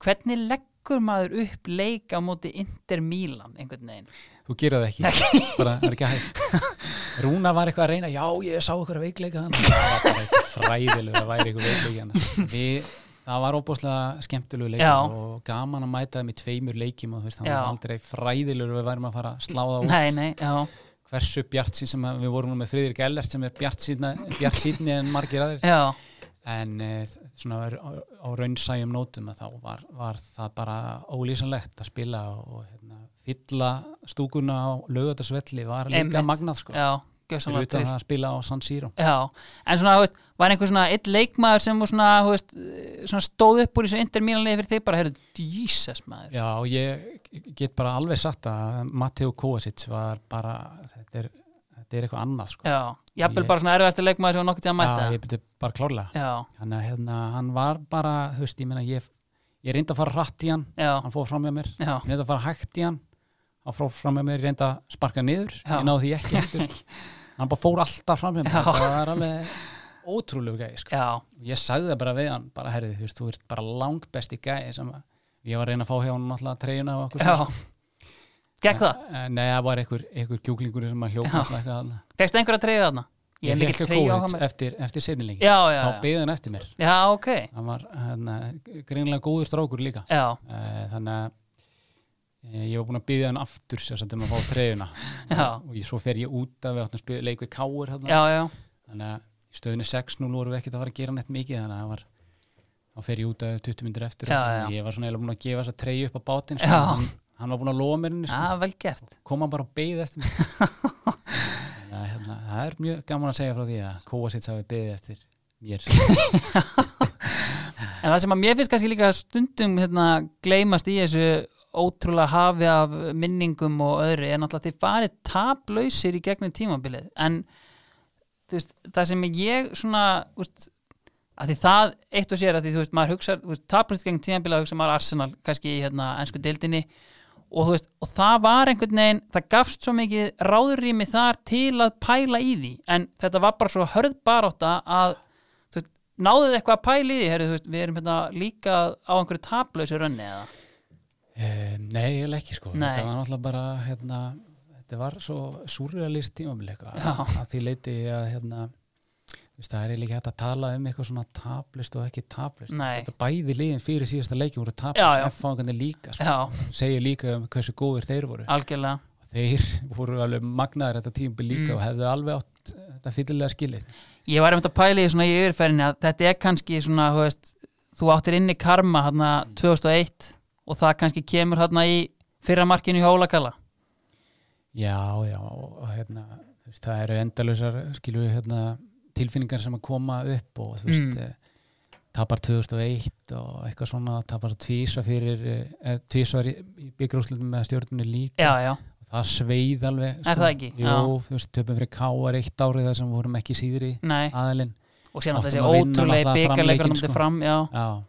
[SPEAKER 1] hvernig leggur maður upp leik á móti Inter Milan einhvern veginn?
[SPEAKER 2] þú gerir það ekki, bara, það er ekki hægt <laughs> Rúna var eitthvað að reyna já, ég sá eitthvað veikleika þannig það var bara eitthvað fræðilega, það væri eitthvað veikleika þarna. við, það var óbúslega skemmtilegu
[SPEAKER 1] Já.
[SPEAKER 2] leikur og gaman að mæta þeim í tveimur leikjum og þú veist, það
[SPEAKER 1] Já.
[SPEAKER 2] var aldrei fræðilegur við værum að fara að slá það út
[SPEAKER 1] Nei, nei, já,
[SPEAKER 2] hversu bjart sín sem að- við vorum nú með Friðrik Ellert sem er bjart sín en margir aðrir
[SPEAKER 1] já
[SPEAKER 2] en eh, svona á, á raunsæjum nótum að þá var, var það bara ólýsanlegt að spila og, og hérna, fylla stúkuna á lögatarsvelli var líka
[SPEAKER 1] Einmitt.
[SPEAKER 2] magnað sko,
[SPEAKER 1] já,
[SPEAKER 2] fyrir
[SPEAKER 1] gjössamlega
[SPEAKER 2] utan
[SPEAKER 1] trist
[SPEAKER 2] það að spila á San Siro
[SPEAKER 1] Já, en svona, þú veist, var einhver svona eitt leikmaður sem þú svona, þú veist, eh, svona stóð upp úr þessu Inter Milan liði fyrir þig bara, heyrðu, Jesus maður
[SPEAKER 2] Já, og ég get bara alveg satt að Matteo Kovacic var bara þetta er, þetta er eitthvað annað sko.
[SPEAKER 1] Já, jafnvel
[SPEAKER 2] Ég-
[SPEAKER 1] bara svona erfiðasti leikmaður sem var nokkuð til að mæta
[SPEAKER 2] ég byrja bara klárlega
[SPEAKER 1] Já,
[SPEAKER 2] hann, hérna, hann var bara, þú veist, ég meina ég, ég reyndi að fara hratt í hann
[SPEAKER 1] já,
[SPEAKER 2] hann fór fram með mér
[SPEAKER 1] já,
[SPEAKER 2] ég reyndi að fara hægt í hann hann fór fram með mér, reyndi að sparka niður
[SPEAKER 1] Já.
[SPEAKER 2] ég náði því
[SPEAKER 1] <laughs>
[SPEAKER 2] ekki eftir hann bara fór alltaf fram með mér
[SPEAKER 1] Já.
[SPEAKER 2] það
[SPEAKER 1] <laughs>
[SPEAKER 2] er alveg ótrúlegu gæði sko.
[SPEAKER 1] já,
[SPEAKER 2] ég sagði það bara við hann, bara herði þú veist, þú ert bara langbesti gæði sem að ég var að reyna að fá hjá hann náttúrulega treyjuna og okkur
[SPEAKER 1] já Gekk það?
[SPEAKER 2] Nei, það var einhver, einhver kjúklingur sem að
[SPEAKER 1] Já.
[SPEAKER 2] hljópa eitthvað þarna.
[SPEAKER 1] Fekst einhver að treyja þarna? Ég er
[SPEAKER 2] fékk
[SPEAKER 1] mikill
[SPEAKER 2] að
[SPEAKER 1] treyja á
[SPEAKER 2] Kovacic
[SPEAKER 1] það með
[SPEAKER 2] eftir, eftir setnilegin
[SPEAKER 1] Já, já,
[SPEAKER 2] þá
[SPEAKER 1] já,
[SPEAKER 2] beðið hann eftir mér
[SPEAKER 1] já, ok
[SPEAKER 2] hann var hérna, greinlega góður strákur líka
[SPEAKER 1] Já,
[SPEAKER 2] Eh, þannig að eh, ég var búin að byggja hann aftur sem sagt um að fá treyjuna
[SPEAKER 1] Já.
[SPEAKER 2] og ég, svo fer ég út af við áttum að spila leik við káur
[SPEAKER 1] já, já,
[SPEAKER 2] þannig að í stöðinu 6-0 vorum við ekkert að fara að gera neitt mikið þannig að það var þá fer ég út af 20 myndir eftir
[SPEAKER 1] Já,
[SPEAKER 2] Þannig að
[SPEAKER 1] já.
[SPEAKER 2] ég var svona eiginlega búin að gefa þess að treyju upp á bátinn sko.
[SPEAKER 1] Já.
[SPEAKER 2] hann, hann var búin að lofa mér henni
[SPEAKER 1] já,
[SPEAKER 2] sko.
[SPEAKER 1] vel gert
[SPEAKER 2] kom hann bara og beigði
[SPEAKER 1] <laughs>
[SPEAKER 2] eftir mér Þannig að, hérna, það er mjög gaman að segja frá því að kóa sitt hafi beigði eftir mér
[SPEAKER 1] En það sem að mér finnst kannski líka stundum hérna, gleymast í þessu ótrúlega hafi af minningum og öðru er náttúrulega að þið farið taplausir í gegnum tímabilið en þú veist, það sem ég svona þú veist, að því það eitt og sér að því þú veist, maður hugsa taplausir gegnum tímabilið hugsa maður Arsenal kannski í hérna, ennsku deildinni og, þú veist, og það var einhvern veginn það gafst svo mikið ráðurými þar til að pæla í því en þetta var bara svo hörð barátta að þú veist, náðuð þið eitthvað að pæla í því herri, veist, við erum hérna líka á einhverju taplausu rönni eða
[SPEAKER 2] Um, nei, ég ekki sko.
[SPEAKER 1] Nei.
[SPEAKER 2] Þetta var náttúrulega bara, hérna, þetta var svo surrealist tímabili eitthvað.
[SPEAKER 1] Já.
[SPEAKER 2] Að því leiti að, hérna, þú veist, það er eiginlega ekki hægt að tala um eitthvað svona taplist og ekki taplist.
[SPEAKER 1] Nei.
[SPEAKER 2] Þetta bæði liðin fyrir síðasta leikin voru
[SPEAKER 1] Já, já.
[SPEAKER 2] taplist, F-fangandi líka. Sko.
[SPEAKER 1] já,
[SPEAKER 2] Segir líka um hversu góðir þeir voru.
[SPEAKER 1] algjörlega
[SPEAKER 2] Þeir <laughs> voru alveg magnaðir þetta tímabili líka
[SPEAKER 1] Mm.
[SPEAKER 2] og hefðu alveg átt eh, þetta fyllilega skilið.
[SPEAKER 1] ég var einmitt að pæla í því svona í yfirferðinni að þetta er kannski svona þú, veist, þú áttir inni karma hérna
[SPEAKER 2] Mm.
[SPEAKER 1] 2001 og það kannski kemur hérna í fyrra markinu í Hólakalla
[SPEAKER 2] Já, já, og, og hérna, þú veist, það eru endalausar, skilur við, hérna, tilfinningar sem að koma upp og þú veist,
[SPEAKER 1] Mm.
[SPEAKER 2] mm. tapar 2001 og eitthvað svona, tapar tvísa fyrir, eh, tvísa í, í byggrúslutum með stjórnunni líka.
[SPEAKER 1] já, já,
[SPEAKER 2] Og það sveið alveg. sko.
[SPEAKER 1] Er það ekki?
[SPEAKER 2] Jú, þú veist, töpum fyrir káar eitt árið þar sem vorum ekki síðri
[SPEAKER 1] nei
[SPEAKER 2] aðilinn.
[SPEAKER 1] og síðan alltaf
[SPEAKER 2] Áttum
[SPEAKER 1] þessi
[SPEAKER 2] að vinna
[SPEAKER 1] ótrúlega
[SPEAKER 2] náttúrulega
[SPEAKER 1] byggarleikur
[SPEAKER 2] framleikinn,
[SPEAKER 1] náttúrulega
[SPEAKER 2] sko.
[SPEAKER 1] fram, já,
[SPEAKER 2] Já,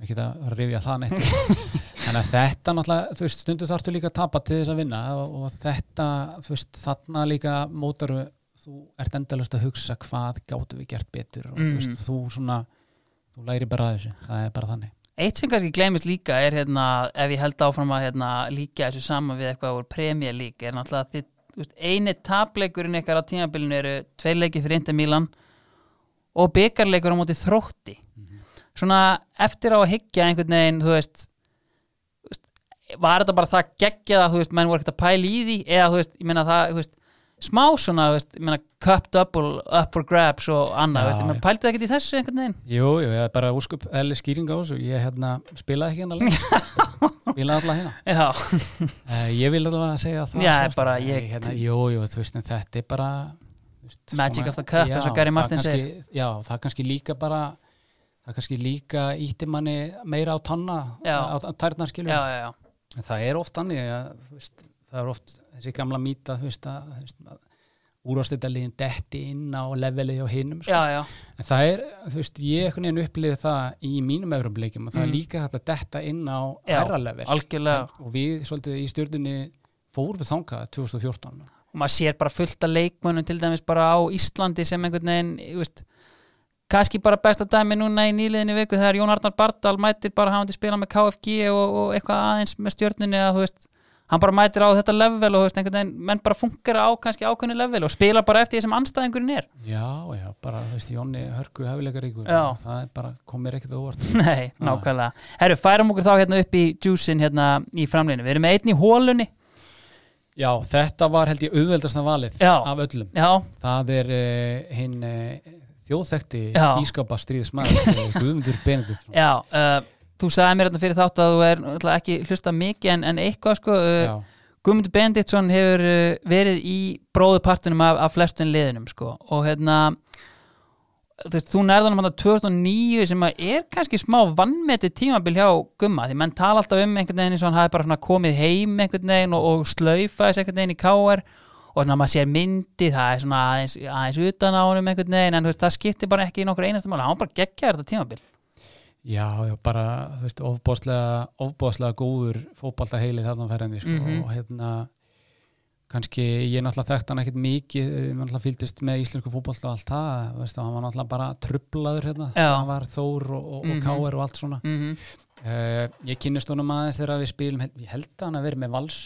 [SPEAKER 2] ekki það að rifja það neitt. <laughs> Þannig að þetta náttúrulega, þú veist, stundu þarftu líka að tapa til þess að vinna og, og þetta, þú veist, þarna líka mótaru, þú ert endalust að hugsa hvað gáttu við gert betur og
[SPEAKER 1] Mm.
[SPEAKER 2] þú veist, þú svona, þú læri bara að þessu, það er bara þannig.
[SPEAKER 1] Eitt sem kannski glemist líka er hérna, ef ég held áfram að hérna, líka þessu saman við eitthvað úr Premier League er náttúrulega að þið, þú veist, eini tapleikurinn ykkar á tímabilinu eru tveir leikir fyrir Inter Milan og byggarleikur á móti þrótti
[SPEAKER 2] Mhm.
[SPEAKER 1] svona eftir á að higgja einhvern veginn, þú veist þú veist, var þetta bara það geggjað að þú veist, menn voru ekkert að pæla í því eða þú veist, ég meina það, þú veist smá svona, þú veist, ég meina cup double, up for grabs og annað,
[SPEAKER 2] Já,
[SPEAKER 1] þú veist, ég meina
[SPEAKER 2] já.
[SPEAKER 1] pældi það ekkert í þessu einhvern veginn
[SPEAKER 2] Jú, jú, ég er bara úrskup eðli skýring á þessu, ég hérna spilaði ekki hérna leik, <laughs> spilaði alla hérna.
[SPEAKER 1] Já,
[SPEAKER 2] Uh, ég vil alveg að segja það.
[SPEAKER 1] Já,
[SPEAKER 2] sjálfstætt.
[SPEAKER 1] bara ég-
[SPEAKER 2] Hérna, jú, jú, þú veist, en þetta er bara... þú Veist,
[SPEAKER 1] Magic of the cup, eins og Gary
[SPEAKER 2] það
[SPEAKER 1] Martin
[SPEAKER 2] kannski- Já, það kannski líka bara, það kannski líka ítti manni meira á tanna,
[SPEAKER 1] Já.
[SPEAKER 2] á á tærnar skilur.
[SPEAKER 1] já, já, já
[SPEAKER 2] En Það er oft annir, að, þú veist, það er oft þessi gamla mýta, þú veist, að, þú veist, að úrvastildaliðin detti inn á levelið hjá hinnum sko.
[SPEAKER 1] já, já,
[SPEAKER 2] En það er, þú veist, ég einhvern veginn upplifið það í mínum Evrópuleikjum og það er
[SPEAKER 1] Mm.
[SPEAKER 2] líka hægt að detta inn á
[SPEAKER 1] Já,
[SPEAKER 2] herra level
[SPEAKER 1] algjörlega
[SPEAKER 2] og við svolítið í stjórnunni fórum við þangað 2014
[SPEAKER 1] og maður sér bara fullt af leikmönnum til dæmis bara á Íslandi sem einhvern veginn þú veist, kannski bara besta dæmi núna í nýliðinni viku þegar Jón Arnar Bardal mætir bara hafandi spila með KFG og, og eitthvað aðeins með stjörnunni að þú veist hann bara mætir á þetta level og þú veist, einhvern veginn menn bara funkar á kannski ákveðinu level og spila bara eftir því sem anstæðingurinn er <laughs>
[SPEAKER 2] Já, já, bara, þú veist, Jónni hörku hefileikaríkur,
[SPEAKER 1] Já.
[SPEAKER 2] það er bara komir ekkert á óvart.
[SPEAKER 1] Nei, nákvæmlega Herru, færum okkur þá hérna upp í juicin hérna í framlinu Við erum með einn í hólunni
[SPEAKER 2] Já, þetta var held ég auðveldasta valið
[SPEAKER 1] Já.
[SPEAKER 2] af öllum.
[SPEAKER 1] Já,
[SPEAKER 2] Það er uh, hinn uh, þjóðþekti
[SPEAKER 1] Já.
[SPEAKER 2] ískapa stríðismæður, eh, Guðmundur Benedikt.
[SPEAKER 1] já uh, Þú sagði mér hérna fyrir þátt að þú er náttúrulega ekki hlusta mikið en, en eitthvað sko uh,
[SPEAKER 2] Já,
[SPEAKER 1] Guðmundur Benditsson hefur uh, verið í bróðupartunum af, af flestum liðinum sko. og hérna þú, veist, þú nærðanum hann að 2009 sem að er kannski smá vannmeti tímabil hjá Gumma því menn tala alltaf um einhvern veginn eins og hann hafi bara svona komið heim einhvern veginn og, og slaufaðis einhvern veginn í KR og svona maður sér myndi það er svona aðeins, aðeins utan á honum einhvern veginn en þú veist, það skiptir bara ekki í nokkur einasta máli hann bara geggjaður þetta tímabil
[SPEAKER 2] já, já, bara, þú veist, ofbáslega, ofbáslega góður fótbaltaheili þarna á ferðinni, sko,
[SPEAKER 1] Mhm.
[SPEAKER 2] og hérna, kannski, ég náttúrulega þekkt hann ekkert mikið, ég náttúrulega fylgdist með íslensku fótbalta og allt það, þú veist, og hann var náttúrulega bara trublaður hérna,
[SPEAKER 1] Já.
[SPEAKER 2] hann var Þór og, og,
[SPEAKER 1] Mhm.
[SPEAKER 2] og Káir og allt svona.
[SPEAKER 1] mm -hmm.
[SPEAKER 2] Uh, ég kynnist honum aðeins þegar við spilum ég held að hann að vera með vals,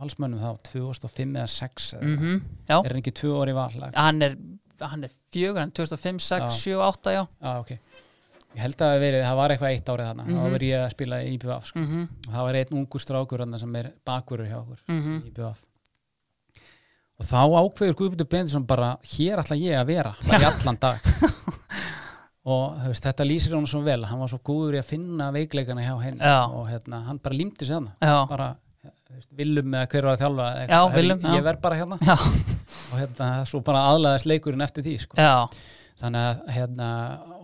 [SPEAKER 2] valsmönnum þá 2005 eða 6 mm.
[SPEAKER 1] mhm, já,
[SPEAKER 2] er hann ekki tvö orði val
[SPEAKER 1] hann er hann er fjögur, hann er 2005, 6, 7, 8 já,
[SPEAKER 2] ah, okay. ég held að það hafi verið, það var eitthvað eitt árið þarna
[SPEAKER 1] Mhm.
[SPEAKER 2] þá verið ég að spila í IPVF sko.
[SPEAKER 1] mhm mm
[SPEAKER 2] og það var einn ungur strákur þarna sem er bakvörur hjá okkur
[SPEAKER 1] Mhm.
[SPEAKER 2] í IPVF og þá ákveður Guðbjörn Bendinsson bara hér ætla ég að vera, bara í allan
[SPEAKER 1] <laughs>
[SPEAKER 2] dag og þú veist, þetta lýsir honum svo vel, hann var svo góður í að finna veikleikana hjá henni
[SPEAKER 1] Já.
[SPEAKER 2] og hérna, hann bara límdi sig þarna
[SPEAKER 1] Já,
[SPEAKER 2] bara þú veist, Willum eða hver var að þjálfa eða
[SPEAKER 1] Já,
[SPEAKER 2] eitthvað,
[SPEAKER 1] Willum,
[SPEAKER 2] ég,
[SPEAKER 1] já.
[SPEAKER 2] ég verð bara hérna
[SPEAKER 1] já,
[SPEAKER 2] og hérna, svo bara aðlaðast leikurinn eftir því sko.
[SPEAKER 1] já,
[SPEAKER 2] þannig að hérna,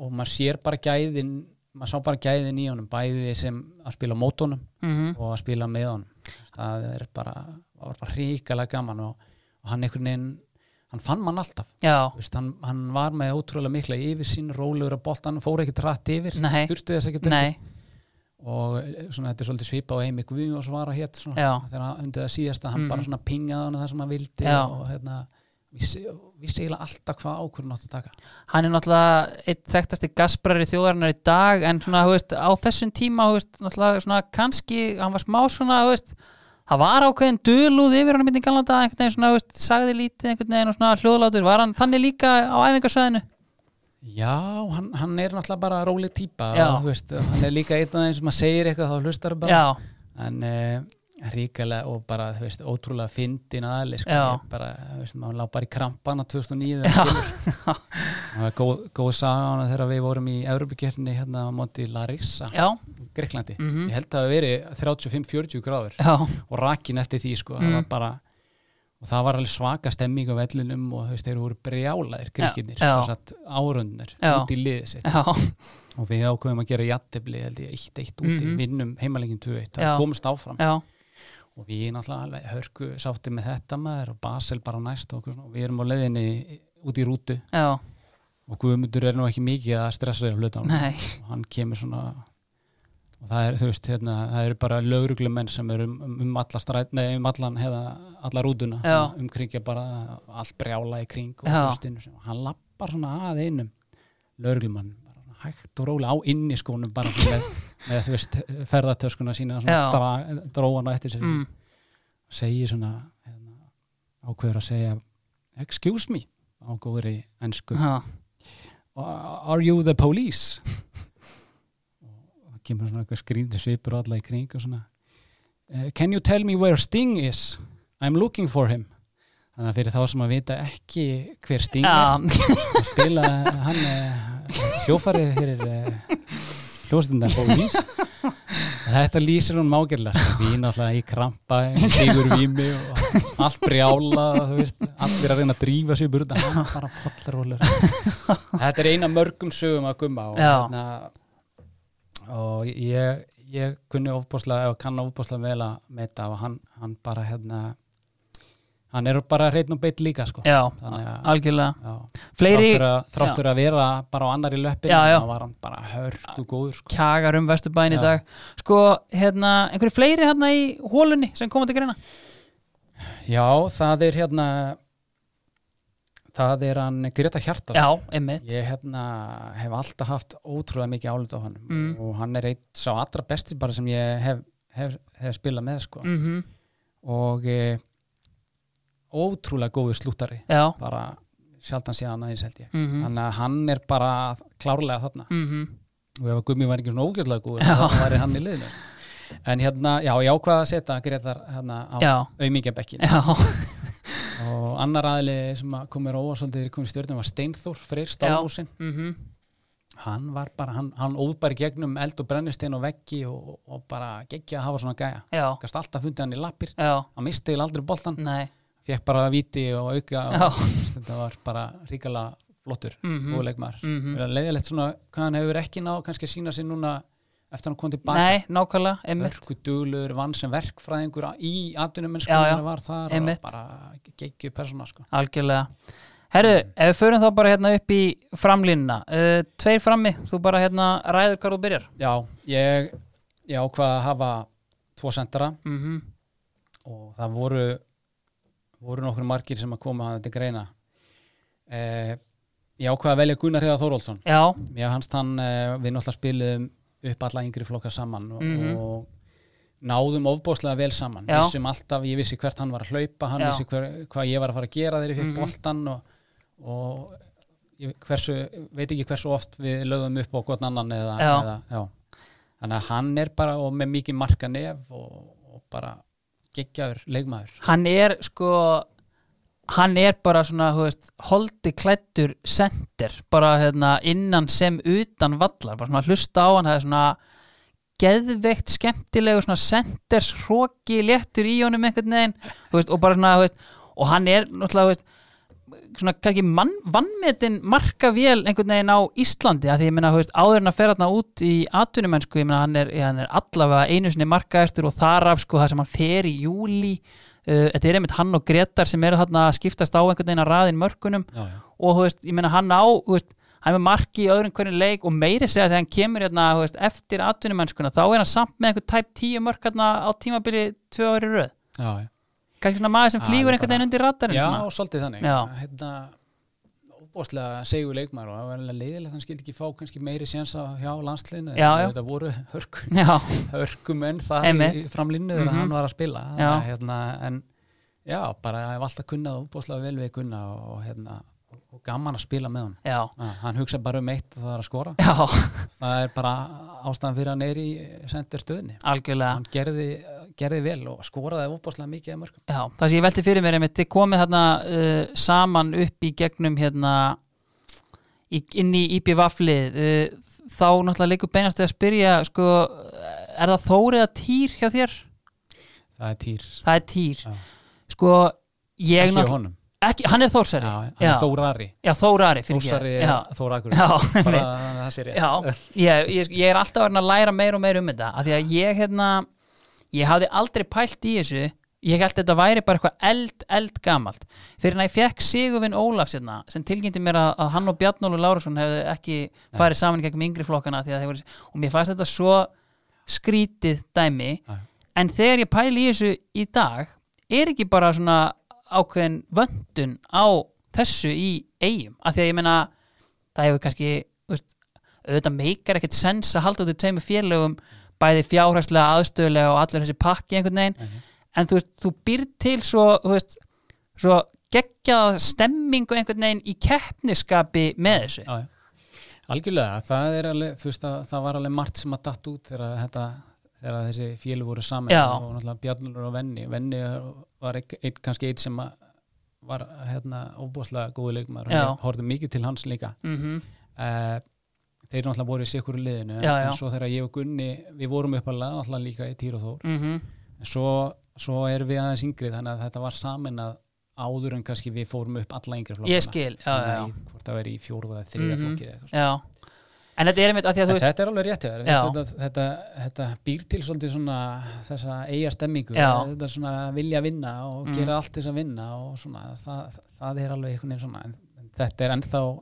[SPEAKER 2] og maður sér bara gæðin maður sá bara gæðin í honum bæði sem að spila á mótunum
[SPEAKER 1] mhm,
[SPEAKER 2] og að spila með honum Þú veist, það er bara, það var bara ríkalega gaman og, og hann einhvern veginn hann fann mann alltaf
[SPEAKER 1] já,
[SPEAKER 2] Þú veist, hann, hann var með ótrúlega mikla yfir sín rólegur að boltan fór ekki trætt yfir
[SPEAKER 1] Nei.
[SPEAKER 2] þurfti þess ekki
[SPEAKER 1] nei,
[SPEAKER 2] og eh, svona, þetta er svolítið svipa á heimi Guðjóns var að hétt svona,
[SPEAKER 1] Já.
[SPEAKER 2] þegar hann undir það síðasta hann
[SPEAKER 1] Mhm.
[SPEAKER 2] bara svona pingaði hann það sem hann vildi
[SPEAKER 1] Já.
[SPEAKER 2] og hérna vissi, vissi eiginlega alltaf hvað ákvörðun átt að taka
[SPEAKER 1] hann er náttúrulega eitt þekktasti gasprari þjóðarinnar í dag en svona, þú veist, á þessum tíma, þú veist, náttúrulega svona kannski, hann var smá svona, þú veist, það var ákveðin dölúð yfir hann myndi galanda, einhvern veginn svona, þú veist, sagði lítið einhvern veginn og svona hljóðlátur, var hann þannig líka á æfingarsöðinu?
[SPEAKER 2] Já, hann, hann er náttúrulega bara róleg típa
[SPEAKER 1] Já.
[SPEAKER 2] og, þú veist, og hann er líka einn af þeim sem að segir eitthvað þá hlustar bara
[SPEAKER 1] Já,
[SPEAKER 2] en eh, ríkalega og bara þú veist, ótrúlega fyndin aðli sko,
[SPEAKER 1] Já.
[SPEAKER 2] Ég bara, þú veist, maður lág bara í krampana 2009 þegar hann
[SPEAKER 1] <laughs>
[SPEAKER 2] kemur. það var góð, góð saga á hana þegar við vorum í Európikernni hérna á móti Larissa
[SPEAKER 1] já,
[SPEAKER 2] Greiklandi,
[SPEAKER 1] Mhm.
[SPEAKER 2] ég held að það hafi verið 35-40 gráður
[SPEAKER 1] já,
[SPEAKER 2] og rakin eftir því sko,
[SPEAKER 1] Mhm.
[SPEAKER 2] það var bara og það var alveg svaka stemming á vellinum og þú veist, þeir voru brjálaðir gríkinir,
[SPEAKER 1] Já.
[SPEAKER 2] þess að árunnar
[SPEAKER 1] Já.
[SPEAKER 2] út í liðið sitt
[SPEAKER 1] já,
[SPEAKER 2] og við ákveðum að gera jattefli, held ég, 1-1 úti,
[SPEAKER 1] Mhm.
[SPEAKER 2] vinnum heimalengin 2-1
[SPEAKER 1] Já.
[SPEAKER 2] það komst áfram
[SPEAKER 1] já,
[SPEAKER 2] og við náttúrulega alveg hörku sátti með þetta maður og Basel bara næst og, okkur svona. og við erum á leiðinni út í rútu
[SPEAKER 1] já,
[SPEAKER 2] og Guðmundur er nú ekki mikið að stressa þér hlutan
[SPEAKER 1] nei,
[SPEAKER 2] og hann kemur svona og það er, þú veist, hérna, það eru bara lögreglumenn sem eru um, um, um alla stræt, nei, um allan, hefða, alla rúduna
[SPEAKER 1] Já.
[SPEAKER 2] umkringja bara allt brjála í kring og
[SPEAKER 1] Já.
[SPEAKER 2] hlustin, og hann lappar svona að einum lögreglumann, bara svona hægt og rólega á inn í skónum bara
[SPEAKER 1] <laughs>
[SPEAKER 2] svona með, með, þú veist, ferðartöskuna sína
[SPEAKER 1] Já.
[SPEAKER 2] svona dra, dróana eftir sér
[SPEAKER 1] mm,
[SPEAKER 2] og segir svona hérna, ákveður að segja excuse me á góðri ennsku
[SPEAKER 1] já,
[SPEAKER 2] are you the police <laughs> og það kemur svona eitthvað skrýndi svipur alla í kring og svona "Eh, can you tell me where Sting is I'm looking for him þannig að fyrir þá sem að vita ekki hver Sting
[SPEAKER 1] já,
[SPEAKER 2] er að spila hann eh, hljófarið fyrir eh, hljóstundan police og þetta lýsir hún mágerlar við náttúrulega í krampa í sigur vimi og allt brjála þú veist, allir að reyna að drífa sig burða hann bara pollarólur þetta er eina mörgum sögum að gumma og, hérna,
[SPEAKER 1] Já.
[SPEAKER 2] og ég, ég kunni ofbúslega og kann ofbúslega vel að meta og hann, hann bara hérna hann hann er bara hreitn og beitt líka sko.
[SPEAKER 1] já,
[SPEAKER 2] Þannig að-
[SPEAKER 1] algjörlega
[SPEAKER 2] Já.
[SPEAKER 1] fleiri
[SPEAKER 2] þráttur, að, þráttur að vera bara á annari löppin
[SPEAKER 1] Já, já.
[SPEAKER 2] þá var hann bara hörku góður sko.
[SPEAKER 1] kjagar um vesturbæin í
[SPEAKER 2] Já.
[SPEAKER 1] dag sko, hérna, einhverju fleiri hérna í hólunni sem koma til greina
[SPEAKER 2] já, það er hérna það er hann Greta Hjartar
[SPEAKER 1] já, einmitt,
[SPEAKER 2] ég hérna hef alltaf haft ótrúlega mikið álut á honum
[SPEAKER 1] Mm.
[SPEAKER 2] og hann er eitt sá allra besti bara sem ég hef, hef, hef spilað með sko.
[SPEAKER 1] mhm,
[SPEAKER 2] og e, ótrúlega góður slúttari
[SPEAKER 1] já
[SPEAKER 2] bara sjaldan síðan aðeins held ég
[SPEAKER 1] mhm,
[SPEAKER 2] þannig að hann er bara klárlega þarna
[SPEAKER 1] mhm,
[SPEAKER 2] og ef að Gummi var ekki svona ógæslega góð
[SPEAKER 1] Já.
[SPEAKER 2] þá væri hann í liðinu en hérna, já, ég ákvaða að setja Gretar hérna á
[SPEAKER 1] já
[SPEAKER 2] auðmingjabekkin
[SPEAKER 1] já,
[SPEAKER 2] og annar aðli sem að komur óa svolítið komið stjórnum var Steinþór Freyr Stálhúsin
[SPEAKER 1] mhm,
[SPEAKER 2] hann var bara, hann, hann óð bara í gegnum eld og brennistein og veggi og, og bara geggja að hafa svona gæja
[SPEAKER 1] já
[SPEAKER 2] gast alltaf fundið hann í lappir
[SPEAKER 1] já,
[SPEAKER 2] hann misti til aldrei boltan,
[SPEAKER 1] nei
[SPEAKER 2] fekk bara viti og auka
[SPEAKER 1] Mm. Já.
[SPEAKER 2] og þetta var bara ríkala flottur
[SPEAKER 1] mhm,
[SPEAKER 2] og leikmaður
[SPEAKER 1] mhm.
[SPEAKER 2] leiðilegt svona hvað hann hefur ekki náð kannski að sína sér núna eftir hann kom tilbaka
[SPEAKER 1] nei, nákvæmlega, einmitt
[SPEAKER 2] mörgu duglur, vann sem verkfræðingur á- í atvinnum en sko
[SPEAKER 1] Já, já.
[SPEAKER 2] var þar
[SPEAKER 1] Einmitt.
[SPEAKER 2] og bara geggju persóna sko.
[SPEAKER 1] algjörlega Herru, ef við förum þá bara hérna upp í framlínuna uh, Tveir frammi, þú bara hérna ræður hvar þú byrjar
[SPEAKER 2] Já, ég, ég ákvað að hafa tvo sendara
[SPEAKER 1] mm
[SPEAKER 2] Mhm. og það voru voru nokkur margir sem að koma að þetta greina eh, Ég ákvað að velja Gunnar Heiðar Þórólfsson
[SPEAKER 1] Já,
[SPEAKER 2] Mér hans þann, eh, við náttúrulega spilum upp alla yngri flokka saman og,
[SPEAKER 1] Mhm.
[SPEAKER 2] og náðum ofbóðslega vel saman
[SPEAKER 1] Já.
[SPEAKER 2] vissum alltaf, ég vissi hvert hann var að hlaupa hann
[SPEAKER 1] Já.
[SPEAKER 2] vissi hver, hvað ég var að fara að gera þegar ég fikk
[SPEAKER 1] Mhm.
[SPEAKER 2] boltan og, og ég hversu, veit ekki hversu oft við lögðum upp á hvort annan eða,
[SPEAKER 1] Já.
[SPEAKER 2] eða já. þannig að hann er bara og með mikið marka nef og, og bara geggjaður leikmaður
[SPEAKER 1] hann er sko hann er bara svona, þú veist holdi klættur sendir bara hérna innan sem utan vallar, bara svona hlusta á hann það er svona geðveikt skemmtilegu svona senders hróki léttur í honum einhvern veginn þú veist, og bara svona, þú veist, og hann er náttúrulega, þú veist svona kannski mann, vannmetin marka vel einhvern veginn á Íslandi að því ég meina, þú veist, áður en að fer hann út í atvinnumennsku, ég meina, hann er, hann er allavega einu sinni markaðistur og þar af sko það sem hann fer í júli uh, þetta er einmitt hann og Gretar sem eru hann að skiptast á einhvern veginn að raðin mörkunum
[SPEAKER 2] já, já.
[SPEAKER 1] og þú veist, ég meina, hann á, þú veist hann er með marki í öðrum hvernig leik og meiri segja þegar hann kemur hérna, þú veist, eftir atvinnumennskuna þá er hann samt með einhver tæp 10 mörk hérna á tímabili tvö ári röð
[SPEAKER 2] Já, já.
[SPEAKER 1] kannski svona maður sem
[SPEAKER 2] Ah,
[SPEAKER 1] flýgur
[SPEAKER 2] alveg
[SPEAKER 1] einhvern
[SPEAKER 2] bara-
[SPEAKER 1] veginn undir radarinn
[SPEAKER 2] Já,
[SPEAKER 1] svona.
[SPEAKER 2] svolítið þannig
[SPEAKER 1] Já.
[SPEAKER 2] hérna, óbóðslega segjur leikmaður og það var alveg leiðilegt að hann skildi ekki fá kannski meiri séns að hjá landsliðinu
[SPEAKER 1] Já, já.
[SPEAKER 2] þetta voru hörku,
[SPEAKER 1] Já.
[SPEAKER 2] hörku menn það
[SPEAKER 1] Einmitt.
[SPEAKER 2] í framlinnu þegar
[SPEAKER 1] Mhm.
[SPEAKER 2] hann var að spila Þannig
[SPEAKER 1] Já.
[SPEAKER 2] að, hérna, en já, bara ég hef alltaf kunnað óbóðslega vel við kunna og, hérna, og gaman að spila með hann
[SPEAKER 1] Já.
[SPEAKER 2] Ah, hann hugsa bara um eitt og það er að skora
[SPEAKER 1] Já,
[SPEAKER 2] það er bara ástæðan fyrir að hann er í sendir stöðinni
[SPEAKER 1] algjörlega.
[SPEAKER 2] hann gerði, gerði vel og skoraði óbóðslega mikið að mörgum
[SPEAKER 1] Já, það sem ég velti fyrir mér einmitt, þið komið hérna uh, saman upp í gegnum hérna í, inn í IPVAF-lið uh, þá náttúrulega leikur beinast við að spyrja sko, er það Þór eða Týr hjá þér?
[SPEAKER 2] það er týr
[SPEAKER 1] Það er Týr.
[SPEAKER 2] Já.
[SPEAKER 1] Sko, ég
[SPEAKER 2] ekki á honum
[SPEAKER 1] Ekki, hann er Þórsari.
[SPEAKER 2] Já, hann
[SPEAKER 1] já.
[SPEAKER 2] er Þórari
[SPEAKER 1] Já, Þórari. fyrirgefðu.
[SPEAKER 2] Þórsari
[SPEAKER 1] Já, <laughs>
[SPEAKER 2] Þórakur
[SPEAKER 1] já,
[SPEAKER 2] bara
[SPEAKER 1] einmitt.
[SPEAKER 2] það sé rétt
[SPEAKER 1] Já, ég, ég, ég er alltaf að læra meira og meira um þetta af því að ég hérna ég hafði aldrei pælt í þessu ég held að þetta væri bara eitthvað eld, eld gamalt fyrir en að ég fekk Sigurvin Ólafs hérna, sem tilkynnti mér að, að hann og Bjarnólu Lárusson hefðu ekki farið saman í gegnum yngri flokkana af því að þeir voru, og mér fannst þetta svo skrítið dæmi
[SPEAKER 2] Já.
[SPEAKER 1] en þegar ég pæli í þessu í dag er ekki bara svona ákveðin vöndun á þessu í eigum af því að ég meina það hefur kannski þú veist, auðvitað meikar ekkert sens að halda út í tveimur félögum bæði fjárhagslega, aðstöðulega og allir þessi pakki einhvern veginn
[SPEAKER 2] Mhm.
[SPEAKER 1] en þú veist, þú býr til svo, þú veist, svo geggjað stemmingu einhvern veginn í keppniskapi með þessu
[SPEAKER 2] Já, já. Algjörlega, það er alveg þú veist að það var alveg margt sem að datt út þegar þetta þegar þessi félug voru saman
[SPEAKER 1] Já.
[SPEAKER 2] og náttúrulega Bjarnulur og Venni Venni var einn ein, kannski eitt sem að var hérna óbúslega góðu leikmaður
[SPEAKER 1] Já.
[SPEAKER 2] og horfði mikið til hans líka
[SPEAKER 1] mm
[SPEAKER 2] uh, þeir náttúrulega voru í sikkur liðinu
[SPEAKER 1] Já, já.
[SPEAKER 2] en svo þegar ég og Gunni við vorum uppalega náttúrulega líka í Týr og Þór
[SPEAKER 1] Mm -hmm.
[SPEAKER 2] En svo, svo erum við aðeins yngri þannig að þetta var samin að áður en kannski við fórum upp alla yngri flokkana
[SPEAKER 1] ég skil já, já, já.
[SPEAKER 2] Þannig að í- hvort það væri í fjórða eða þriða mm
[SPEAKER 1] Mhm.
[SPEAKER 2] -hmm. flokki
[SPEAKER 1] Já, en þetta er einmitt að því að þú
[SPEAKER 2] En
[SPEAKER 1] veist
[SPEAKER 2] þetta er alveg rétt hjá
[SPEAKER 1] Já.
[SPEAKER 2] þér, veist, þetta, þetta, þetta býr til svolítið svona þessa eiga stemmingu,
[SPEAKER 1] Já.
[SPEAKER 2] þetta svona vilja vinna og
[SPEAKER 1] Mm.
[SPEAKER 2] gera allt til þess að vinna og svona, það, það, það er alveg einhvern veginn svona, en, en þetta er ennþá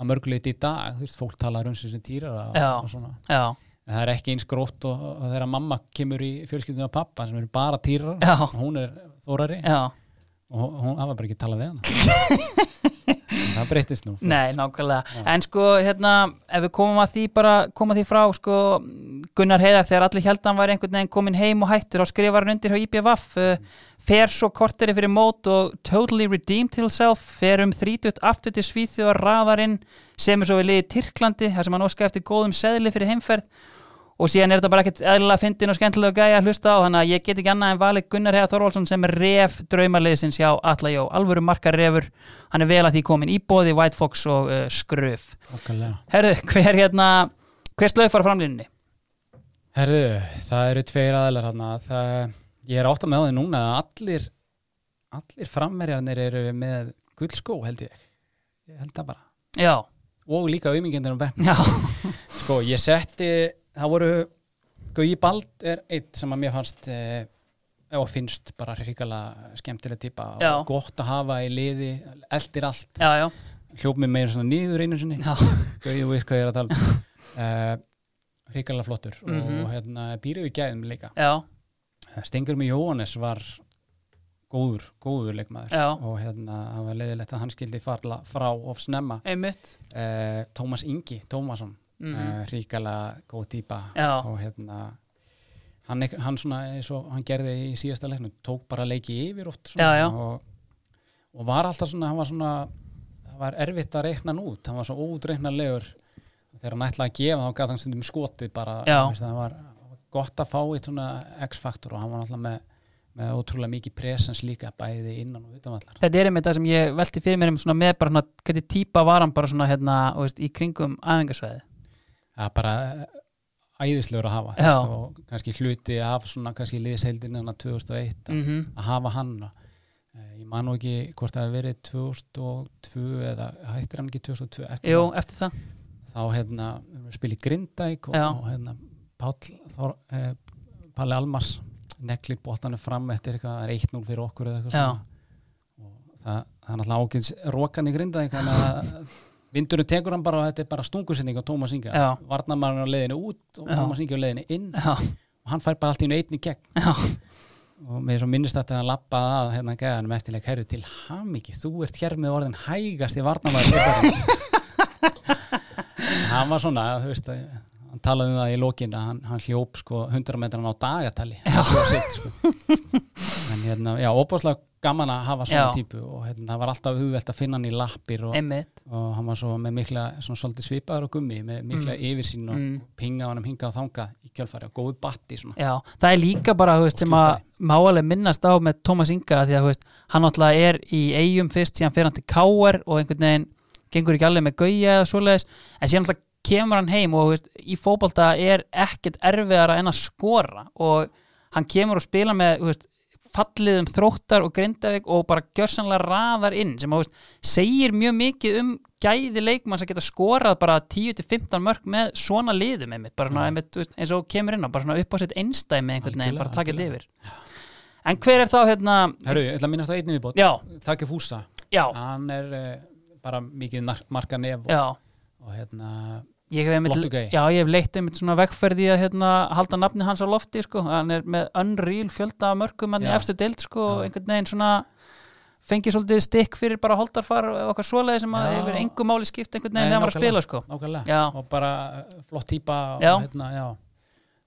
[SPEAKER 2] að mörguleiti í dag, þú veist, fólk talar um sem sem týrar og,
[SPEAKER 1] Já.
[SPEAKER 2] og svona,
[SPEAKER 1] já,
[SPEAKER 2] en það er ekki eins grótt og, og þegar mamma kemur í fjölskyldinu af pappa sem eru bara týrar,
[SPEAKER 1] Já.
[SPEAKER 2] hún er þórari
[SPEAKER 1] já,
[SPEAKER 2] og hún- hún hafa bara ekki talað við hana.
[SPEAKER 1] <laughs>
[SPEAKER 2] En það breytist nú.
[SPEAKER 1] nei, nákvæmlega en sko, hérna, ef við komum að því bara, koma því frá, sko Gunnar Heiðar, þegar allir held að hann var einhvern veginn komin heim og hættur og skrifar hann undir hjá IBVF uh, fer svo korteri fyrir mót og totally redeemed himself fer um 30 aftur til Svíþjóðar raðarinn sem er svo við liðið Tyrklandi þar sem hann óska eftir góðum seðli fyrir heimferð og síðan er þetta bara ekkert eðlilega fyndin og skemmtilega gæja að hlusta á þannig að ég get ekki annað en valið Gunnar Hea Þorvaldsson sem er ref draumaliðsins hjá Alla Jó, alvöru markarefur hann er vel að því komin í bóði White Fox og uh, Skröf
[SPEAKER 2] Okkarlega.
[SPEAKER 1] Herðu, <laughs> hver hérna hver slöf fara framlínunni?
[SPEAKER 2] Herðu, það eru tveir aðlar hann það, ég er átt að með á því núna að allir, allir framverjarnir eru með gullskó held ég ég held það bara
[SPEAKER 1] Já,
[SPEAKER 2] og líka um auðmingendur á bekk
[SPEAKER 1] já,
[SPEAKER 2] sko, ég setti, það voru Guði Bald er eitt sem að mér fannst eh, og finnst bara hrikalega skemmtileg típa og
[SPEAKER 1] Já.
[SPEAKER 2] gott að hafa í liði eldir allt,
[SPEAKER 1] já, já,
[SPEAKER 2] hljóp mig meira svona nýður einu sinni
[SPEAKER 1] já.
[SPEAKER 2] Gauði og veist hvað ég er að tala um. uh, hrikalega flottur
[SPEAKER 1] Mhm.
[SPEAKER 2] og hérna býrið við gæðum líka
[SPEAKER 1] Já,
[SPEAKER 2] Stengur með Jóhannes var góður, góður leikmaður
[SPEAKER 1] Já.
[SPEAKER 2] og hérna, það var leiðilegt að hann skildi farla frá of snemma
[SPEAKER 1] einmitt
[SPEAKER 2] uh, Tómas Ingi, Tómasson mm.
[SPEAKER 1] Mhm.
[SPEAKER 2] uh, ríkala góð típa
[SPEAKER 1] Já.
[SPEAKER 2] og hérna hann, ek- hann svona, eins og hann gerði í síðasta leiknum, tók bara leiki yfir oft svona,
[SPEAKER 1] Já, já.
[SPEAKER 2] Og, og var alltaf svona, hann var svona það var erfitt að reikna hann út, hann var svo ódreiknarlegur þegar hann ætlaði að gefa þá gaf hann stundum skotið bara
[SPEAKER 1] Já.
[SPEAKER 2] veist, það var var gott að fá eitt svona X-faktor og hann var alltaf með, með ótrúlega mikið presens líka bæði innan og utanvallar
[SPEAKER 1] Þetta er einmitt það sem ég velti fyrir mér um svona með bara svona, hvernig típa var hann bara svona hérna, þú veist, í kringum æfingasvæði
[SPEAKER 2] það er bara eh, æðislegur að hafa
[SPEAKER 1] Já.
[SPEAKER 2] veist, og kannski hluti af svona kannski liðseildin hann 2001
[SPEAKER 1] mm
[SPEAKER 2] að hafa hann Eh, ég man nú ekki hvort það hefði verið 2002 eða hættir hann ekki 2002 eftir
[SPEAKER 1] Jú,
[SPEAKER 2] það.
[SPEAKER 1] eftir það
[SPEAKER 2] þá hérna erum við að spila í Grindæk og,
[SPEAKER 1] Já.
[SPEAKER 2] og hérna Páll Þor, eh, Palli Almars neglir bóttanum fram eftir eitthvað það er 1-0 fyrir okkur eða eitthvað
[SPEAKER 1] Já.
[SPEAKER 2] svona og það, það er náttúrulega ákveðs rokan í Grindæk þannig að vindurinn tekur hann bara og þetta er bara stungusending á Tómas Inga
[SPEAKER 1] Já.
[SPEAKER 2] varnamarinn á leiðinu út og
[SPEAKER 1] Já.
[SPEAKER 2] Tómas Inga á leiðinu inn
[SPEAKER 1] Já,
[SPEAKER 2] og hann fær bara allt í einu einn í gegn
[SPEAKER 1] já,
[SPEAKER 2] og með svo minnist þetta að hann lappaði að hérna gæðanum eftirleik, herru til hamiki þú ert hér með orðin hægast í varnamæður <laughs> hann var svona þú veist, að- hann talaði um það í lokin að hann, hann hljóp sko 100 metran á dagatali sitt, sko. en hérna, já, opaslega gaman að hafa svona
[SPEAKER 1] Já.
[SPEAKER 2] típu og hérna, það var alltaf hugvelt að finna hann í lappir og,
[SPEAKER 1] einmitt
[SPEAKER 2] og hann var svo með mikla svona svolítið svipaður og gummi, með mikla yfirsýn og
[SPEAKER 1] Mm.
[SPEAKER 2] pinga hann hingað og þangað í kjálfæri og góðu batti svona
[SPEAKER 1] Já, það er líka bara, þú veist, sem að máaleg minnast á með Tómas Inga því að, þú veist, hann alltaf er í eigum fyrst síðan fer hann til K.R. og einhvern veginn gengur ekki alveg með gauja eða svoleiðis en síðan alltaf kemur hann heim og, þú veist, í fótbolta er ekkert erfiðara en að skora og hann kemur og spila með, þú veist, falliðum um þróttar og grindavík og bara gjörsanlega raðar inn sem, þú veist, segir mjög mikið um gæði leikmanns að geta skorað bara 10-15 mörg með svona liðum einmitt, bara svona, einmitt, þú veist, eins og þú kemur inn á bara svona upp á sitt einstæmi einhvern veginn,
[SPEAKER 2] Algjörlega,
[SPEAKER 1] bara taka þetta
[SPEAKER 2] algjörlega.
[SPEAKER 1] yfir en hver er þá hérna
[SPEAKER 2] Herru, ég ætla að minnast á einni viðbót
[SPEAKER 1] já,
[SPEAKER 2] Takk er Fúsa
[SPEAKER 1] já,
[SPEAKER 2] Hann er uh, bara mikið nar- marka nef og,
[SPEAKER 1] já
[SPEAKER 2] og hérna
[SPEAKER 1] ég hef
[SPEAKER 2] Flottur
[SPEAKER 1] einmitt,
[SPEAKER 2] gæi.
[SPEAKER 1] já, ég hef leitt einmitt svona vegferði að hérna, halda nafni hans á lofti sko. hann er með unreal fjölda af mörgum hann í
[SPEAKER 2] Já.
[SPEAKER 1] efstu deild sko, og
[SPEAKER 2] Já.
[SPEAKER 1] einhvern veginn svona fengið svolítið stikk fyrir bara holdarfar og okkar svoleiði sem að
[SPEAKER 2] Já.
[SPEAKER 1] yfir engu máli skipt einhvern
[SPEAKER 2] Nei,
[SPEAKER 1] veginn þegar hann var að
[SPEAKER 2] nákvæmlega.
[SPEAKER 1] spila sko.
[SPEAKER 2] nákvæmlega
[SPEAKER 1] já,
[SPEAKER 2] og bara eh, flott típa og,
[SPEAKER 1] Já.
[SPEAKER 2] Hérna, já.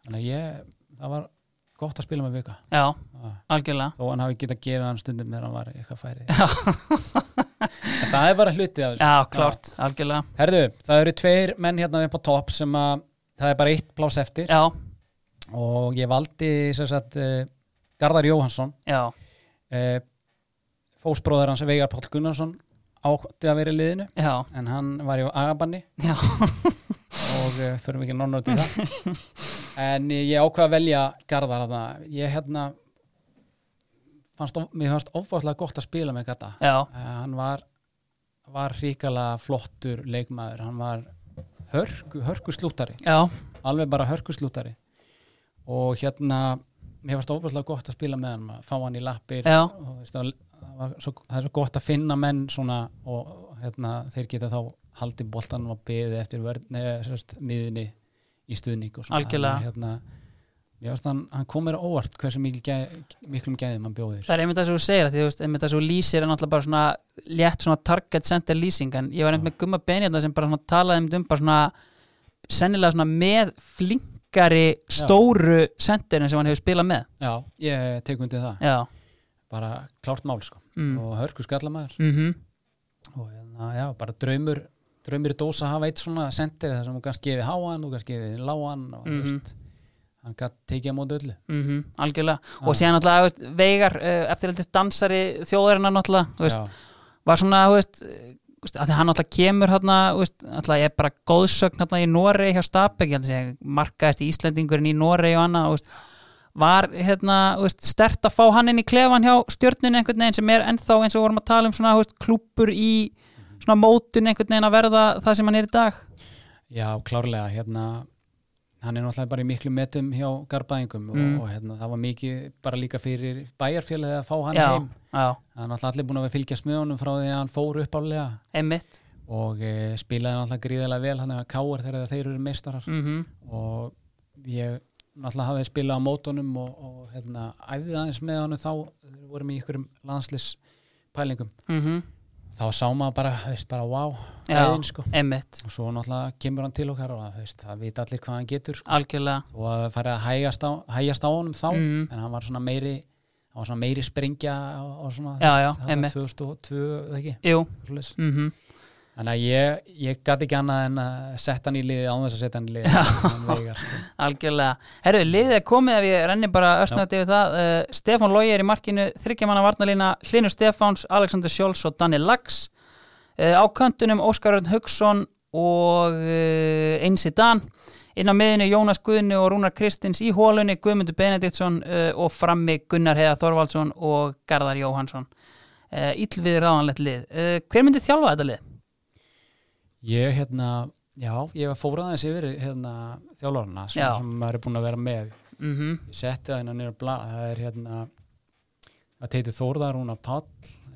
[SPEAKER 2] Þannig að ég, það var gott að spila með vika
[SPEAKER 1] já,
[SPEAKER 2] Já.
[SPEAKER 1] algjörlega
[SPEAKER 2] og hann hafi getað gefið hann stundum þegar hann var í eitthvað færi En það er bara hluti af þessu
[SPEAKER 1] Já, klárt, algjörlega
[SPEAKER 2] Herðu, það eru tveir menn hérna upp á topp sem að það er bara eitt pláss eftir
[SPEAKER 1] Já,
[SPEAKER 2] og ég valdi sem sagt uh, Garðar Jóhansson
[SPEAKER 1] já,
[SPEAKER 2] uh, fósbróður hans Veigar Páll Gunnarsson átti að vera í liðinu
[SPEAKER 1] já,
[SPEAKER 2] en hann var í agabanni
[SPEAKER 1] já
[SPEAKER 2] og uh, förum ekki nánar til það en ég ákvað að velja Garðar þarna. ég hérna fannst, of- mér fannst ofvarslega gott að spila með Eh, Garða
[SPEAKER 1] Já,
[SPEAKER 2] uh, hann var var ríkala flottur leikmaður hann var hörku, hörku slúttari
[SPEAKER 1] Já,
[SPEAKER 2] alveg bara hörku slúttari og hérna mér varst óbúslega gott að spila með hann að fá hann í lappir
[SPEAKER 1] Já.
[SPEAKER 2] og þú veist, það, var, það, var svo, það er svo gott að finna menn svona og hérna, þeir geta þá haldið boltanum að beði eftir vörn, eh, sem sagt, miðinni í stuðning og svona
[SPEAKER 1] Algjörlega.
[SPEAKER 2] Þannig að, hérna, mér varst hann, hann kom mér á óvart hversu mikil gæ, miklum gæðum hann bjóðir
[SPEAKER 1] það er einmitt það sem þú segir að því, þú veist, einmitt það sem þú lýsir er náttúrulega bara svona létt svona target center lýsing en ég var einmitt með gumma benjarna sem bara svona talaði einmitt um bara svona sennilega svona með flinkari stóru centerin sem hann hefur spilað með
[SPEAKER 2] Já, ég tek undir það
[SPEAKER 1] Já,
[SPEAKER 2] bara klárt mál sko
[SPEAKER 1] mm.
[SPEAKER 2] og hörku skallamæður
[SPEAKER 1] Mm
[SPEAKER 2] og hérna, já, bara draumur draumur í dósa að hafa eitt svona sendir þar sem hún kannski gefið háan og kannski gefið lágan og mm
[SPEAKER 1] Mhm.
[SPEAKER 2] -hmm. hann gætt tekið á móti öllu
[SPEAKER 1] Mhm, algjörlega
[SPEAKER 2] Já.
[SPEAKER 1] og síðan náttúrulega þú veist, Veigar uh, eftirleitis dansari þjóðarinnar náttúrulega þú veist,
[SPEAKER 2] Já,
[SPEAKER 1] var svona þú veist, eh, þú veist, að því hann náttúrulega kemur hérna, veist, náttúrulega er bara góðsögn hérna í Noregi hjá Stabæk markaðist í Íslendingurinn í Noregi og annað þú veist, var hérna þú veist, stert að fá hann inn í klefan hjá stjörnun einhvern veginn sem er ennþá eins og við vorum að tala um svona þú veist, klúpur í svona mótun einhvern veginn að verða það sem hann er í dag
[SPEAKER 2] já, klárlega hérna, hann er náttúrulega bara í miklu metum hjá
[SPEAKER 1] Mm.
[SPEAKER 2] garbaðingum og, og hérna, það var mikið bara líka fyrir bæjarfélagið að fá hann
[SPEAKER 1] já,
[SPEAKER 2] heim
[SPEAKER 1] já,
[SPEAKER 2] hann er náttúrulega allir búin að vera fylgjast með honum frá því að hann fór uppálega
[SPEAKER 1] einmitt
[SPEAKER 2] og e, spilaði náttúrulega gríðilega vel hann að káar þegar þeir eru meistarar
[SPEAKER 1] mm
[SPEAKER 2] og ég náttúrulega hafði spilað á mótunum og, og hérna, æfði aðeins með hann þá þegar við vorum í ykkurum landslis pælingum
[SPEAKER 1] mhm,
[SPEAKER 2] þá sá maður bara, þú veist, bara wow
[SPEAKER 1] já,
[SPEAKER 2] æðin, sko.
[SPEAKER 1] einmitt,
[SPEAKER 2] og svo náttúrulega kemur hann til okkar og það, þú veist, það vita allir hvað hann getur sko.
[SPEAKER 1] algjörlega
[SPEAKER 2] og að farið að hægjast á, hægjast á honum þá
[SPEAKER 1] Mhm.
[SPEAKER 2] en hann var svona meiri hann var svona meiri springja og, og svona,
[SPEAKER 1] Já, já,
[SPEAKER 2] það
[SPEAKER 1] einmitt.
[SPEAKER 2] var 2002 eða ekki,
[SPEAKER 1] jú,
[SPEAKER 2] svoleiðis.
[SPEAKER 1] mhm
[SPEAKER 2] þannig að ég, ég gæti ekki annað en að setja hann í liðið án þess að setja
[SPEAKER 1] <laughs>
[SPEAKER 2] hann í liðið Hann Veigar, sko.
[SPEAKER 1] Algjörlega. Herru, liðið er komið ef ég renni bara östnætti yfir það. Uh, Stefán Lógi er í markinu, þryggjamanna varnalína, Hlynur Stefáns, Alexander Sjóls og Danni Lax. Uh, á köntunum Óskar Örn Haugsson og uh, Einsi Dan. Inn á miðinu Jónas Guðni og Rúnar Kristins í hólunni, Guðmundur Benediktsson uh, og frammi Gunnar Heiða Þorvaldsson og Garðar Jóhansson. Uh, Íllviði ráðanlegt lið. Uh, hver myndi þjálfa þetta lið?
[SPEAKER 2] Ég hérna, já, ég var fórað aðeins yfir hérna, þjálfarana sem,
[SPEAKER 1] Já.
[SPEAKER 2] sem maður er búin að vera með.
[SPEAKER 1] Mm -hmm.
[SPEAKER 2] Ég setti það hérna nýra blað, það er hérna að teiti Þórðar, Rúnar Páll,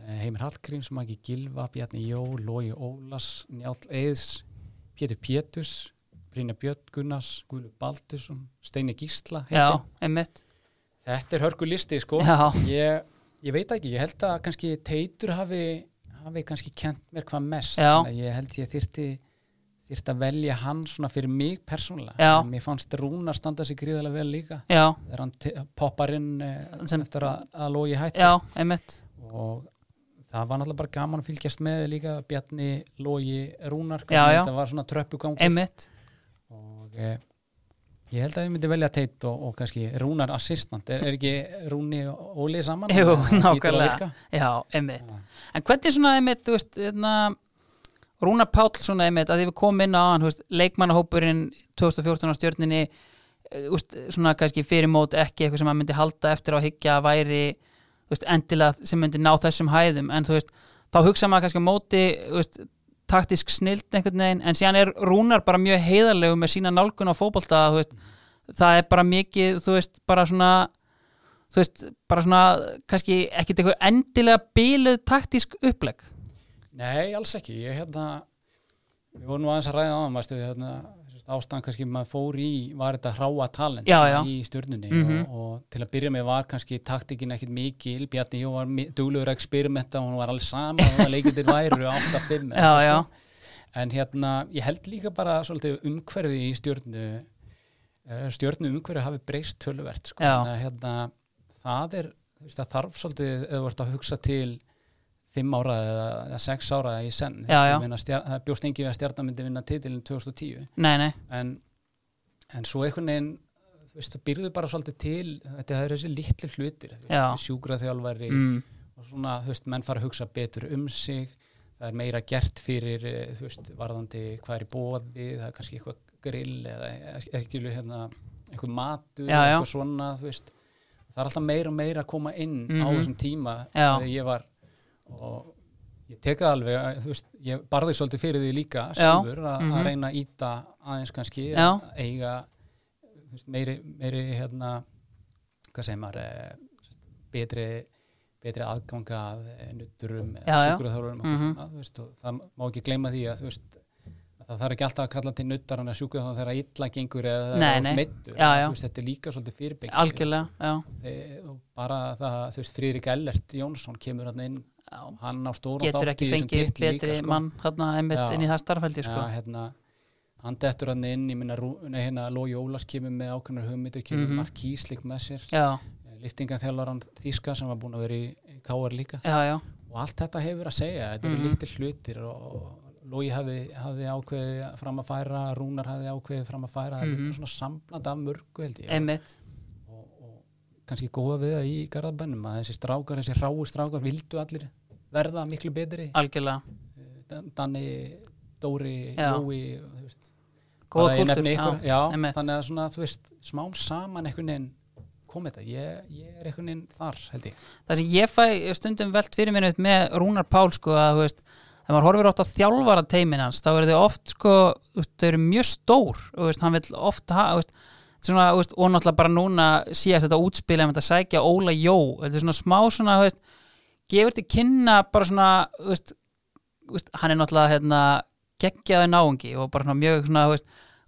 [SPEAKER 2] eh, Heimir Hallgríms, Maki Gilva, Bjarni Jó, Lógi Ólas, Njáll Eiðs, Pétur Péturs, Brynja Björn Gunnars, Guðlu Baldursson, Steini Gísla.
[SPEAKER 1] Já,
[SPEAKER 2] heitinn.
[SPEAKER 1] einmitt.
[SPEAKER 2] Þetta er hörku listi, sko.
[SPEAKER 1] Já.
[SPEAKER 2] Ég, ég veit ekki, ég held að kannski Teitur hafi, hafi kannski kent mér hvað mest
[SPEAKER 1] Já.
[SPEAKER 2] Þannig að ég held ég þyrti þyrti að velja hann svona fyrir mig persónulega,
[SPEAKER 1] Já.
[SPEAKER 2] En mér fannst Rúnar standa sig gríðarlega vel líka
[SPEAKER 1] Já,
[SPEAKER 2] þegar hann te- poppar inn eh,
[SPEAKER 1] Sem-
[SPEAKER 2] eftir að, að logi hætti
[SPEAKER 1] já, einmitt.
[SPEAKER 2] og það var náttúrulega bara gaman að fylgjast með líka Bjarni, Logi, Rúnar
[SPEAKER 1] Já,
[SPEAKER 2] hvernig
[SPEAKER 1] já.
[SPEAKER 2] þetta var svona tröppugang
[SPEAKER 1] Einmitt.
[SPEAKER 2] og eh, ég held að ég myndi velja Teit og, og kannski Rúnar assistant er, er ekki Rúni og Óli saman?
[SPEAKER 1] Jú,
[SPEAKER 2] Það hlýtur að
[SPEAKER 1] nákvæmlega.
[SPEAKER 2] virka.
[SPEAKER 1] Já, einmitt.
[SPEAKER 2] Já.
[SPEAKER 1] En hvernig svona einmitt, þú veist, hérna, Rúnar Páll svona einmitt, að því við komum inn á hann, þú veist, leikmannahópurinn 2014 á stjörninni, eh, þú veist, svona kannski fyrir mót ekki eitthvað sem að myndi halda eftir á higgja að væri, þú veist, endilega sem myndi ná þessum hæðum, en þú veist, þá hugsa maður kannski á móti, þú veist, taktisk snilt einhvern veginn, en síðan er Rúnar bara mjög heiðarlegu með sína nálgun á fótbolta, þú veist, það er bara mikið, þú veist, bara svona, þú veist, bara svona kannski ekkit eitthvað endilega bíluð taktísk uppleg
[SPEAKER 2] Nei, alls ekki. Ég hérna, við vorum nú aðeins að ræða á hann, veistu, hérna, ástæðan kannski maður fór í, var þetta hráa talent
[SPEAKER 1] Já, já.
[SPEAKER 2] í stjörnunni
[SPEAKER 1] Mhm.
[SPEAKER 2] og, og til að byrja með var kannski taktikin ekkit mikil, Bjarni Jó var mi- duglegur að experimenta, hún var alveg sama, hún var leikindir væru 8-5.
[SPEAKER 1] <laughs> Já, já,
[SPEAKER 2] sko. En hérna, ég held líka bara svolítið umhverfið í stjörnu eh, stjörnu umhverfið hafi breyst töluvert sko.
[SPEAKER 1] Já.
[SPEAKER 2] Þannig að, hérna, það er þú veist, það þarf svolítið eða vart að hugsa til fimm ára eða, eða sex ára í senn
[SPEAKER 1] Já, já.
[SPEAKER 2] Minna, stjar, það bjóst engin við að stjarnan myndi vinna titilin 2010
[SPEAKER 1] nei, nei
[SPEAKER 2] en, en svo einhvern veginn þú veist, það byrðu bara svolítið til þetta það eru þessi litlu hlutir þú
[SPEAKER 1] Já.
[SPEAKER 2] veist, sjúkraþjálfari
[SPEAKER 1] mm.
[SPEAKER 2] og svona, þú veist, menn fara að hugsa betur um sig það er meira gert fyrir eh, þú veist, varðandi hvað er í bóði það er kannski eitthvað grill eða er ekki hérna, eitthvað matur
[SPEAKER 1] Já, já.
[SPEAKER 2] eitthvað svona, þú veist það er alltaf meira og meira að koma inn á
[SPEAKER 1] Mhm.
[SPEAKER 2] þessum tíma
[SPEAKER 1] Já.
[SPEAKER 2] þegar ég var og ég tek það alveg, að, þú veist, ég barði svolítið fyrir því líka
[SPEAKER 1] Já.
[SPEAKER 2] sjálfur að,
[SPEAKER 1] Mhm.
[SPEAKER 2] að reyna að íta aðeins kannski,
[SPEAKER 1] Já.
[SPEAKER 2] að eiga þú veist, meiri, meiri hérna, hvað segir maður, eh, þú veist, betri, betri aðganga að eh, nutturum eða
[SPEAKER 1] Já, já.
[SPEAKER 2] sjúkraþjálfurum mm
[SPEAKER 1] Mhm.
[SPEAKER 2] -hmm. veist, og það má ekki gleyma því að þú veist, að það þarf ekki alltaf að kalla til nuttar en að sjúka þá þegar illa gengur eða það
[SPEAKER 1] Nei,
[SPEAKER 2] er
[SPEAKER 1] nei.
[SPEAKER 2] oft meiddur.
[SPEAKER 1] Já, já.
[SPEAKER 2] Þú veist, þetta er líka svolítið fyrirbygging
[SPEAKER 1] algjörlega, já,
[SPEAKER 2] Þe- og bara það, þú veist, Frýrik Ellert Jónsson kemur hann inn
[SPEAKER 1] já.
[SPEAKER 2] hann á stóran
[SPEAKER 1] getur ekki fengið betri mann hérna einmitt
[SPEAKER 2] sko. Já.
[SPEAKER 1] inn í það starfældi sko.
[SPEAKER 2] sko. ja, hérna, hann dettur hann inn ég minna, nei, hérna, Lói Ólas kemur með ákveðnar hugmyndir, kemur mm
[SPEAKER 1] Mhm.
[SPEAKER 2] -hmm. markíslik með sér
[SPEAKER 1] já,
[SPEAKER 2] Eh, liftingaþjálfaran Þíska sem var búin að vera í í KR líka
[SPEAKER 1] já, já,
[SPEAKER 2] og allt þetta hefur að segja, þetta eru
[SPEAKER 1] Mhm.
[SPEAKER 2] lítil hlutir og Lói hafi, hafi ákveðið fram að færa, Rúnar hafi ákveðið fram að færa, það
[SPEAKER 1] Mhm.
[SPEAKER 2] er svona sambland af mörgu held ég
[SPEAKER 1] einmitt
[SPEAKER 2] og, og kannski góða við það í garðabænum að þessi strákar, þessi ráu strákar vildu allir verða miklu betri Eh,
[SPEAKER 1] algjörlega,
[SPEAKER 2] Dan- Danni, Dóri,
[SPEAKER 1] Já.
[SPEAKER 2] Jói og þú veist,
[SPEAKER 1] góða
[SPEAKER 2] bara ég
[SPEAKER 1] kultur
[SPEAKER 2] nefni ykkur, já,
[SPEAKER 1] einmitt.
[SPEAKER 2] þannig að svona, þú veist, smám saman einhvern veginn kom þetta, ég, ég er einhvern veginn þar, held ég.
[SPEAKER 1] það sem ég fæ stundum velt fyrir minni upp með Rúnar Pál sko að þú veist þegar maður horfir oft á þjálfara teimin hans þá eru þau oft sko, þú veist, þau eru mjög stór þú veist, hann vill oft ha, þú veist, þetta er svona, þú veist, og náttúrulega bara núna síðast þetta útspil að þetta sækja Óla Jó þetta er svona smá svona, þú veist gefur til kynna bara svona þú veist, þú veist, hann er náttúrulega hérna, geggjaði náungi og bara svona mjög svona, þú veist,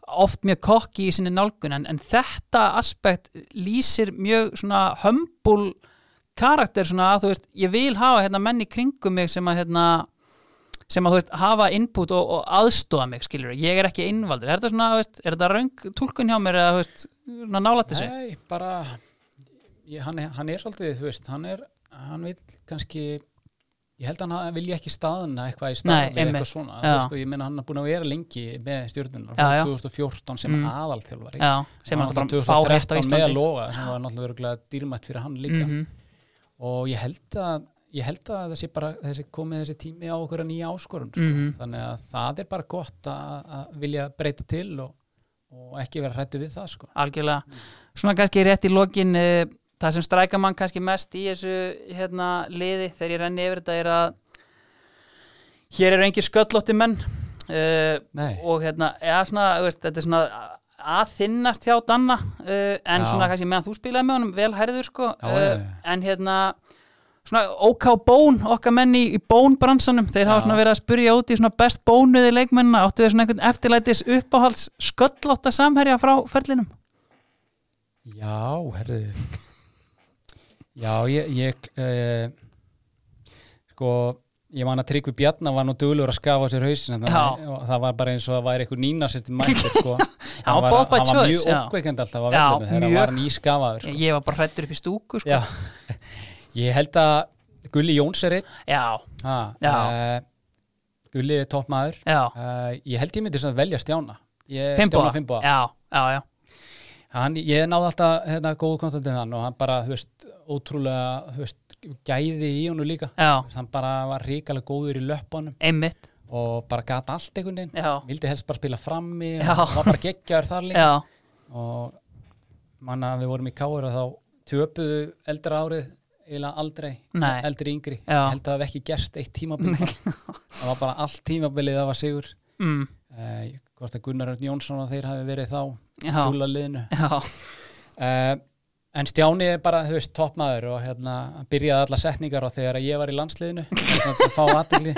[SPEAKER 1] oft mjög kokki í sinni nálgun en, en þetta aspekt lýsir mjög svona hömbul karakter svona að þú veist ég vil hafa hérna menn í kringum mig sem að hérna sem að þú veist hafa input og, og aðstóða mig skilur ég er ekki innvaldur, er þetta svona þú veist, er þetta raung tólkun hjá mér eða þú veist nálætti sig?
[SPEAKER 2] Nei, bara, ég, hann, er- hann er svolítið, þú veist, hann er, hann vil kannski, ég held að hann vilja ekki staðna eitthvað í
[SPEAKER 1] Nei,
[SPEAKER 2] staðan við
[SPEAKER 1] einmitt,
[SPEAKER 2] eitthvað svona, þú
[SPEAKER 1] já.
[SPEAKER 2] veist, og ég meina hann er búin að vera lengi með stjórnunar,
[SPEAKER 1] Já, já.
[SPEAKER 2] 2014 sem
[SPEAKER 1] Mm.
[SPEAKER 2] aðalþjálfari.
[SPEAKER 1] Já, sem er
[SPEAKER 2] Hann var
[SPEAKER 1] náttúrulega fá rétt á
[SPEAKER 2] 2013 með
[SPEAKER 1] Íslandi
[SPEAKER 2] loga sem var náttúrulega örugglega dýrmætt fyrir hann líka
[SPEAKER 1] Mhm.
[SPEAKER 2] og ég held að ég held að það sé bara þessi komið þessi tími á okkur að nýja áskorun sko.
[SPEAKER 1] Mhm.
[SPEAKER 2] þannig að það er bara gott að, að vilja breyta til og, og ekki vera hrættu við það sko.
[SPEAKER 1] algjörlega svona kannski rétt í lokin uh, það sem stræka mann kannski mest í þessu hérna, liði þegar ég renni yfir þetta er að hér eru engir sköllótti menn uh,
[SPEAKER 2] Nei.
[SPEAKER 1] og hérna eða svona, þú veist, þetta er svona að þinnast hjá Danna uh, en
[SPEAKER 2] Já.
[SPEAKER 1] svona kannski meðan þú spilaði með honum vel herður sko
[SPEAKER 2] Já,
[SPEAKER 1] uh,
[SPEAKER 2] já, já.
[SPEAKER 1] en hérna svona OK Bón, okkar menn í, í bónbransanum þeir hafa
[SPEAKER 2] Já.
[SPEAKER 1] svona verið að spurja út í svona best bónuði leikmennina, áttu þeir svona einhvern eftirlætis uppáhalds sköllótta samherja frá ferlinum?
[SPEAKER 2] Já, herðu Já, ég, ég eh, sko ég man að Tryggvi Bjarnar var nú duglur að skafa á sér hausin en það,
[SPEAKER 1] Já.
[SPEAKER 2] og það var bara eins og það væri einhver nína sér til mættir sko.
[SPEAKER 1] <laughs> Já,
[SPEAKER 2] var,
[SPEAKER 1] both by
[SPEAKER 2] hann var
[SPEAKER 1] choice,
[SPEAKER 2] mjög
[SPEAKER 1] já.
[SPEAKER 2] okkveikend alltaf að
[SPEAKER 1] Já,
[SPEAKER 2] verðinu þegar hann
[SPEAKER 1] mjög.
[SPEAKER 2] var nýskafaður sko.
[SPEAKER 1] Ég var bara hrættur upp í stúku sko.
[SPEAKER 2] Já, ég held að Gulli Jóns er einn
[SPEAKER 1] já,
[SPEAKER 2] ha,
[SPEAKER 1] Já.
[SPEAKER 2] eh, Gulli er topp maður
[SPEAKER 1] já.
[SPEAKER 2] uh, ég held ég myndi sem velja Stjána ég,
[SPEAKER 1] Fimbóa
[SPEAKER 2] Stjána Fimbóa
[SPEAKER 1] Já, já, já,
[SPEAKER 2] hann, ég náði alltaf hérna, góðu konstantið hann og hann bara, þú veist, ótrúlega þú veist, gæði í honum líka
[SPEAKER 1] já.
[SPEAKER 2] Þú veist, hann bara var ríkalega góður í löpunum
[SPEAKER 1] einmitt
[SPEAKER 2] og bara gata allt einhvern veginn
[SPEAKER 1] Já,
[SPEAKER 2] vildi helst bara spila frammi
[SPEAKER 1] Já.
[SPEAKER 2] og hann var bara geggjaður þar líka
[SPEAKER 1] já,
[SPEAKER 2] og manna við vorum í káir og þá töpuðu eldra árið eiginlega aldrei,
[SPEAKER 1] Nei.
[SPEAKER 2] eldri yngri
[SPEAKER 1] Já.
[SPEAKER 2] Ég held að það hef ekki gerst eitt tímabil það var bara allt tímabilið það var sigur
[SPEAKER 1] mm,
[SPEAKER 2] eh, hvort að Gunnar Örn Jónsson og þeir hafi verið þá
[SPEAKER 1] já,
[SPEAKER 2] tjúla liðinu
[SPEAKER 1] já,
[SPEAKER 2] eh, en Stjáni er bara, þú veist, toppmaður og hérna, hann byrjaði alla setningar og þegar ég var
[SPEAKER 1] <laughs>
[SPEAKER 2] í landsliðinu þannig að fá aðtegli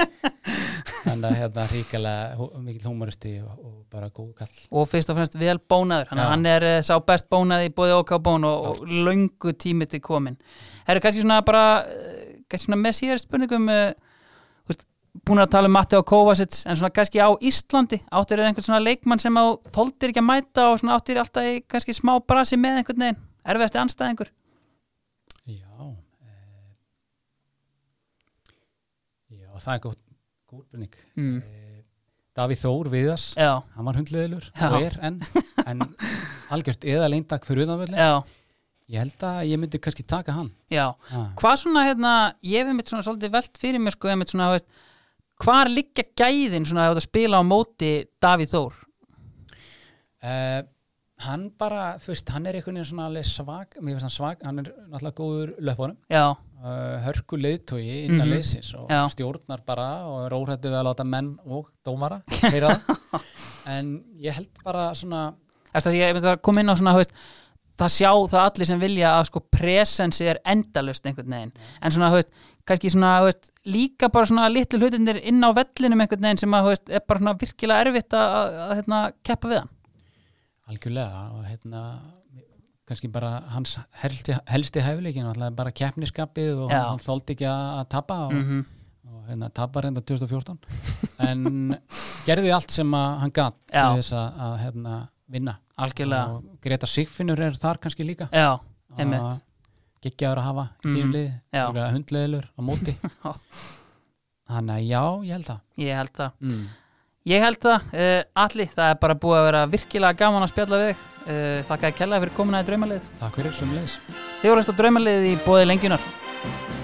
[SPEAKER 2] þannig að hérna ríkilega hú, mikil húmoristi og, og bara góð kall
[SPEAKER 1] Og fyrst og fremst vel bónaður Þannig að
[SPEAKER 2] Já.
[SPEAKER 1] hann er eh, sá best bónaði í bóði OK bón og, og löngu tími til komin Herru, kannski svona bara eh, kannski svona með síðar spurningum uh, veist, búin að tala um Matti og Kovacic en svona kannski á Íslandi áttur er einhvern svona leikmann sem á þóldir ekki að mæta og svona áttur alltaf í kannski smá brasi með einhvern veginn erfiðasti anstæðingur
[SPEAKER 2] Já eh, Já, það er góð góðbyrning
[SPEAKER 1] Mm.
[SPEAKER 2] eh, Davíð Þór Viðas
[SPEAKER 1] Já,
[SPEAKER 2] hann var hundleðilur
[SPEAKER 1] Já.
[SPEAKER 2] og er enn en algjört eða leindak fyrir utanvöldin
[SPEAKER 1] já,
[SPEAKER 2] ég held að ég myndi kannski taka hann Ah.
[SPEAKER 1] já
[SPEAKER 2] ha.
[SPEAKER 1] hvað svona, hérna, ég hef einmitt svona svolítið velt fyrir mér, sko, einmitt svona, þú veist hvar liggja gæðin svona ef þú ert að spila á móti Davíð Þór?
[SPEAKER 2] eh, hann bara, þú veist, hann er einhvern veginn svona alveg svag, mér finnst hann svag hann er náttúrulega góður löpunum
[SPEAKER 1] já,
[SPEAKER 2] uh, hörku leiðtói innan
[SPEAKER 1] Mhm.
[SPEAKER 2] liðsins og
[SPEAKER 1] Já.
[SPEAKER 2] stjórnar bara og er óhrættu við að láta menn og dómara
[SPEAKER 1] <laughs>
[SPEAKER 2] heyra það en ég held bara svona
[SPEAKER 1] Þess að ég myndi að koma inn á svona, þú veist, það sjá það allir sem vilja að sko presensi er endalust einhvern veginn. En svona, þú veist, kannski svona, þú veist, líka bara svona litlu hlutindir inn á vellinum einhvern veginn sem að, þú veist, er bara svona virkilega erfitt að, að, að hérna, keppa við hann.
[SPEAKER 2] algjörlega og hérna kannski bara hans helsti, helsti hæfileikin alltaf bara keppniskapið og
[SPEAKER 1] Já.
[SPEAKER 2] hann þóldi ekki að að tapa og,
[SPEAKER 1] Mhm.
[SPEAKER 2] og hérna tapa reynda 2014 en gerði allt sem að hann gat
[SPEAKER 1] Já.
[SPEAKER 2] til þess að, að hérna vinna
[SPEAKER 1] Algjörlega.
[SPEAKER 2] og Greta Sigfinnur er þar kannski líka
[SPEAKER 1] Já, einmitt.
[SPEAKER 2] geggjaður að hafa í
[SPEAKER 1] Mhm.
[SPEAKER 2] tíum liði
[SPEAKER 1] Já.
[SPEAKER 2] mm. hundleðilur á móti
[SPEAKER 1] <laughs> Já.
[SPEAKER 2] þannig að já, ég held það
[SPEAKER 1] Ég held það.
[SPEAKER 2] mm.
[SPEAKER 1] Ég held það, uh, allir, það er bara búið að vera virkilega gaman að spjalla við þig. Uh, þakka að kella fyrir komuna í draumalið.
[SPEAKER 2] takk fyrir, sumleis
[SPEAKER 1] Þið voru að draumalið í bóði lengjunar.